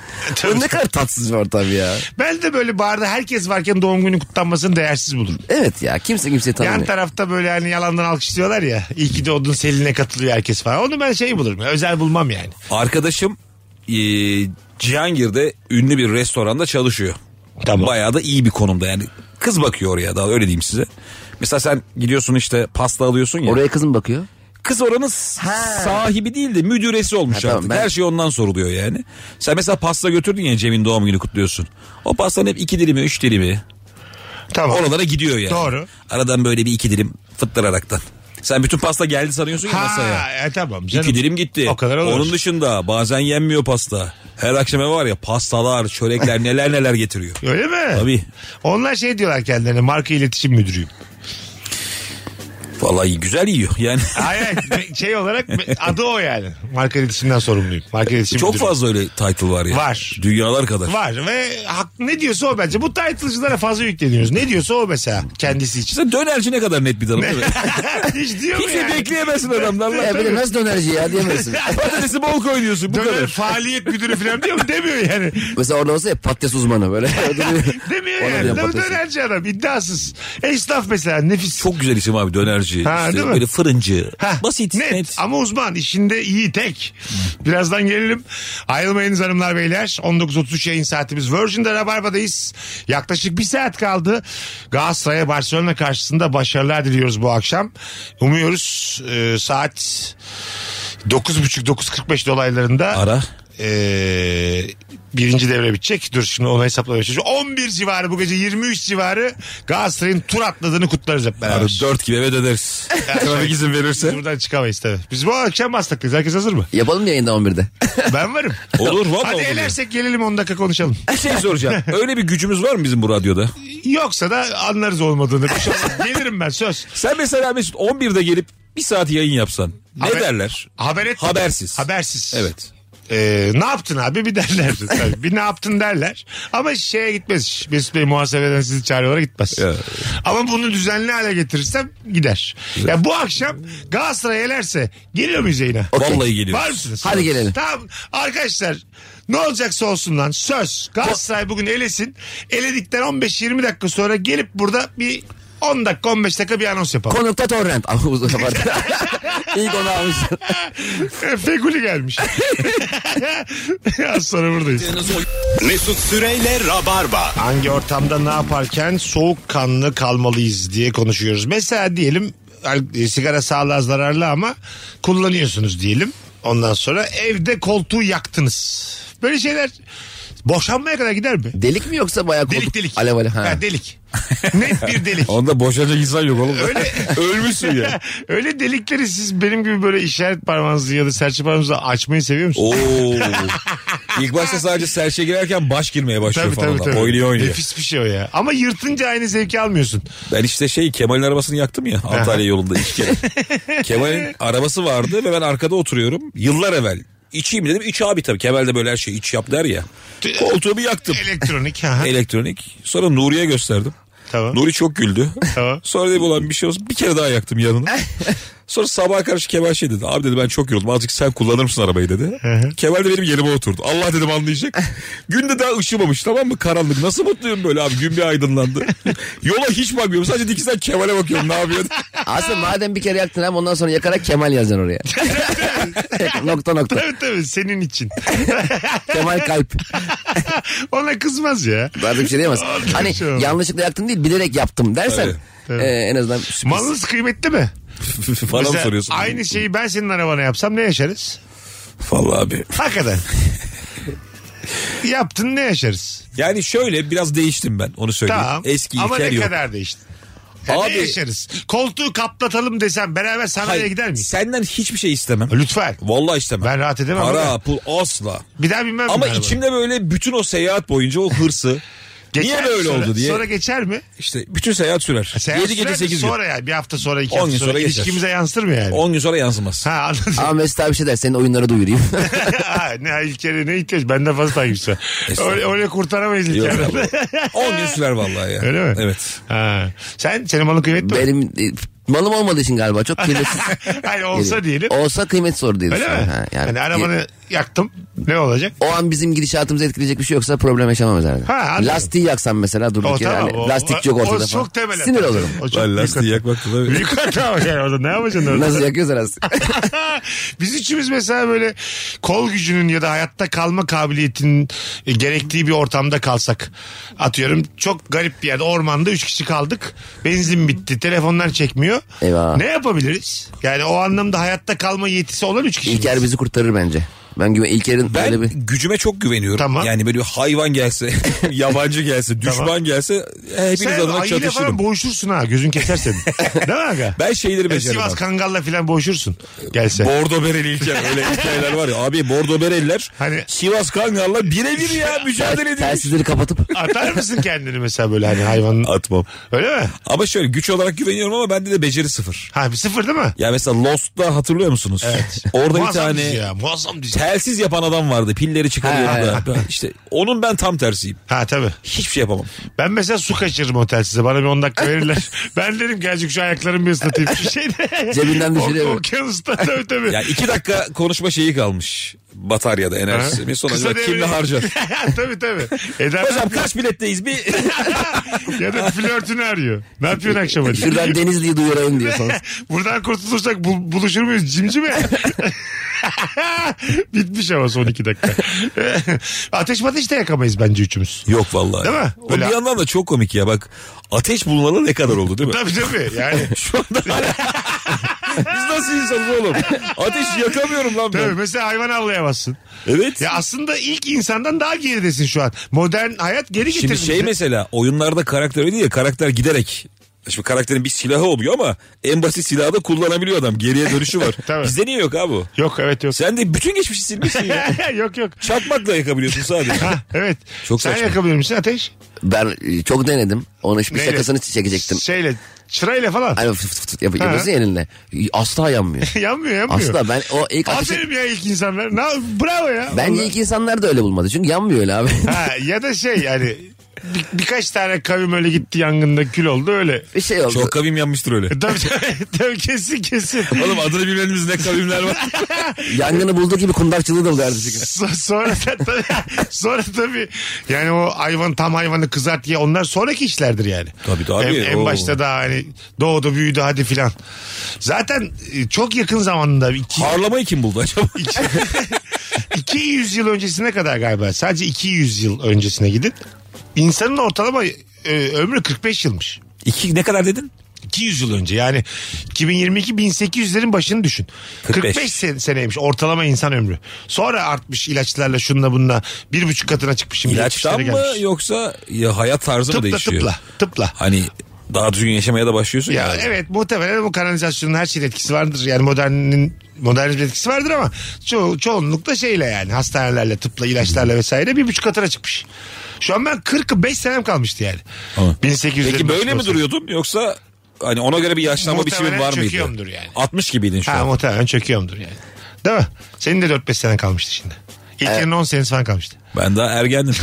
Speaker 4: Bu ne kadar tatsız bir ortam ya.
Speaker 3: ben de böyle barda herkes varken doğum günü kutlanmasını değersiz bulurum.
Speaker 4: Evet ya kimse kimseyi
Speaker 3: Yan
Speaker 4: tanımıyor.
Speaker 3: tarafta böyle hani yalandan alkışlıyorlar ya. İyi ki doğdun Selin'e katılıyor herkes falan. Onu ben şey bulurum. Özel bulmam yani.
Speaker 9: Arkadaşım e, Cihangir'de ünlü bir restoranda çalışıyor.
Speaker 3: Tamam.
Speaker 9: Bayağı da iyi bir konumda yani. Kız bakıyor oraya daha öyle diyeyim size. Mesela sen gidiyorsun işte pasta alıyorsun ya.
Speaker 4: Oraya kız mı bakıyor?
Speaker 9: Kız oranın sahibi değil de müdüresi olmuş
Speaker 4: Ha, tamam,
Speaker 9: artık.
Speaker 4: ben-
Speaker 9: Her şey ondan soruluyor yani. Sen mesela pasta götürdün ya Cem'in doğum günü kutluyorsun. O pastanın hep iki dilimi üç dilimi
Speaker 3: Tamam.
Speaker 9: oralara gidiyor yani.
Speaker 3: Oh, Doğru.
Speaker 9: Aradan böyle bir iki dilim fıttıraraktan. Sen bütün pasta geldi sanıyorsun ya masaya.
Speaker 3: Ha, e, tamam canım.
Speaker 9: İki dilim gitti.
Speaker 3: O kadar olur.
Speaker 9: Onun dışında bazen yenmiyor pasta. Her akşama var ya pastalar, çörekler neler neler getiriyor.
Speaker 3: Öyle mi?
Speaker 9: Tabii.
Speaker 3: Onlar şey diyorlar kendilerine marka iletişim müdürüyüm.
Speaker 9: Vallahi güzel yiyor. Yani
Speaker 3: Hayır hayır, şey olarak adı o yani. Marka iletişimden sorumluyum. Marka iletişim
Speaker 9: çok
Speaker 3: müdürü.
Speaker 9: fazla öyle title var ya.
Speaker 3: Var.
Speaker 9: Dünyalar kadar.
Speaker 3: Var ve hak, ne diyorsa o bence. Bu title'cılara fazla yükleniyoruz. Ne diyorsa o mesela kendisi için.
Speaker 9: İşte dönerci ne kadar net bir tanım değil mi?
Speaker 3: Hiç diyor mu
Speaker 9: Hiç de
Speaker 3: yani?
Speaker 9: bekleyemezsin adamdan lan.
Speaker 4: Ya E, bir de nasıl dönerci ya diyemezsin.
Speaker 9: Patatesi bol koyuyorsun bu
Speaker 3: Döner
Speaker 9: kadar.
Speaker 3: faaliyet müdürü falan diyor mu? Demiyor yani.
Speaker 4: Mesela orada olsa ya patates uzmanı böyle.
Speaker 3: Demiyor
Speaker 4: Ona
Speaker 3: yani.
Speaker 4: diyorum
Speaker 3: Dö-
Speaker 4: patates.
Speaker 3: Dönerci adam iddiasız. E, Esnaf mesela nefis.
Speaker 9: Çok güzel isim abi dönerci.
Speaker 3: Ha,
Speaker 9: İşte
Speaker 3: değil mi?
Speaker 9: böyle fırıncı.
Speaker 3: Hah,
Speaker 9: Basit net.
Speaker 3: Ama uzman işinde iyi tek. Birazdan gelelim. Ayrılmayınız hanımlar beyler. 19.33 yayın saatimiz. Virgin'de Rabarba'dayız. Yaklaşık bir saat kaldı. Galatasaray'a Barcelona karşısında başarılar diliyoruz bu akşam. Umuyoruz e, saat 9.30-9.45 dolaylarında.
Speaker 9: Ara.
Speaker 3: e, birinci devre bitecek. Dur şimdi onu hesaplamaya çalışıyorum. 11 civarı bu gece 23 civarı Galatasaray'ın tur atladığını kutlarız hep beraber. şey
Speaker 9: Abi dört gibi eve döneriz. Trafik izin
Speaker 3: Biz
Speaker 9: verirse.
Speaker 3: buradan çıkamayız tabii. Biz bu akşam bastıklıyız. Herkes hazır mı?
Speaker 4: Yapalım mı yayında 11'de?
Speaker 3: Ben varım.
Speaker 9: Olur valla
Speaker 3: Hadi
Speaker 9: olur.
Speaker 3: elersek gelelim 10 dakika konuşalım.
Speaker 9: Bir şey soracağım. Öyle bir gücümüz var mı bizim bu radyoda?
Speaker 3: Yoksa da anlarız olmadığını. Bir şey olmaz. Gelirim ben söz.
Speaker 9: Sen mesela Mesut 11'de gelip bir saat yayın yapsan. Ne
Speaker 3: Haber-
Speaker 9: derler?
Speaker 3: Haber et.
Speaker 9: Habersiz.
Speaker 3: Habersiz.
Speaker 9: Evet.
Speaker 3: Ee, ne yaptın abi bir derler. Tabii. bir ne yaptın derler. Ama şeye gitmez. Mesut Bey muhasebeden sizi çağırıyorlar gitmez.
Speaker 9: Evet.
Speaker 3: Ama bunu düzenli hale getirirsem gider. Ya bu akşam Galatasaray elerse geliyor muyuz yayına?
Speaker 9: Vallahi
Speaker 3: Var
Speaker 9: geliyoruz.
Speaker 3: mısınız?
Speaker 4: Hadi gelelim.
Speaker 3: Tamam arkadaşlar ne olacaksa olsun lan söz. Galatasaray bugün elesin. Eledikten 15-20 dakika sonra gelip burada bir 10 dakika 15 dakika bir anons yapalım.
Speaker 4: Konukta torrent. Ama uzun kapattı. İlk onu almışsın.
Speaker 3: Fekuli gelmiş. Az sonra buradayız.
Speaker 2: Mesut Süreyle Rabarba.
Speaker 3: Hangi ortamda ne yaparken soğukkanlı kalmalıyız diye konuşuyoruz. Mesela diyelim al- e, sigara sağlığa zararlı ama kullanıyorsunuz diyelim. Ondan sonra evde koltuğu yaktınız. Böyle şeyler boşanmaya kadar gider mi?
Speaker 4: Delik mi yoksa bayağı
Speaker 3: Delik
Speaker 4: koltuk-
Speaker 3: delik.
Speaker 4: Alev alev. Ha.
Speaker 3: Ha, delik. Net bir delik.
Speaker 9: Onda boşanacak insan yok oğlum.
Speaker 3: Öyle-
Speaker 9: Ölmüşsün ya.
Speaker 3: Öyle delikleri siz benim gibi böyle işaret parmağınızı ya da serçe parmağınızı açmayı seviyor musunuz?
Speaker 9: Oo. İlk başta sadece serçe girerken baş girmeye başlıyor
Speaker 3: Tabii
Speaker 9: şey falan.
Speaker 3: tabii
Speaker 9: da.
Speaker 3: tabii.
Speaker 9: Oynuyor oynuyor.
Speaker 3: Nefis bir şey o ya. Ama yırtınca aynı zevki almıyorsun.
Speaker 9: Ben işte şey Kemal'in arabasını yaktım ya Antalya yolunda iki kere. Kemal'in arabası vardı ve ben arkada oturuyorum. Yıllar evvel. İçeyim dedim. İç abi tabii. Kemal de böyle her şeyi iç yap der ya. Koltuğumu yaktım.
Speaker 3: Elektronik. ha.
Speaker 9: Elektronik. Sonra Nuri'ye gösterdim.
Speaker 3: Tamam.
Speaker 9: Nuri çok güldü.
Speaker 3: Tamam.
Speaker 9: Sonra dedi olan bir şey olsun. Bir kere daha yaktım yanına. Sonra sabah karşı Kemal şey dedi. Abi dedi ben çok yoruldum. Azıcık sen kullanır mısın arabayı dedi. Kemal de benim yerime oturdu. Allah dedim anlayacak. Gün de daha ışımamış tamam mı? Karanlık. Nasıl mutluyum böyle abi. Gün bir aydınlandı. Yola hiç bakmıyorum. Sadece dikizden Kemal'e bakıyorum ne yapıyor.
Speaker 4: Aslında madem bir kere yaktın abi ondan sonra yakarak Kemal yazacaksın oraya. nokta nokta.
Speaker 3: Tabii tabii senin için.
Speaker 4: Kemal kalp.
Speaker 3: Ona kızmaz ya.
Speaker 4: Artık bir şey diyemez.
Speaker 3: Artık bir
Speaker 4: hani
Speaker 3: şey olmaz.
Speaker 4: yanlışlıkla yaktım değil bilerek yaptım dersen.
Speaker 9: Tabii,
Speaker 3: tabii.
Speaker 4: e, en azından sürpriz.
Speaker 3: Malınız kıymetli mi?
Speaker 9: Falan mı
Speaker 3: Mesela
Speaker 9: soruyorsun.
Speaker 3: Aynı şeyi ben senin arabana yapsam ne yaşarız?
Speaker 9: Vallahi abi.
Speaker 3: Hakikaten. yaptın ne yaşarız?
Speaker 9: Yani şöyle biraz değiştim ben onu söyleyeyim.
Speaker 3: Tamam.
Speaker 9: Eski
Speaker 3: Ama
Speaker 9: İlker
Speaker 3: ne
Speaker 9: yok.
Speaker 3: kadar değişti? Ya
Speaker 9: Abi-
Speaker 3: ne yaşarız? Koltuğu kaplatalım desem beraber
Speaker 9: Hayır,
Speaker 3: sandalyeye gider miyiz?
Speaker 9: Senden hiçbir şey istemem.
Speaker 3: Lütfen.
Speaker 9: Vallahi istemem.
Speaker 3: Ben rahat edemem
Speaker 9: Para,
Speaker 3: ama.
Speaker 9: pul asla.
Speaker 3: Bir daha binmem.
Speaker 9: Ama
Speaker 3: ben arabaya.
Speaker 9: içimde böyle bütün o seyahat boyunca o hırsı.
Speaker 3: Geçer
Speaker 9: niye
Speaker 3: mi
Speaker 9: böyle
Speaker 3: sonra?
Speaker 9: oldu diye.
Speaker 3: Sonra geçer mi?
Speaker 9: İşte bütün seyahat sürer.
Speaker 3: Seyahat
Speaker 9: 7
Speaker 3: sürer
Speaker 9: gece
Speaker 3: mi?
Speaker 9: 8 gün.
Speaker 3: Sonra yani bir hafta sonra iki
Speaker 9: On
Speaker 3: hafta
Speaker 9: gün
Speaker 3: sonra,
Speaker 9: sonra geçer.
Speaker 3: ilişkimize yansır mı yani?
Speaker 9: 10 gün sonra yansımaz.
Speaker 3: Ha anladım.
Speaker 4: Ama Mesut abi bir şey der senin oyunlara duyurayım.
Speaker 3: Ha, ne İlker'e ne ihtiyaç benden fazla takipçi var.
Speaker 9: Estağfurullah.
Speaker 3: Öyle, öyle kurtaramayız
Speaker 9: Yok
Speaker 3: İlker'i.
Speaker 9: abi. 10 gün sürer vallahi ya.
Speaker 3: Öyle mi?
Speaker 9: Evet.
Speaker 3: Ha. Sen senin malın kıymetli mi?
Speaker 4: Benim e, malım olmadığı için galiba çok kıymetsiz.
Speaker 3: Hayır olsa diyelim.
Speaker 4: Olsa kıymet soru diye
Speaker 3: Öyle mi? Hani
Speaker 4: düşünüyorum. Ha,
Speaker 3: yani, arabanı yaktım. Ne olacak?
Speaker 4: o an bizim gidişatımızı etkileyecek bir şey yoksa problem yaşamam herhalde.
Speaker 3: Ha, anladım.
Speaker 4: Lastiği yaksam mesela durduk
Speaker 3: O
Speaker 4: yere
Speaker 3: tamam.
Speaker 4: hani
Speaker 3: o-
Speaker 4: lastik yok
Speaker 3: o-
Speaker 4: ortada
Speaker 3: O
Speaker 4: falan.
Speaker 3: çok temel.
Speaker 4: Sinir
Speaker 3: hata.
Speaker 4: olurum.
Speaker 3: O çok
Speaker 9: Ben
Speaker 3: büyük
Speaker 9: lastiği
Speaker 3: hata.
Speaker 9: yakmak tabii.
Speaker 3: Büyük hata var yani orada ne yapacaksın orada?
Speaker 4: Nasıl yakıyoruz arası?
Speaker 3: Biz üçümüz mesela böyle kol gücünün ya da hayatta kalma kabiliyetinin e, gerektiği bir ortamda kalsak. Atıyorum çok garip bir yerde ormanda üç kişi kaldık. Benzin bitti. Telefonlar çekmiyor.
Speaker 4: Eyvah.
Speaker 3: Ne yapabiliriz? Yani o anlamda hayatta kalma yetisi olan üç kişi.
Speaker 4: İlker bizi kurtarır bence. Ben güven İlker'in
Speaker 9: Ben
Speaker 4: böyle bir...
Speaker 9: gücüme çok güveniyorum.
Speaker 3: Tamam.
Speaker 9: Yani böyle bir hayvan gelse, yabancı gelse, düşman
Speaker 3: Tamam.
Speaker 9: gelse e, hepiniz
Speaker 3: Sen
Speaker 9: adına
Speaker 3: ayıyla
Speaker 9: çatışırım.
Speaker 3: falan boğuşursun ha. Gözün keser seni. Değil mi aga?
Speaker 9: Ben şeyleri
Speaker 3: Ya
Speaker 9: beceririm.
Speaker 3: E, Sivas
Speaker 9: abi.
Speaker 3: Kangal'la falan boğuşursun. Gelse.
Speaker 9: Bordo bereli İlker öyle hikayeler var ya. Abi bordo bereliler
Speaker 3: Hani-
Speaker 9: Sivas Kangal'la birebir ya mücadele edilmiş.
Speaker 4: Telsizleri kapatıp
Speaker 3: Atar mısın kendini mesela böyle hani hayvanın?
Speaker 9: Atmam.
Speaker 3: Öyle mi?
Speaker 9: Ama şöyle güç olarak güveniyorum ama bende de beceri sıfır.
Speaker 3: Ha bir sıfır değil mi?
Speaker 9: Ya mesela Lost'ta hatırlıyor musunuz?
Speaker 3: Evet.
Speaker 9: Orada bir
Speaker 3: Muazzam
Speaker 9: tane
Speaker 3: dizi ya, muazzam dizi.
Speaker 9: telsiz yapan adam vardı. Pilleri
Speaker 4: Ha,
Speaker 9: çıkarıyordu da. Ben- İşte onun ben tam tersiyim.
Speaker 3: Ha tabii.
Speaker 9: Hiçbir şey yapamam.
Speaker 3: Ben mesela su kaçırırım otelsize. Bana bir 10 dakika verirler. ben dedim ki azıcık şu ayaklarımı bir ıslatayım. Bir şey de.
Speaker 4: Cebinden düşürüyor.
Speaker 3: O- Okyanusta tabii tabii.
Speaker 9: Ya iki dakika konuşma şeyi kalmış. Bataryada enerjisi. Bir sonra
Speaker 3: Kısa
Speaker 9: acaba
Speaker 3: devre-
Speaker 9: kimle harcar?
Speaker 3: tabii tabii. Eda
Speaker 9: Hocam kaç biletteyiz bir?
Speaker 3: ya da flörtünü arıyor. Ne yapıyorsun akşam hadi?
Speaker 4: şuradan Denizli'yi duyurayım diyor sonra.
Speaker 3: Buradan kurtulursak bu- buluşur muyuz cimci mi? Bitmiş ama son iki dakika. Ateş ateş de yakamayız bence üçümüz.
Speaker 9: Yok vallahi.
Speaker 3: Değil mi?
Speaker 9: O
Speaker 3: Böyle-
Speaker 9: bir yandan da çok komik ya bak. Ateş bulmalı ne kadar oldu değil mi?
Speaker 3: Tabii tabii yani.
Speaker 9: Şu anda Biz nasıl insanız oğlum? Ateş yakamıyorum lan
Speaker 3: Tabii
Speaker 9: ben.
Speaker 3: mesela hayvan avlayamazsın.
Speaker 9: Evet.
Speaker 3: Ya aslında ilk insandan daha geridesin şu an. Modern hayat geri getirdi.
Speaker 9: Şimdi şey
Speaker 3: bizi.
Speaker 9: mesela oyunlarda karakter öyle ya karakter giderek Şimdi karakterin bir silahı oluyor ama en basit silahı da kullanabiliyor adam. Geriye dönüşü var.
Speaker 3: Tabii.
Speaker 9: Bizde niye yok abi bu?
Speaker 3: Yok evet yok.
Speaker 9: Sen de bütün geçmişi silmişsin ya.
Speaker 3: yok yok.
Speaker 9: Çakmakla yakabiliyorsun sadece.
Speaker 3: Ha, evet.
Speaker 9: Çok
Speaker 3: Sen
Speaker 9: saçma.
Speaker 3: yakabilir misin ateş?
Speaker 4: Ben e, çok denedim. Onun hiçbir
Speaker 3: Neyle?
Speaker 4: şakasını çekecektim.
Speaker 3: Şeyle çırayla falan.
Speaker 4: Hani fıt fıt fıt yap- yapıyorsun ya elinle. Asla yanmıyor.
Speaker 3: yanmıyor yanmıyor.
Speaker 4: Asla ben o ilk ateşi...
Speaker 3: Aferin ya ilk insanlar. Na, bravo ya.
Speaker 4: Bence
Speaker 3: Vallahi.
Speaker 4: ilk insanlar da öyle bulmadı. Çünkü yanmıyor öyle abi.
Speaker 3: Ha, ya da şey yani bir- birkaç tane kavim öyle gitti yangında kül oldu öyle.
Speaker 4: bir şey oldu.
Speaker 9: Çok kavim yanmıştır öyle.
Speaker 3: Tabii tabii, tabii kesin kesin.
Speaker 9: Oğlum adını bilmediğimiz ne kavimler var.
Speaker 4: Yangını bulduğu gibi kundakçılığı da kardeşim.
Speaker 3: So- sonra da- tabii, sonra tabii yani o hayvan tam hayvanı kızart diye onlar sonraki işlerdir yani.
Speaker 9: Tabii, tabii.
Speaker 3: En, en
Speaker 9: Oo.
Speaker 3: başta da hani doğdu büyüdü hadi filan. Zaten e, çok yakın zamanda iki,
Speaker 9: Harlamayı kim buldu acaba?
Speaker 3: iki, 200 yıl öncesine kadar galiba sadece 200 yıl öncesine gidin. İnsanın ortalama e, ömrü 45 yılmış.
Speaker 9: İki ne kadar dedin?
Speaker 3: 200 yıl önce yani 2022 1800'lerin başını düşün. 45,
Speaker 9: 45
Speaker 3: sen- seneymiş ortalama insan ömrü. Sonra artmış ilaçlarla şunla bununla bir buçuk katına çıkmış. Şimdi
Speaker 9: İlaçtan
Speaker 3: 70'lere
Speaker 9: mı
Speaker 3: gelmiş.
Speaker 9: yoksa ya hayat tarzı mı
Speaker 3: Tıpla
Speaker 9: değişiyor?
Speaker 3: tıpla tıpla.
Speaker 9: Hani daha düzgün yaşamaya da başlıyorsun ya.
Speaker 3: Ya evet muhtemelen bu kanalizasyonun her şeyin etkisi vardır. Yani modernin modernizmin etkisi vardır ama ço çoğunlukla şeyle yani hastanelerle, tıpla, ilaçlarla vesaire bir buçuk katına çıkmış. Şu an ben 45 senem kalmıştı yani.
Speaker 9: Ama.
Speaker 3: 1800
Speaker 9: Peki böyle mi duruyordun yoksa hani ona göre bir yaşlanma
Speaker 3: Muhtemelen
Speaker 9: biçimin var
Speaker 3: çöküyorumdur
Speaker 9: mıydı?
Speaker 3: yani.
Speaker 9: 60 gibiydin şu
Speaker 3: Ha
Speaker 9: an.
Speaker 3: muhtemelen çöküyorumdur yani. Değil mi? Senin de 4-5 senen kalmıştı şimdi. İlker'in 10 senesi falan kalmıştı.
Speaker 9: Ben daha ergendim.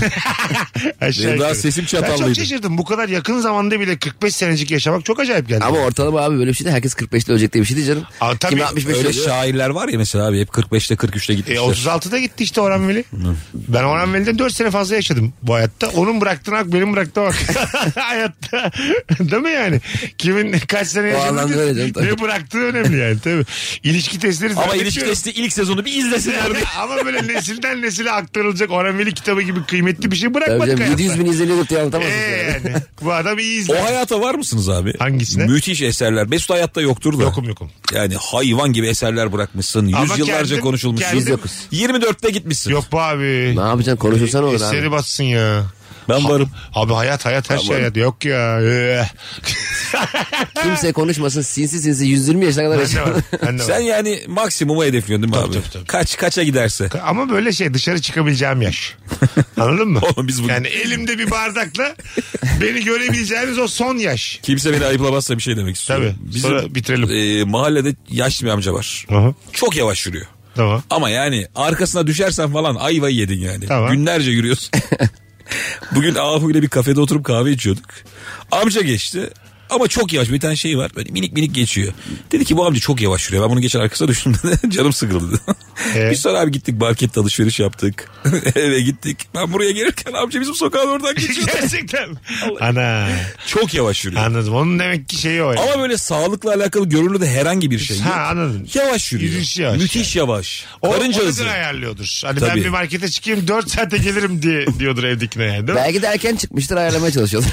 Speaker 3: Aşağı
Speaker 9: Benim daha
Speaker 3: yukarı.
Speaker 9: sesim çatallıydı.
Speaker 3: Ben çok şaşırdım. Bu kadar yakın zamanda bile 45 senecik yaşamak çok acayip geldi.
Speaker 4: Ama ortalama abi böyle bir şey de herkes 45'te ölecek diye bir şey değil canım.
Speaker 3: Aa, tabii, şey
Speaker 4: Kim 65
Speaker 9: Öyle
Speaker 4: oluyor?
Speaker 9: şairler var ya mesela abi hep 45'te 43'te
Speaker 3: E,
Speaker 9: gitmişler.
Speaker 3: 36'da gitti işte Orhan Veli. Ben Orhan Veli'den 4 sene fazla yaşadım bu hayatta. Onun bıraktığına bak benim bıraktığıma bak. hayatta. Değil mi yani? Kimin kaç sene
Speaker 4: anlamda öyle canım,
Speaker 3: yaşadığı
Speaker 4: tabii.
Speaker 3: ne bıraktığı önemli yani. Tabii. İlişki testleri
Speaker 9: Ama
Speaker 3: zannetmiyorum.
Speaker 9: ilişki testi ilk sezonu bir izlesinler.
Speaker 3: Ama böyle nesilden nesile aktarılacak Orhan Çevirmeli kitabı gibi kıymetli bir şey bırakmadık
Speaker 4: Tabii canım,
Speaker 3: hayatta.
Speaker 4: 700 bin izleniyordur diye anlatamazsın.
Speaker 3: Ee,
Speaker 4: yani.
Speaker 3: yani. Bu adam iyi izler.
Speaker 9: O hayata var mısınız abi?
Speaker 3: Hangisine?
Speaker 9: Müthiş eserler. Mesut hayatta yoktur da.
Speaker 3: Yokum yokum.
Speaker 9: Yani hayvan gibi eserler bırakmışsın.
Speaker 3: Ama
Speaker 9: Yüzyıllarca
Speaker 3: kendim-
Speaker 9: konuşulmuş.
Speaker 3: kendim-
Speaker 4: Biz yokuz.
Speaker 9: 24'te gitmişsin.
Speaker 3: Yok bu abi.
Speaker 4: Ne yapacaksın konuşursan olur
Speaker 3: Eseri
Speaker 4: abi.
Speaker 3: batsın ya.
Speaker 9: Ben
Speaker 3: Ha-
Speaker 9: varım.
Speaker 3: Abi hayat hayat her şey hayat. Yok ya. Ee.
Speaker 4: Kimse konuşmasın sinsi sinsi 120 yaşına kadar
Speaker 3: ben de
Speaker 4: yaşa.
Speaker 3: varım, ben de
Speaker 9: Sen
Speaker 3: varım.
Speaker 9: yani maksimumu hedefliyorsun değil mi abi?
Speaker 3: tabii, tabii.
Speaker 9: Kaç kaça giderse.
Speaker 3: Ama böyle şey dışarı çıkabileceğim yaş. Anladın mı?
Speaker 9: Oğlum biz bu-
Speaker 3: Yani elimde bir bardakla beni görebileceğiniz o son yaş.
Speaker 9: Kimse beni ayıplamazsa bir şey demek istiyorum.
Speaker 3: Tabii. Sonra bitirelim.
Speaker 9: e, mahallede yaşlı bir amca var.
Speaker 3: Aha.
Speaker 9: Çok yavaş yürüyor.
Speaker 3: Tamam.
Speaker 9: Ama yani arkasına düşersen falan ayvayı yedin yani.
Speaker 3: Tamam.
Speaker 9: Günlerce yürüyorsun. Bugün Ahu ile bir kafede oturup kahve içiyorduk. Amca geçti. Ama çok yavaş bir tane şey var. Böyle minik minik geçiyor. Dedi ki bu amca çok yavaş yürüyor. Ben bunu geçen arkasına düştüm dedi. Canım sıkıldı dedi.
Speaker 3: Ee?
Speaker 9: Biz sonra abi gittik markette alışveriş yaptık. Eve gittik. Ben buraya gelirken amca bizim sokağın oradan geçiyor.
Speaker 3: Gerçekten. Ana.
Speaker 9: çok yavaş yürüyor.
Speaker 3: Anladım. Onun demek ki şeyi o. yani.
Speaker 9: Ama böyle sağlıkla alakalı görünür de herhangi bir şey yok.
Speaker 3: Ha, anladım.
Speaker 9: Yavaş yürüyor.
Speaker 3: Yürüyüş yavaş
Speaker 9: Müthiş yavaş.
Speaker 3: O,
Speaker 9: Karınca
Speaker 3: o
Speaker 9: hızı.
Speaker 3: yüzden ayarlıyordur. Hani ben
Speaker 9: Tabii.
Speaker 3: bir markete çıkayım 4 saate gelirim diye diyordur evdekine yani. Değil mi?
Speaker 4: Belki de erken çıkmıştır ayarlamaya çalışıyordur.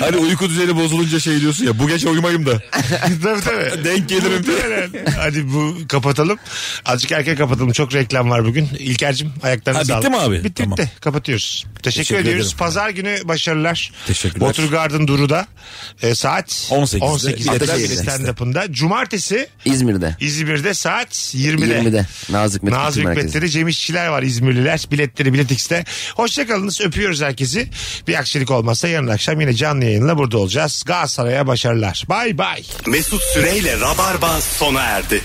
Speaker 9: Hani uyku düzeni bozulunca şey diyorsun ya bu gece uyumayayım da.
Speaker 3: tabii tabii.
Speaker 9: Denk gelirim diye.
Speaker 3: Muhtemelen. Hadi bu kapatalım. Azıcık erken kapatalım. Çok reklam var bugün. İlker'cim ayaklarına
Speaker 9: Ha, bitti
Speaker 3: sağlık.
Speaker 9: mi abi?
Speaker 3: Bitti
Speaker 9: Tamam.
Speaker 3: bitti. Kapatıyoruz. Teşekkür,
Speaker 9: Teşekkür
Speaker 3: ediyoruz.
Speaker 9: ederim.
Speaker 3: Pazar günü başarılar.
Speaker 9: Teşekkürler.
Speaker 3: Watergarden Duru'da e, saat
Speaker 9: 18'de.
Speaker 3: 18'de.
Speaker 4: Ateşehir'de.
Speaker 3: stand-up'ında. Cumartesi
Speaker 4: İzmir'de.
Speaker 3: İzmir'de saat 20'de.
Speaker 4: 20'de. Nazım Hikmet
Speaker 3: Nazım
Speaker 4: Kültür Merkezi.
Speaker 3: Hikmetleri Cem İşçiler var İzmirliler. Biletleri Bilet X'te. Hoşçakalınız. Öpüyoruz herkesi. Bir aksilik olmazsa yarın akşam yine canlı yayınla burada olacağız. Galatasaray'a başarılar. Bay bay.
Speaker 2: Mesut Süreyle Rabarba sona erdi.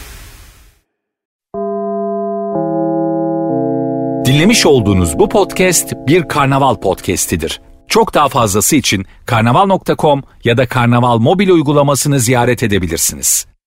Speaker 1: Dinlemiş olduğunuz bu podcast bir karnaval podcastidir. Çok daha fazlası için karnaval.com ya da karnaval mobil uygulamasını ziyaret edebilirsiniz.